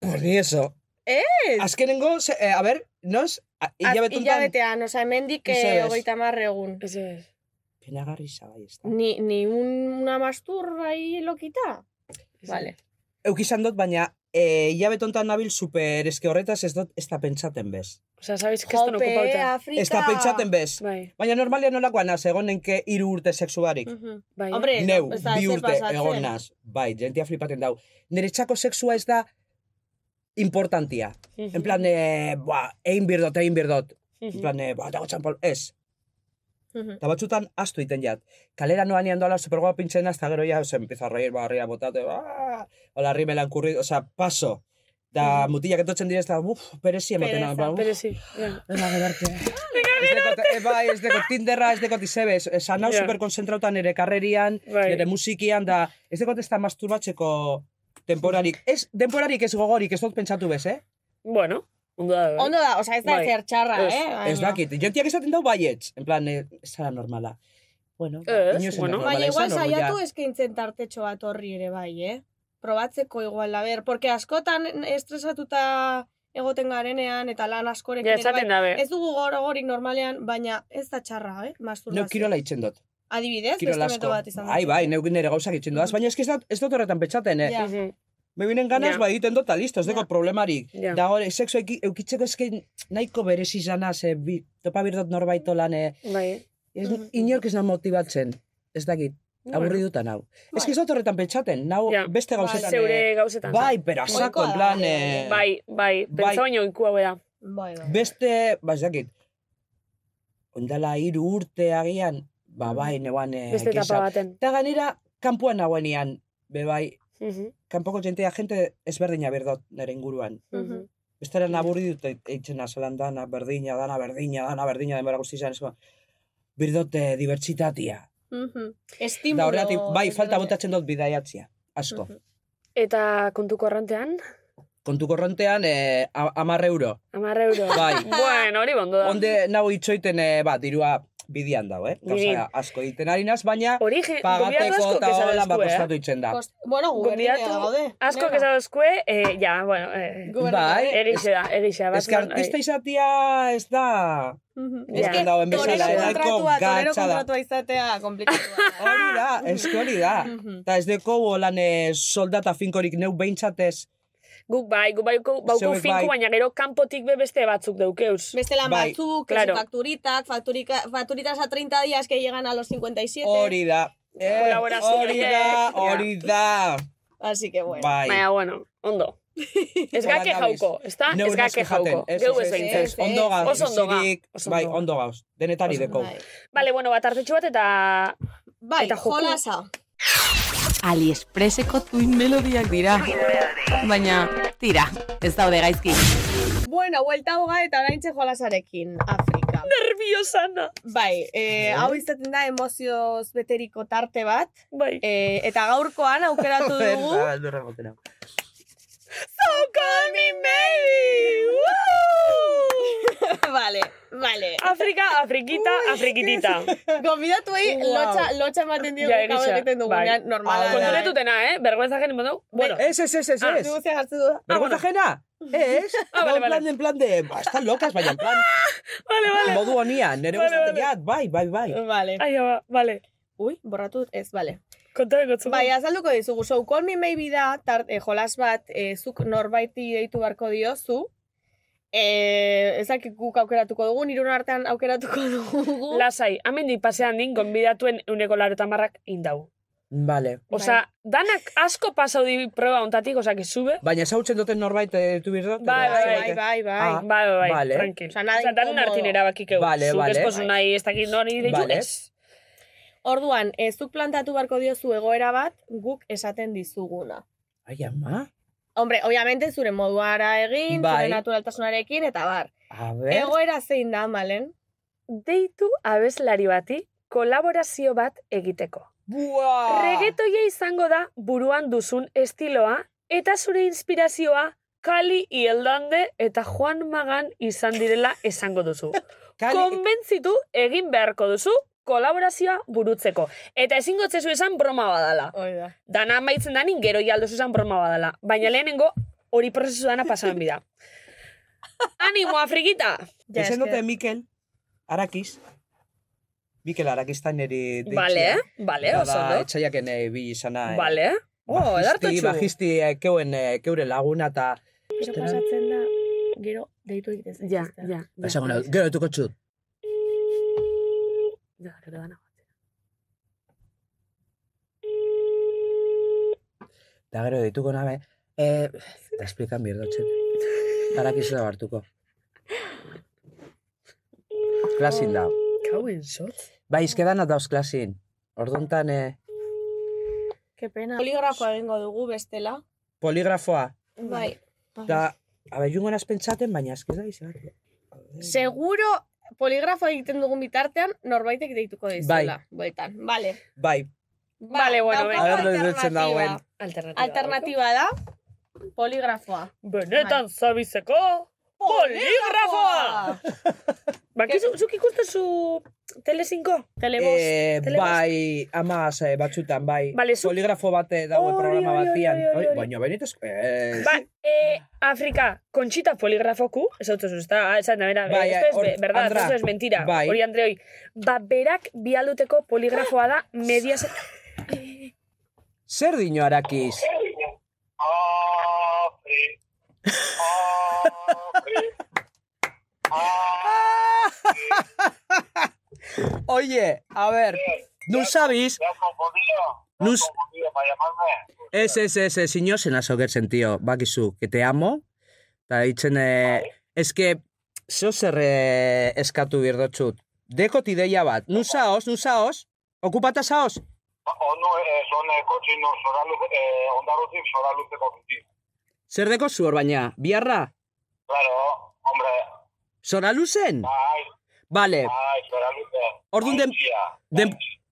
Speaker 11: Pues ni eso.
Speaker 8: Ez!
Speaker 11: Azkenengo, ze- eh, a ver, nos, a-
Speaker 8: Az-
Speaker 11: hilabetuntan.
Speaker 8: Hilabetean, oza, emendik
Speaker 11: Zer ez?
Speaker 8: hogeita marregun.
Speaker 9: Ez ez.
Speaker 11: Penagarri zabai ez da.
Speaker 8: Ni, ni un, una masturba ahí lokita? Vale.
Speaker 11: Euk izan dut, baina eh, hilabetontan nabil super, eske horretaz ez dut, ez da pentsaten bez.
Speaker 9: Osa, sabes, que esto no
Speaker 8: Jope,
Speaker 9: okupauta.
Speaker 8: Afrika!
Speaker 11: Ez da pentsaten bez.
Speaker 9: Bai.
Speaker 11: Baina normalia nolakoa naz, egon nenke hiru urte sexu barik.
Speaker 8: Mhm.
Speaker 9: Bai.
Speaker 8: Hombre, ez da-
Speaker 11: Neu,
Speaker 8: ez da
Speaker 11: bi
Speaker 8: ezer
Speaker 11: urte
Speaker 8: pasatzen.
Speaker 11: egon naz. Bai, jentia flipaten dau. Nire txako sexua ez da importantia. En plan, eh, ba, egin birdot, egin birdot. En plan, eh, ba, dago txanpol, ez. Eta batzutan, astu iten jat. Kalera noan ian dola, supergoa pintzen azta gero ya, se empieza a reír, ba, ria botate, ba, hola, rimela enkurri, o sea, paso. Da, mutilak etotzen dira, eta, uff, perezi ematen. hau, en plan, uf,
Speaker 9: Perezi. ja.
Speaker 11: Ez da gerarte. Ez dekot, eh, bai, ez dekot Tinderra, ez dekot izebe, ez- esan hau
Speaker 9: Ja.
Speaker 11: superkonzentrauta nire karrerian,
Speaker 8: Bai.
Speaker 11: nire musikian, da, ez dekot ez da masturbatzeko temporarik. Ez, temporarik ez gogorik, ez dut pentsatu bez, eh?
Speaker 9: Bueno, ¿eh? ondo da.
Speaker 8: Ondo da, osea, ez da
Speaker 11: Bai.
Speaker 8: ezer txarra,
Speaker 11: Ez,
Speaker 8: eh?
Speaker 11: Ez dakit, jentiak esaten dau baietz, en plan, eh, ez zara normala. Bueno,
Speaker 9: Ez,
Speaker 11: inoiz ez da
Speaker 9: bueno.
Speaker 11: normala,
Speaker 8: Baina igual
Speaker 11: izan orduan
Speaker 8: saiatu
Speaker 11: ja.
Speaker 8: eskaintzen tartetxo bat horri ere bai, eh? Probatzeko igual, a ber, porque askotan estresatuta egoten garenean eta lan askorekin
Speaker 9: Ja,
Speaker 8: ere bai,
Speaker 9: esaten dabe.
Speaker 8: ez dugu gorogorik normalean, baina ez da txarra, eh? Masturbazio.
Speaker 11: Neu kirola itzen dut.
Speaker 8: Adibidez,
Speaker 11: Kirola
Speaker 8: beste
Speaker 11: asko.
Speaker 8: meto bat izan Mm.
Speaker 11: Bai, bai, neuk nire gauzak itzen dut. Baina ez que ez dut- ez dut horretan petxaten, eh?
Speaker 8: Ja.
Speaker 11: Me vienen ganas,
Speaker 8: Ja.
Speaker 11: ba, egiten dut, ta listo, ez deko problemarik.
Speaker 8: Ja.
Speaker 11: Da hori, sexo eki- eukitzeko ezke nahiko berezi izana, ze bi, topa birdot norbaito lan, eh?
Speaker 9: Bai.
Speaker 11: Ez,
Speaker 8: Mm-hmm,
Speaker 11: inork ez nau motibatzen, ez dakit,
Speaker 9: Bueno.
Speaker 11: aburri dutan hau.
Speaker 8: Bai.
Speaker 11: Ez que ez dut horretan pentsaten, nau beste gauzetan. eh,
Speaker 9: Zeure gauzetan.
Speaker 11: Bai, pero a saco, en plan... eh,
Speaker 9: Bai, bai, pentsa baino inkua bera.
Speaker 8: Bai, bai.
Speaker 11: Beste, ba, ez dakit, ondala hiru urte agian, ba, bai, neuan... eh,
Speaker 9: Mm. Beste etapa
Speaker 11: kesa.
Speaker 9: baten.
Speaker 11: Eta ganera, kanpoan nagoenian, be bai, kanpoko jentea jente ezberdina berdot nire inguruan.
Speaker 9: Mhm.
Speaker 11: Bestera naburri dut e, eitzen azalan dana, berdina, dana, berdina, dana, berdina, denbora guzti izan, ba, esko, birdote dibertsitatia.
Speaker 8: Estimulo.
Speaker 11: Da horretik, bai, falta botatzen dut bidaiatzia, asko.
Speaker 9: Eta kontuko arrantean,
Speaker 11: Kontu korrontean, eh, a- amar euro.
Speaker 9: 10 euro.
Speaker 11: Bai.
Speaker 9: bueno, hori bondo da.
Speaker 11: Onde nago itxoiten, eh, bat, dirua bidian dago, eh? Gauza
Speaker 9: Bidin.
Speaker 11: asko egiten ari naz, baina
Speaker 9: Orige, gonbidatu
Speaker 11: pagateko
Speaker 9: asko
Speaker 11: eta
Speaker 9: kezadezkue,
Speaker 11: holan
Speaker 9: eh?
Speaker 11: bakostatu itzen da.
Speaker 8: Bueno, gu berdina gaude.
Speaker 9: asko
Speaker 8: Nena.
Speaker 9: que dauzkue, eh, ja, bueno, eh,
Speaker 11: Gu berdina Bai. gaude.
Speaker 9: egixe da, egixe da.
Speaker 11: Ez que artista izatia ez da... Ez
Speaker 8: Eske,
Speaker 11: que dauen
Speaker 8: torero
Speaker 11: bezala, edako
Speaker 8: kontratua, torero
Speaker 11: gatza da.
Speaker 8: kontratua izatea, komplikatua.
Speaker 11: Hori da, ez que hori da.
Speaker 9: Mhm.
Speaker 11: Eta ez deko lan eh, soldata finkorik neu behintzatez.
Speaker 9: Guk bai, guk bai, guk bauku
Speaker 11: Zeuek
Speaker 9: finku,
Speaker 11: bai.
Speaker 9: baina gero kanpotik be beste batzuk deukeuz.
Speaker 8: Beste lan
Speaker 11: Bai.
Speaker 8: batzuk, que
Speaker 9: Claro.
Speaker 8: si facturitak, facturica- facturitas a 30 días que llegan a los 57.
Speaker 11: Hori da. Eh,
Speaker 8: Kolaborazio
Speaker 11: hori da,
Speaker 8: horiek.
Speaker 11: hori da.
Speaker 8: Así que bueno.
Speaker 11: Bai.
Speaker 9: Baina, bueno, ondo. Ez
Speaker 11: Holan
Speaker 9: gake
Speaker 11: gabiz.
Speaker 9: jauko, ez da?
Speaker 11: Neu
Speaker 9: Ez
Speaker 11: naski
Speaker 9: gake jauko.
Speaker 11: jaten, ez,
Speaker 9: Geu
Speaker 11: ez,
Speaker 9: ez
Speaker 11: ez,
Speaker 9: behintzen.
Speaker 11: ez, Ondo gauz,
Speaker 9: Oso ondo ga.
Speaker 11: bizirik, bai, ondo gauz. Denetari
Speaker 9: Bai,
Speaker 11: deko.
Speaker 9: Bale, bueno, bat hartetxu bat eta...
Speaker 8: Bai,
Speaker 9: eta joku.
Speaker 8: jolasa.
Speaker 2: Aliexpreseko tuin melodiak dira. Baina, tira, ez daude gaizki.
Speaker 8: Bueno, vuelta hoga eta oraintxe jolasarekin, Afrika.
Speaker 9: Nerviosana.
Speaker 8: Bai, eh, hau izaten da emozioz beteriko tarte bat.
Speaker 9: Bai.
Speaker 8: Eh, eta gaurkoan aukeratu dugu.
Speaker 11: Berda, beldurra moten hau.
Speaker 8: So call me maybe! vale, vale.
Speaker 9: Afrika, Afrikita, Afrikitita.
Speaker 8: Gomidatuei
Speaker 9: Wow.
Speaker 8: lotxa, lotxa ematen dio
Speaker 9: Ja,
Speaker 8: ja,
Speaker 9: egia.
Speaker 8: egiten dugunean,
Speaker 9: Bai.
Speaker 8: normala. da, eh?
Speaker 9: Konturetutena, eh? Bergüenza genen modu. Bueno.
Speaker 11: Ez, ez, ez, ez,
Speaker 9: Ah,
Speaker 11: ez.
Speaker 8: Ze jartzen du.
Speaker 11: Vergüenza ajena? Ez?
Speaker 9: Ah,
Speaker 11: No,
Speaker 9: vale,
Speaker 11: en plan,
Speaker 9: vale.
Speaker 11: en plan de... Ba, están locas, baina en plan...
Speaker 9: Vale, vale.
Speaker 11: Modu honia, nere
Speaker 9: Vale,
Speaker 11: gustatzen
Speaker 9: vale.
Speaker 11: jat, bai, bai, bai.
Speaker 8: Vale.
Speaker 9: Ai, ba, vale.
Speaker 8: Ui, borratu, ez, vale.
Speaker 9: Konta gotzu.
Speaker 8: Bai, azalduko dizugu, so, call me maybe da, tar, eh, jolas bat, eh, zuk norbaiti deitu beharko diozu, eh, ezak guk aukeratuko dugu, nirun artean aukeratuko dugu.
Speaker 9: Lasai, amendik pasean din, gonbidatuen uneko laro tamarrak indau.
Speaker 11: Vale.
Speaker 9: Osa, danak asko pasau di proba ontatik, osa, que sube.
Speaker 11: Baina zautzen duten norbait eh, tu birdot?
Speaker 9: Bai, bai, bai,
Speaker 8: bai, bai.
Speaker 11: Ah,
Speaker 9: bai, bai,
Speaker 11: vale.
Speaker 9: bai, tranquil.
Speaker 8: Osa,
Speaker 9: Osa,
Speaker 8: nada
Speaker 9: danen
Speaker 8: incómodo.
Speaker 9: artin erabakik egu.
Speaker 11: Vale,
Speaker 9: Zuk
Speaker 11: vale.
Speaker 9: esposu nahi ez dakit nori deitu,
Speaker 11: Vale.
Speaker 9: ez.
Speaker 8: Orduan, eh, zuk plantatu beharko diozu egoera bat, guk esaten dizuguna.
Speaker 11: Ai, ama.
Speaker 8: Hombre, obviamente zure moduara egin,
Speaker 11: Bai.
Speaker 8: zure naturaltasunarekin, eta bar.
Speaker 11: A ver.
Speaker 8: Egoera zein da, malen?
Speaker 9: Deitu abeslari bati kolaborazio bat egiteko.
Speaker 11: Buah!
Speaker 9: Reggaetoia izango da buruan duzun estiloa eta zure inspirazioa Kali Ieldande eta Juan Magan izan direla esango duzu.
Speaker 11: Kali-
Speaker 9: Konbentzitu egin beharko duzu kolaborazioa burutzeko. Eta ezingo txezu esan broma badala.
Speaker 8: Oida.
Speaker 9: Dana amaitzen danin gero jaldozu esan broma badala. Baina lehenengo hori prozesu dana pasan bida. Animo, Afrikita!
Speaker 11: Ja, Ezen dute Mikel, Arakiz. Mikel Arakiz tan niri deitxia.
Speaker 9: Vale, vale, oso
Speaker 11: Bada,
Speaker 9: ondo.
Speaker 11: etxaiak ene bi izana. eh.
Speaker 9: Vale. Oh,
Speaker 11: Bajisti,
Speaker 9: edartotxu.
Speaker 11: bajisti, eh, keuen, eh, keure laguna eta...
Speaker 8: Gero pasatzen da, gero deitu egiten zaituzte.
Speaker 9: Ja, ja. ja.
Speaker 11: Esango nau, gero etuko txut.
Speaker 9: Ja, gero dana.
Speaker 11: Da gero dituko nabe. Eh, eta explikan birdotzen. Barakizela hartuko. Klasin da.
Speaker 12: Kauen zot.
Speaker 11: Bai, izkedan dauz klasin. Orduntan eh,
Speaker 8: Ke pena. Poligrafoa egingo dugu bestela.
Speaker 11: poligrafoa.
Speaker 8: Bai.
Speaker 11: Da, abe, jungo naz pentsaten, baina ez da izan. Mm.
Speaker 8: Seguro poligrafoa egiten dugun bitartean norbaitek deituko dizula. Bai. Bueltan. Vale.
Speaker 11: Bai,
Speaker 8: Vale, bueno,
Speaker 11: A ber, noiz deitzen dagoen.
Speaker 8: Alternatiba, Bai. da poligrafoa.
Speaker 12: Benetan zabizeko poligrafoa!
Speaker 9: Ba,
Speaker 12: Bakizu, zuk ikustezu Telezinko?
Speaker 8: Telebost.
Speaker 11: Eh, bai, amaz, eh, batzutan, bai.
Speaker 12: Vale, zu-
Speaker 11: Poligrafo bate dago
Speaker 12: Hori,
Speaker 11: programa
Speaker 12: hori, hori,
Speaker 11: batian.
Speaker 12: hori, hori,
Speaker 11: Oi,
Speaker 12: hori.
Speaker 11: Baina, benitez, ez.
Speaker 9: Bai,
Speaker 12: Ba, eh,
Speaker 9: e,
Speaker 12: Afrika, kontxita poligrafoku, ez hau ez
Speaker 9: ah,
Speaker 12: da, esan da, bera,
Speaker 11: Bai,
Speaker 12: esto es
Speaker 11: hor-
Speaker 12: be- verdad,
Speaker 11: Andra.
Speaker 12: esto es mentira,
Speaker 11: Bai.
Speaker 12: hori Andreoi. Ba, berak bialduteko poligrafoa da, medias...
Speaker 11: Zer dino arakiz? Oye, a ver, nun sabis? Nun... Ez, ez, ez, ez, inoz en azogertzen, tio. Bakizu, que te amo. Ta ditzen, eh, ez que, zeo zer eh, eskatu birdotxut. Dekot ideia bat. Nun zaoz, nun zaoz? Okupata zaoz?
Speaker 14: Onu, eh, son eh, kotxin, no, zoraluze, eh, ondarrutik zoraluzeko bizi.
Speaker 11: Zer deko zuor baina, biarra?
Speaker 14: Claro, hombre,
Speaker 11: Zora luzen?
Speaker 14: bai,
Speaker 11: Vale,
Speaker 14: bai, zoraluze.
Speaker 11: Orduan den- den,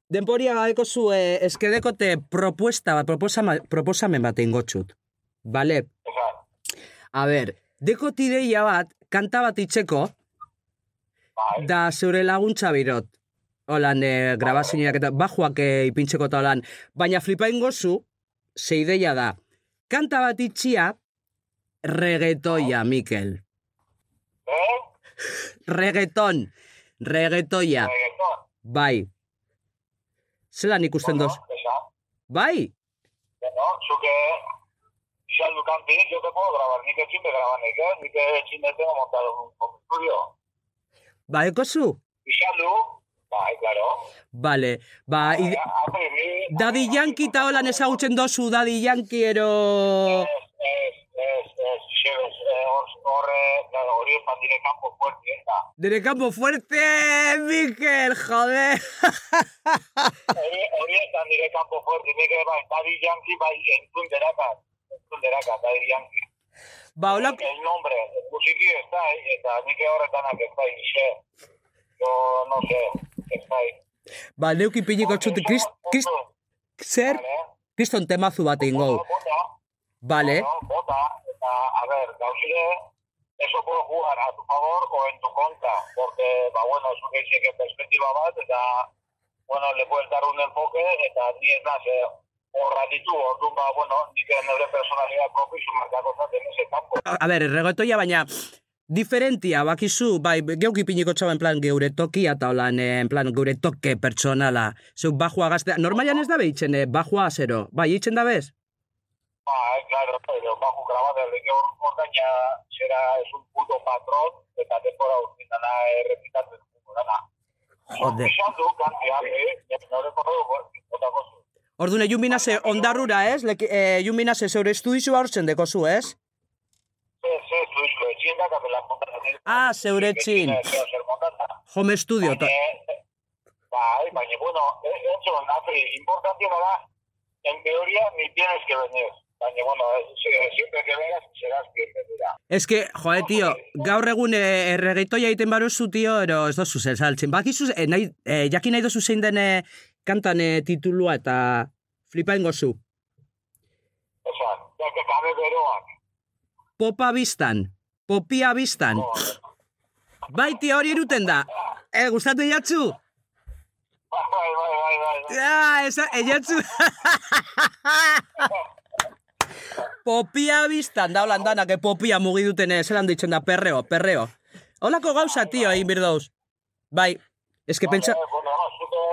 Speaker 11: denporia badeko zu eh, eskedeko te propuesta, bat, proposama, proposamen bat ingo txut. Vale? A ber, deko tideia bat, kanta bat itxeko, da zure laguntza birot. Holan, eh, grabazioak eta bajuak eh, ipintzeko eta holan. Baina flipa ingo zu, ze ideia da. Kanta bat itxia, regetoia, Mikel.
Speaker 14: ¿eh?
Speaker 11: Reggaeton. Reggaetoia. Bai. Zelan ikusten doz? Bai.
Speaker 14: Bueno, zuke, saldu kantin, yo te puedo grabar, ni que chimbe graban, ni que, ni que chimbe tengo montado un, un estudio.
Speaker 11: Ba, ekozu?
Speaker 14: Y saldu, bai, claro. eh,
Speaker 11: Bale. Ba, ide... Dadi Yankee eta holan ezagutzen dozu, Dadi Yankee ero...
Speaker 14: Ez, ez, ez, xebez, eh, hor- hor, eh, claro, hori esan dire kanpo fuerte, eta.
Speaker 11: Dere campo fuerte, Mikel, jode!
Speaker 14: Hori, hori esan dire kanpo fuerte, nik ere bai, Daddy Yankee, bai, entzun derakat, entzun derakat, Daddy Yankee.
Speaker 11: Ba, hola...
Speaker 14: El nombre, musiki ez da, eh, eta nik horretanak ez da, ixe. Yo, no sé, ez da.
Speaker 11: Ba, neuki piniko txut, krist... krist... Zer?
Speaker 14: ¿eh?
Speaker 11: Kriston temazu bat ingo. Vale.
Speaker 14: No, bota, eta, a ver, gauzire, eso puedo jugar a tu favor o en tu contra, porque, ba, bueno, eso que dice que perspectiva bat, eta, bueno, le puedes dar un enfoque, eta ni ez naz, eh, horra ditu, orduan, ba, bueno, nik nire personalidad propi, sumarkako zaten ese campo.
Speaker 11: A ber, reggaetoia baina diferentia, bakizu, bai, geuk ipiniko txaba en plan geure tokia eta holan, eh, en plan geure toke pertsonala. Zeu, bajua gaztea, normalian ez da behitzen, eh, bajua azero, bai, hitzen da bez?
Speaker 14: Ba, eh, claro, pero bajo grabada, de que hor, hor gaina, zera, es un puto patrón, eta denbora urtin dana errepikatzen, dana.
Speaker 11: Jode.
Speaker 14: Esan du, kantia, eh, nire korrego, botako zu.
Speaker 11: Orduan, egun binaze, ondarrura, ez? Leki, eh, egun binaze, zeure estuizu hortzen dekozu, ez?
Speaker 14: Ez, ez, Luis, lo etxin da, kabe la konta da.
Speaker 11: Ah, zeure txin. Home estudio. ta-
Speaker 14: Bai, baina, bueno, eh, entzun, Afri, importantiena da, en teoria, ni tienes que venir. Baina, bueno, eh, se- siempre que vengas, serás bienvenida.
Speaker 11: Ez que, joe, tio, gaur egun eh, erregetoia egiten baruzu, tio, ero ez dozu zer saltzen. Bakizu, eh, nahi, eh, jakin nahi dozu zein den eh, kantan eh, titulua eta flipa ingo zu.
Speaker 14: Esan, da, que kabe beroan.
Speaker 11: Popa biztan, popia biztan. Bai, tio, hori eruten da. Eh, gustatu jatzu?
Speaker 14: Bai, bai, bai, bai.
Speaker 11: Ah, esa, eiatzu. popia biztan, da holan danak, eh, popia mugiduten, eh, zelan ditzen da, perreo, perreo. Holako gauza, tio, egin birdouz. Bai, ez que pentsa...
Speaker 14: Eh, bueno, zute,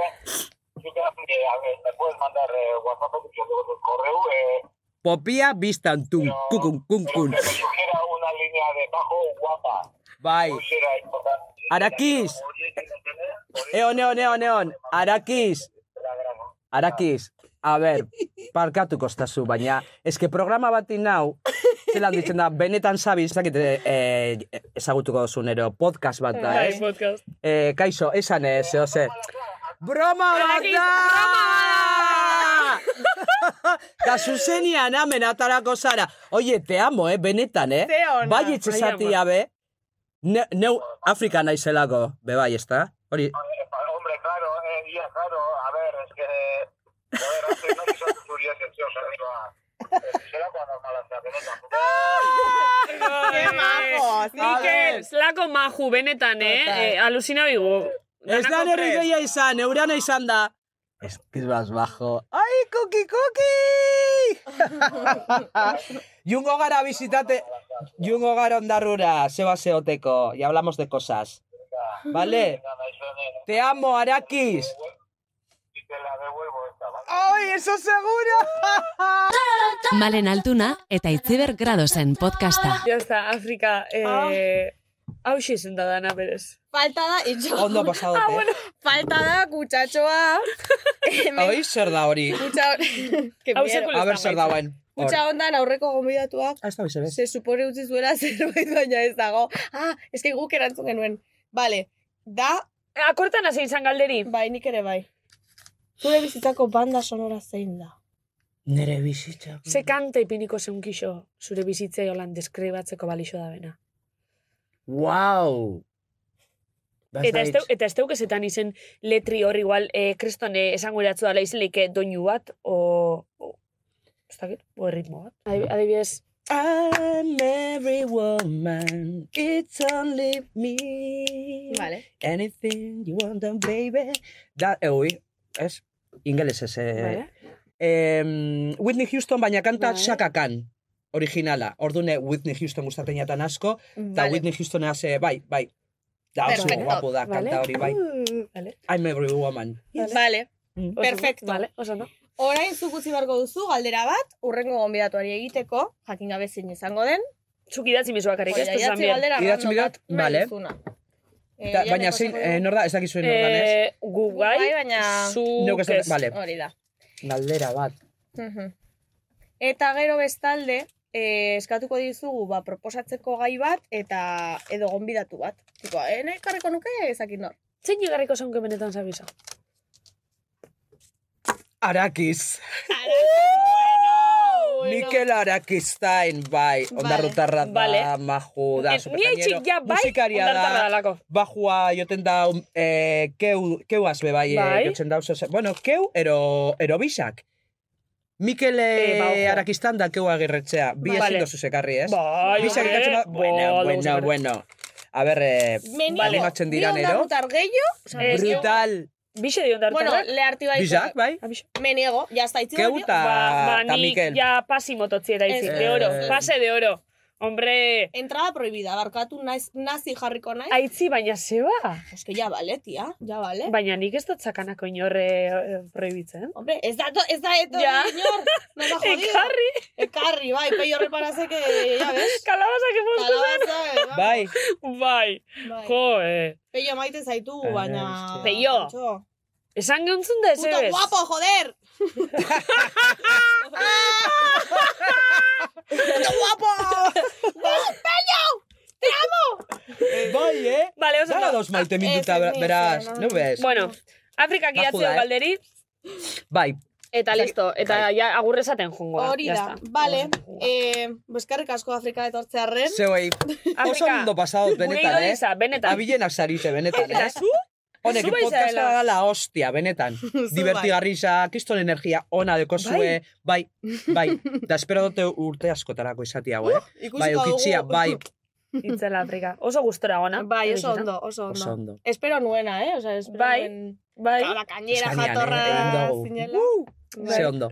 Speaker 14: zute, Afri, eh, a ver, me puedes mandar eh, WhatsApp, yo te voy correo, eh,
Speaker 11: Popia biztan, tun, kukun, kun, kun.
Speaker 14: que me sugiera una línea de bajo guapa.
Speaker 11: Bai,
Speaker 14: Hori era importante.
Speaker 11: arakiz, eon, eon, eon, eon, arakiz. Arakiz, a ber, parkatuko estazu, baina, eske programa bati nau, zelan ditzen da, benetan zabi, ez dakit, eh, eh, ezagutuko zunero, podcast bat da,
Speaker 9: Bai,
Speaker 11: ez? Eh, kaixo, esan ez, zeo ze. Broma bat da! Da zuzenian amen atarako zara. Oie, te amo, eh, benetan, eh?
Speaker 9: Ze ona.
Speaker 11: Bai etxezati
Speaker 9: Bai, ama.
Speaker 11: abe. Ne, neu Afrika naizelako, bebai, ez da? Hori,
Speaker 14: Hombre, claro, eh, ia, claro, a ver, es que... A ver, hace no gizon zuriak entzio zerrikoa. Zerako normala zera, benetan.
Speaker 9: Ke
Speaker 15: majos,
Speaker 9: Mikel,
Speaker 15: Mikel.
Speaker 9: zelako maju, benetan, eh?
Speaker 11: Total.
Speaker 9: eh alusina bigu.
Speaker 11: Ez da
Speaker 9: Lanako
Speaker 11: nire
Speaker 9: prest.
Speaker 11: gehia izan, eurana izan da. Ez que es más bajo. Ai, kuki, kuki! Jungo gara bizitate... Jungo gara ondarrura, zeba zeoteko, y hablamos de cosas. Vale? Te amo, Arakis! ¡Ay, eso seguro!
Speaker 2: Malen Altuna eta Itziber Gradosen podcasta.
Speaker 9: Ya está, Afrika, eh... Hauxi izan da dana, berez.
Speaker 8: Falta da, itxo.
Speaker 11: Ondo pasado, eh?
Speaker 8: Falta da, kutsatxoa. Eh,
Speaker 11: Hoi, zer da hori?
Speaker 8: Kutsa hori.
Speaker 11: Hau sekula A ber, ez da zer amaitzen. dagoen. Hor.
Speaker 8: Kutsa ondan aurreko gombidatuak.
Speaker 11: Ah, ez da bizere.
Speaker 8: Se supone utzi zuela zerbait baina ez dago. Ah, ez que guk erantzun genuen. Vale, da...
Speaker 9: Eh, Akortan hasi izan galderi.
Speaker 8: Bai, nik ere bai. Zure bizitzako banda sonora zein da.
Speaker 11: Nere bizitza.
Speaker 9: Ze kanta ipiniko zeunkixo zure bizitzei holan deskribatzeko balixo da bena.
Speaker 11: Wow!
Speaker 9: Eta
Speaker 11: este-
Speaker 9: ez, deu, eta ez deukesetan izen letri hor igual, eh, kriston eh, esango iratzu dala izen leike doinu bat, o... o ez dakit, o ritmo bat. Adi- Adibidez,
Speaker 11: I'm every woman, it's only me.
Speaker 8: Vale.
Speaker 11: Anything you want, done, baby. Da, eh, ui, ez, ingeles ez. Eh.
Speaker 9: Vale.
Speaker 11: Em, Whitney Houston, baina kanta Shaka Khan, originala. Ordune Whitney Houston gustatzen jatan asko, eta
Speaker 9: Vale.
Speaker 11: Whitney Houston haze, bai, bai. Da, oso
Speaker 9: Perfecto.
Speaker 11: guapo da,
Speaker 9: Vale. Mm.
Speaker 11: kanta hori, bai.
Speaker 9: Vale.
Speaker 11: I'm every woman.
Speaker 8: Vale. Perfecto.
Speaker 9: Vale, oso no.
Speaker 8: Orain zuk utzi beharko duzu galdera bat, urrengo gonbidatuari egiteko, jakin gabe zein izango den.
Speaker 9: Zuk idatzi mizua karrik,
Speaker 8: Hori
Speaker 9: ez
Speaker 8: da,
Speaker 9: duzan
Speaker 8: idatzi galdera
Speaker 11: Idatzi
Speaker 8: random
Speaker 11: bidat,
Speaker 8: bat nahi
Speaker 11: bale.
Speaker 8: duzuna. Eh,
Speaker 11: Da,
Speaker 8: Iane
Speaker 11: baina zein,
Speaker 8: pasako
Speaker 11: eh,
Speaker 8: dugu.
Speaker 11: nor da, ez dakizuen nor da, ez?
Speaker 9: Eh, gu
Speaker 8: Gu
Speaker 9: bai,
Speaker 8: bai, baina
Speaker 11: Neuk ez
Speaker 9: zuk
Speaker 11: dut-
Speaker 9: ez.
Speaker 11: vale.
Speaker 8: Hori da.
Speaker 11: Galdera bat.
Speaker 8: Mhm. Eta gero bestalde, eh, eskatuko dizugu ba, proposatzeko gai bat eta edo gonbidatu bat. Tipo, eh, nahi karriko nuke ezakin nor.
Speaker 9: Zein egarriko zonke benetan zabizo?
Speaker 11: Arakiz. Mikel Arakiztain, bai, ondarrutarra da,
Speaker 9: Vale.
Speaker 11: maju da,
Speaker 9: Eh, ni
Speaker 11: superkañero,
Speaker 9: haitxik ja bai,
Speaker 11: musikaria
Speaker 9: ondartarra
Speaker 11: da,
Speaker 9: dalako.
Speaker 11: bajua joten da, um, eh, keu, keu azbe bai,
Speaker 9: Bai.
Speaker 11: bai. jotzen da, oso, bueno, keu, ero, ero bisak. Mikel
Speaker 9: Eh, ba, ojo.
Speaker 11: eh, Arakistan da keu agirretzea, bi
Speaker 9: Vale.
Speaker 11: vale. ezin dozu sekarri, ez?
Speaker 9: Bai,
Speaker 11: bisak
Speaker 9: hombre,
Speaker 11: ikatzen da, bueno,
Speaker 9: boldo
Speaker 11: bueno,
Speaker 9: sekarri.
Speaker 11: bueno. A ber, eh, animatzen dira nero.
Speaker 9: eh,
Speaker 8: gehiago.
Speaker 11: Brutal.
Speaker 9: Bixe dion da
Speaker 8: Bueno, le artibai.
Speaker 11: Bizak, bai?
Speaker 8: Me niego, ya está. itzi
Speaker 11: Keu
Speaker 8: dut,
Speaker 11: ta-
Speaker 9: Ba,
Speaker 11: ta
Speaker 9: nik
Speaker 11: Mikel.
Speaker 9: ja pasi mototzi izik,
Speaker 8: Ez,
Speaker 9: de oro,
Speaker 11: ez.
Speaker 9: pase de oro. Hombre,
Speaker 8: Entrada prohibida, barkatu naiz, nazi jarriko naiz.
Speaker 9: aitzi baina zeba.
Speaker 8: Eske ja bale, tia, ja bale.
Speaker 9: Baina nik ez dut zakanako inorre eh, prohibitzen.
Speaker 8: Hombre, ez da, to- ez da, eto,
Speaker 9: Ja.
Speaker 8: inor, nos da Ah, jodido.
Speaker 9: Ekarri.
Speaker 8: Ekarri, bai, peio reparase que, ya ves.
Speaker 9: Kalabazak emongo zen.
Speaker 8: Kalabaza, eh,
Speaker 11: Bai.
Speaker 9: Bai.
Speaker 8: Bai.
Speaker 9: Jo, eh.
Speaker 8: Peio maite zaitu, baina...
Speaker 9: Peio.
Speaker 8: Puto
Speaker 9: Esan gontzun da ez ez.
Speaker 8: guapo, joder! Puto guapo! Peio! Te amo!
Speaker 11: Bai, eh?
Speaker 9: Vale, oso
Speaker 11: Dara
Speaker 9: ondo.
Speaker 11: dos maite mituta,
Speaker 9: Ez, ez, ez,
Speaker 11: beraz,
Speaker 9: ez, ez.
Speaker 11: no ves?
Speaker 9: Bueno, Afrikak
Speaker 11: Ba,
Speaker 9: idatzen
Speaker 11: joda, eh.
Speaker 9: galderi,
Speaker 11: Bai,
Speaker 9: eta listo, eta ja agurre esaten jungo.
Speaker 8: Hori da, vale. Eh, Beskarrik asko Afrika
Speaker 9: ¿Eh?
Speaker 8: etortzearren.
Speaker 11: Zeuei.
Speaker 8: Eh,
Speaker 11: Oso
Speaker 9: Afrika.
Speaker 11: ondo pasado,
Speaker 9: Gure
Speaker 11: benetan, eh?
Speaker 9: idoliza, benetan.
Speaker 11: Abilenak zarite, benetan,
Speaker 9: Eta
Speaker 11: eh?
Speaker 9: zu?
Speaker 11: Honek,
Speaker 9: Zu
Speaker 11: podcasta
Speaker 9: baizarela.
Speaker 11: gala hostia, benetan. Divertigarri
Speaker 9: bai.
Speaker 11: za, kiston energia, ona dekozue, bai, bai, da espero dute urte askotarako izati hau, eh?
Speaker 9: ikusiko
Speaker 11: bai, eukitzia,
Speaker 9: Uh, dugu.
Speaker 11: bai,
Speaker 9: Itzela Afrika. Oso gustora ona.
Speaker 8: Bai, oso ondo, oso ondo.
Speaker 11: Oso ondo.
Speaker 8: Espero nuena, eh? Osa, espero
Speaker 9: Bai,
Speaker 8: nuen...
Speaker 9: bai.
Speaker 8: Toda la cañera,
Speaker 11: Eskanean, eh,
Speaker 8: jatorra,
Speaker 11: egin dugu. Uh,
Speaker 8: zinela. Bai.
Speaker 11: ze ondo.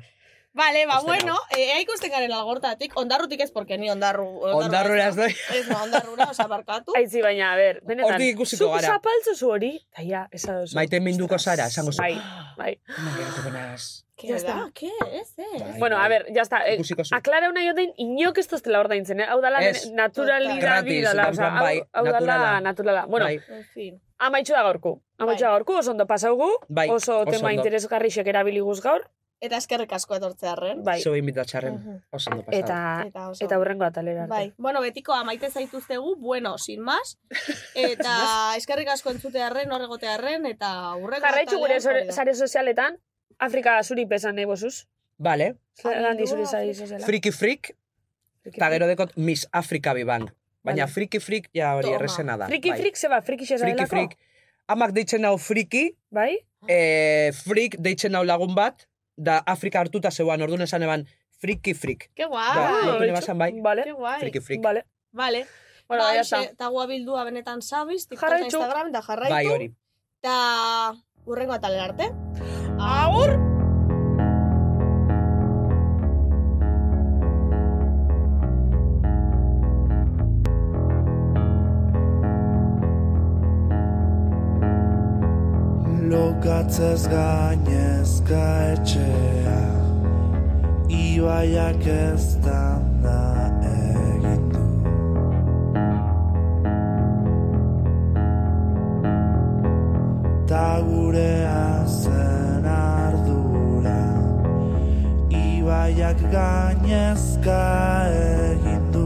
Speaker 8: Vale, ba,
Speaker 11: Oso
Speaker 8: bueno, eh, ea ikusten garen algortatik, ondarrutik ez, porque ni ondarru...
Speaker 11: Ondarrura ez doi.
Speaker 8: Ez, no, ondarrura, osa, barkatu.
Speaker 9: Aitzi, baina, a ber, benetan.
Speaker 11: Hortik ikusiko gara.
Speaker 9: Zuk zapaltzu zu hori, eta ja, esadozu.
Speaker 11: Maite minduko zara, esango zu.
Speaker 9: Bai, bai.
Speaker 8: ¿Qué
Speaker 9: Ya
Speaker 8: ya
Speaker 9: está.
Speaker 8: ¿Qué es?
Speaker 11: Bai.
Speaker 8: eh?
Speaker 9: Bueno, a ver, ya está. Eh, aklara una joten inok ez doztela ordaintzen, eh? Hau dala
Speaker 11: Ez.
Speaker 9: naturalidad
Speaker 11: Gratis,
Speaker 9: bidala, oza,
Speaker 11: bai,
Speaker 9: hau, hau dala
Speaker 11: naturala.
Speaker 9: naturala. Bueno,
Speaker 11: Bai.
Speaker 8: En fin.
Speaker 9: amaitxu da gaurku. Amaitxu da gaurku, oso ondo pasaugu,
Speaker 11: Bai,
Speaker 9: oso,
Speaker 11: oso
Speaker 9: tema
Speaker 11: ondo.
Speaker 9: interesgarrixek erabiliguz gaur,
Speaker 8: Eta eskerrik asko etortzearren.
Speaker 11: Bai. Zue inbitatxarren. Oso ondo pasada.
Speaker 9: Mm. Eta,
Speaker 8: Eta
Speaker 9: Ah, eta,
Speaker 8: oso.
Speaker 9: hurrengo atalera.
Speaker 8: Bai, bueno, betiko amaite zaituztegu, bueno, sin más. Eta eskerrik asko entzutearren, horregotearren, eta hurrengo
Speaker 12: Jarraitzu gure
Speaker 8: atalean
Speaker 12: sore-
Speaker 8: hori da.
Speaker 12: sare sozialetan, Afrika zuri pesan
Speaker 9: eh,
Speaker 12: nahi bozuz.
Speaker 11: Vale.
Speaker 12: Zeran dizure sare soziala.
Speaker 11: Friki Freak, eta gero dekot Miss Afrika biban. Baina
Speaker 12: Vale.
Speaker 11: Friki Freak, ja hori
Speaker 12: Toma.
Speaker 11: errezena da.
Speaker 12: Friki
Speaker 11: bai.
Speaker 12: frik zeba, friki xesa
Speaker 11: Friki
Speaker 12: delako.
Speaker 11: Freak. Amak deitzen hau friki,
Speaker 12: bai?
Speaker 11: eh, freak deitzen hau lagun bat, da Afrika hartuta zeuan, orduan esan eban, friki freak.
Speaker 8: Ke
Speaker 11: Da,
Speaker 8: guai!
Speaker 11: nekin ebasan bai,
Speaker 12: Ah, Vale.
Speaker 8: Ke guai!
Speaker 11: friki freak.
Speaker 12: Vale.
Speaker 8: Vale.
Speaker 12: Bueno,
Speaker 8: Ba,
Speaker 12: ya
Speaker 8: haixe,
Speaker 12: está.
Speaker 8: Eta gua bildua benetan sabiz, TikTok eta
Speaker 12: Jarraitu.
Speaker 8: Instagram, eta jarraitu.
Speaker 11: Bai, hori.
Speaker 8: Eta hurrengo atalera arte. Agur!
Speaker 16: Lokatzez gainezka etxea Ibaiak ez danda egin du Ta gurea zen ardura Ibaiak gainezka egin du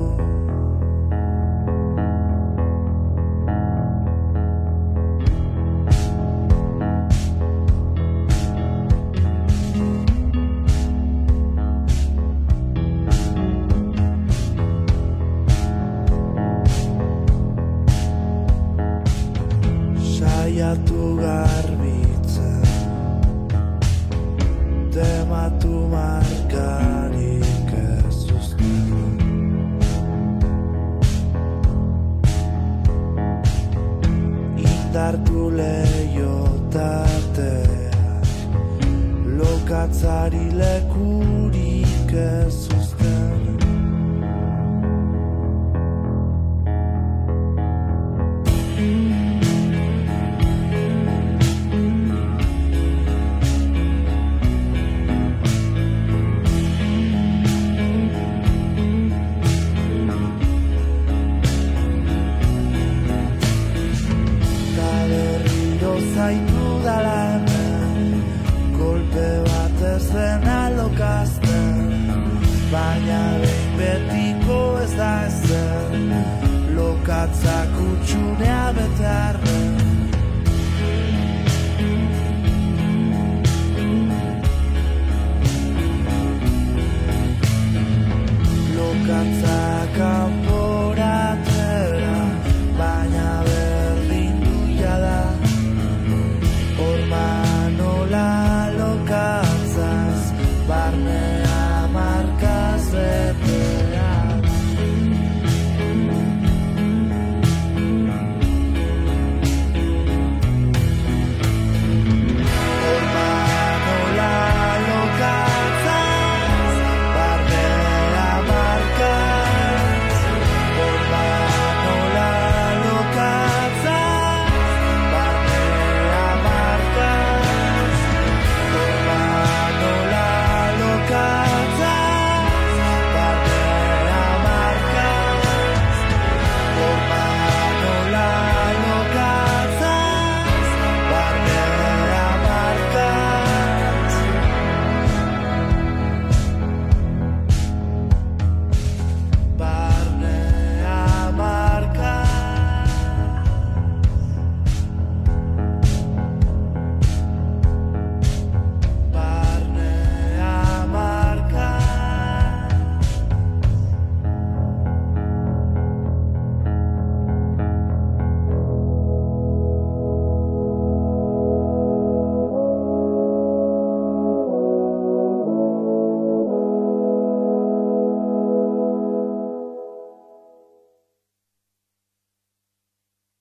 Speaker 16: saiatu garbitzen tematu markarik ez uzten indartu leiotatea lokatzari lekurik ez uzten Eta berriro zaitu dala hemen Golpe bat ez den alokazten Baina behin betiko ez da ezer Lokatzak utxunea betarren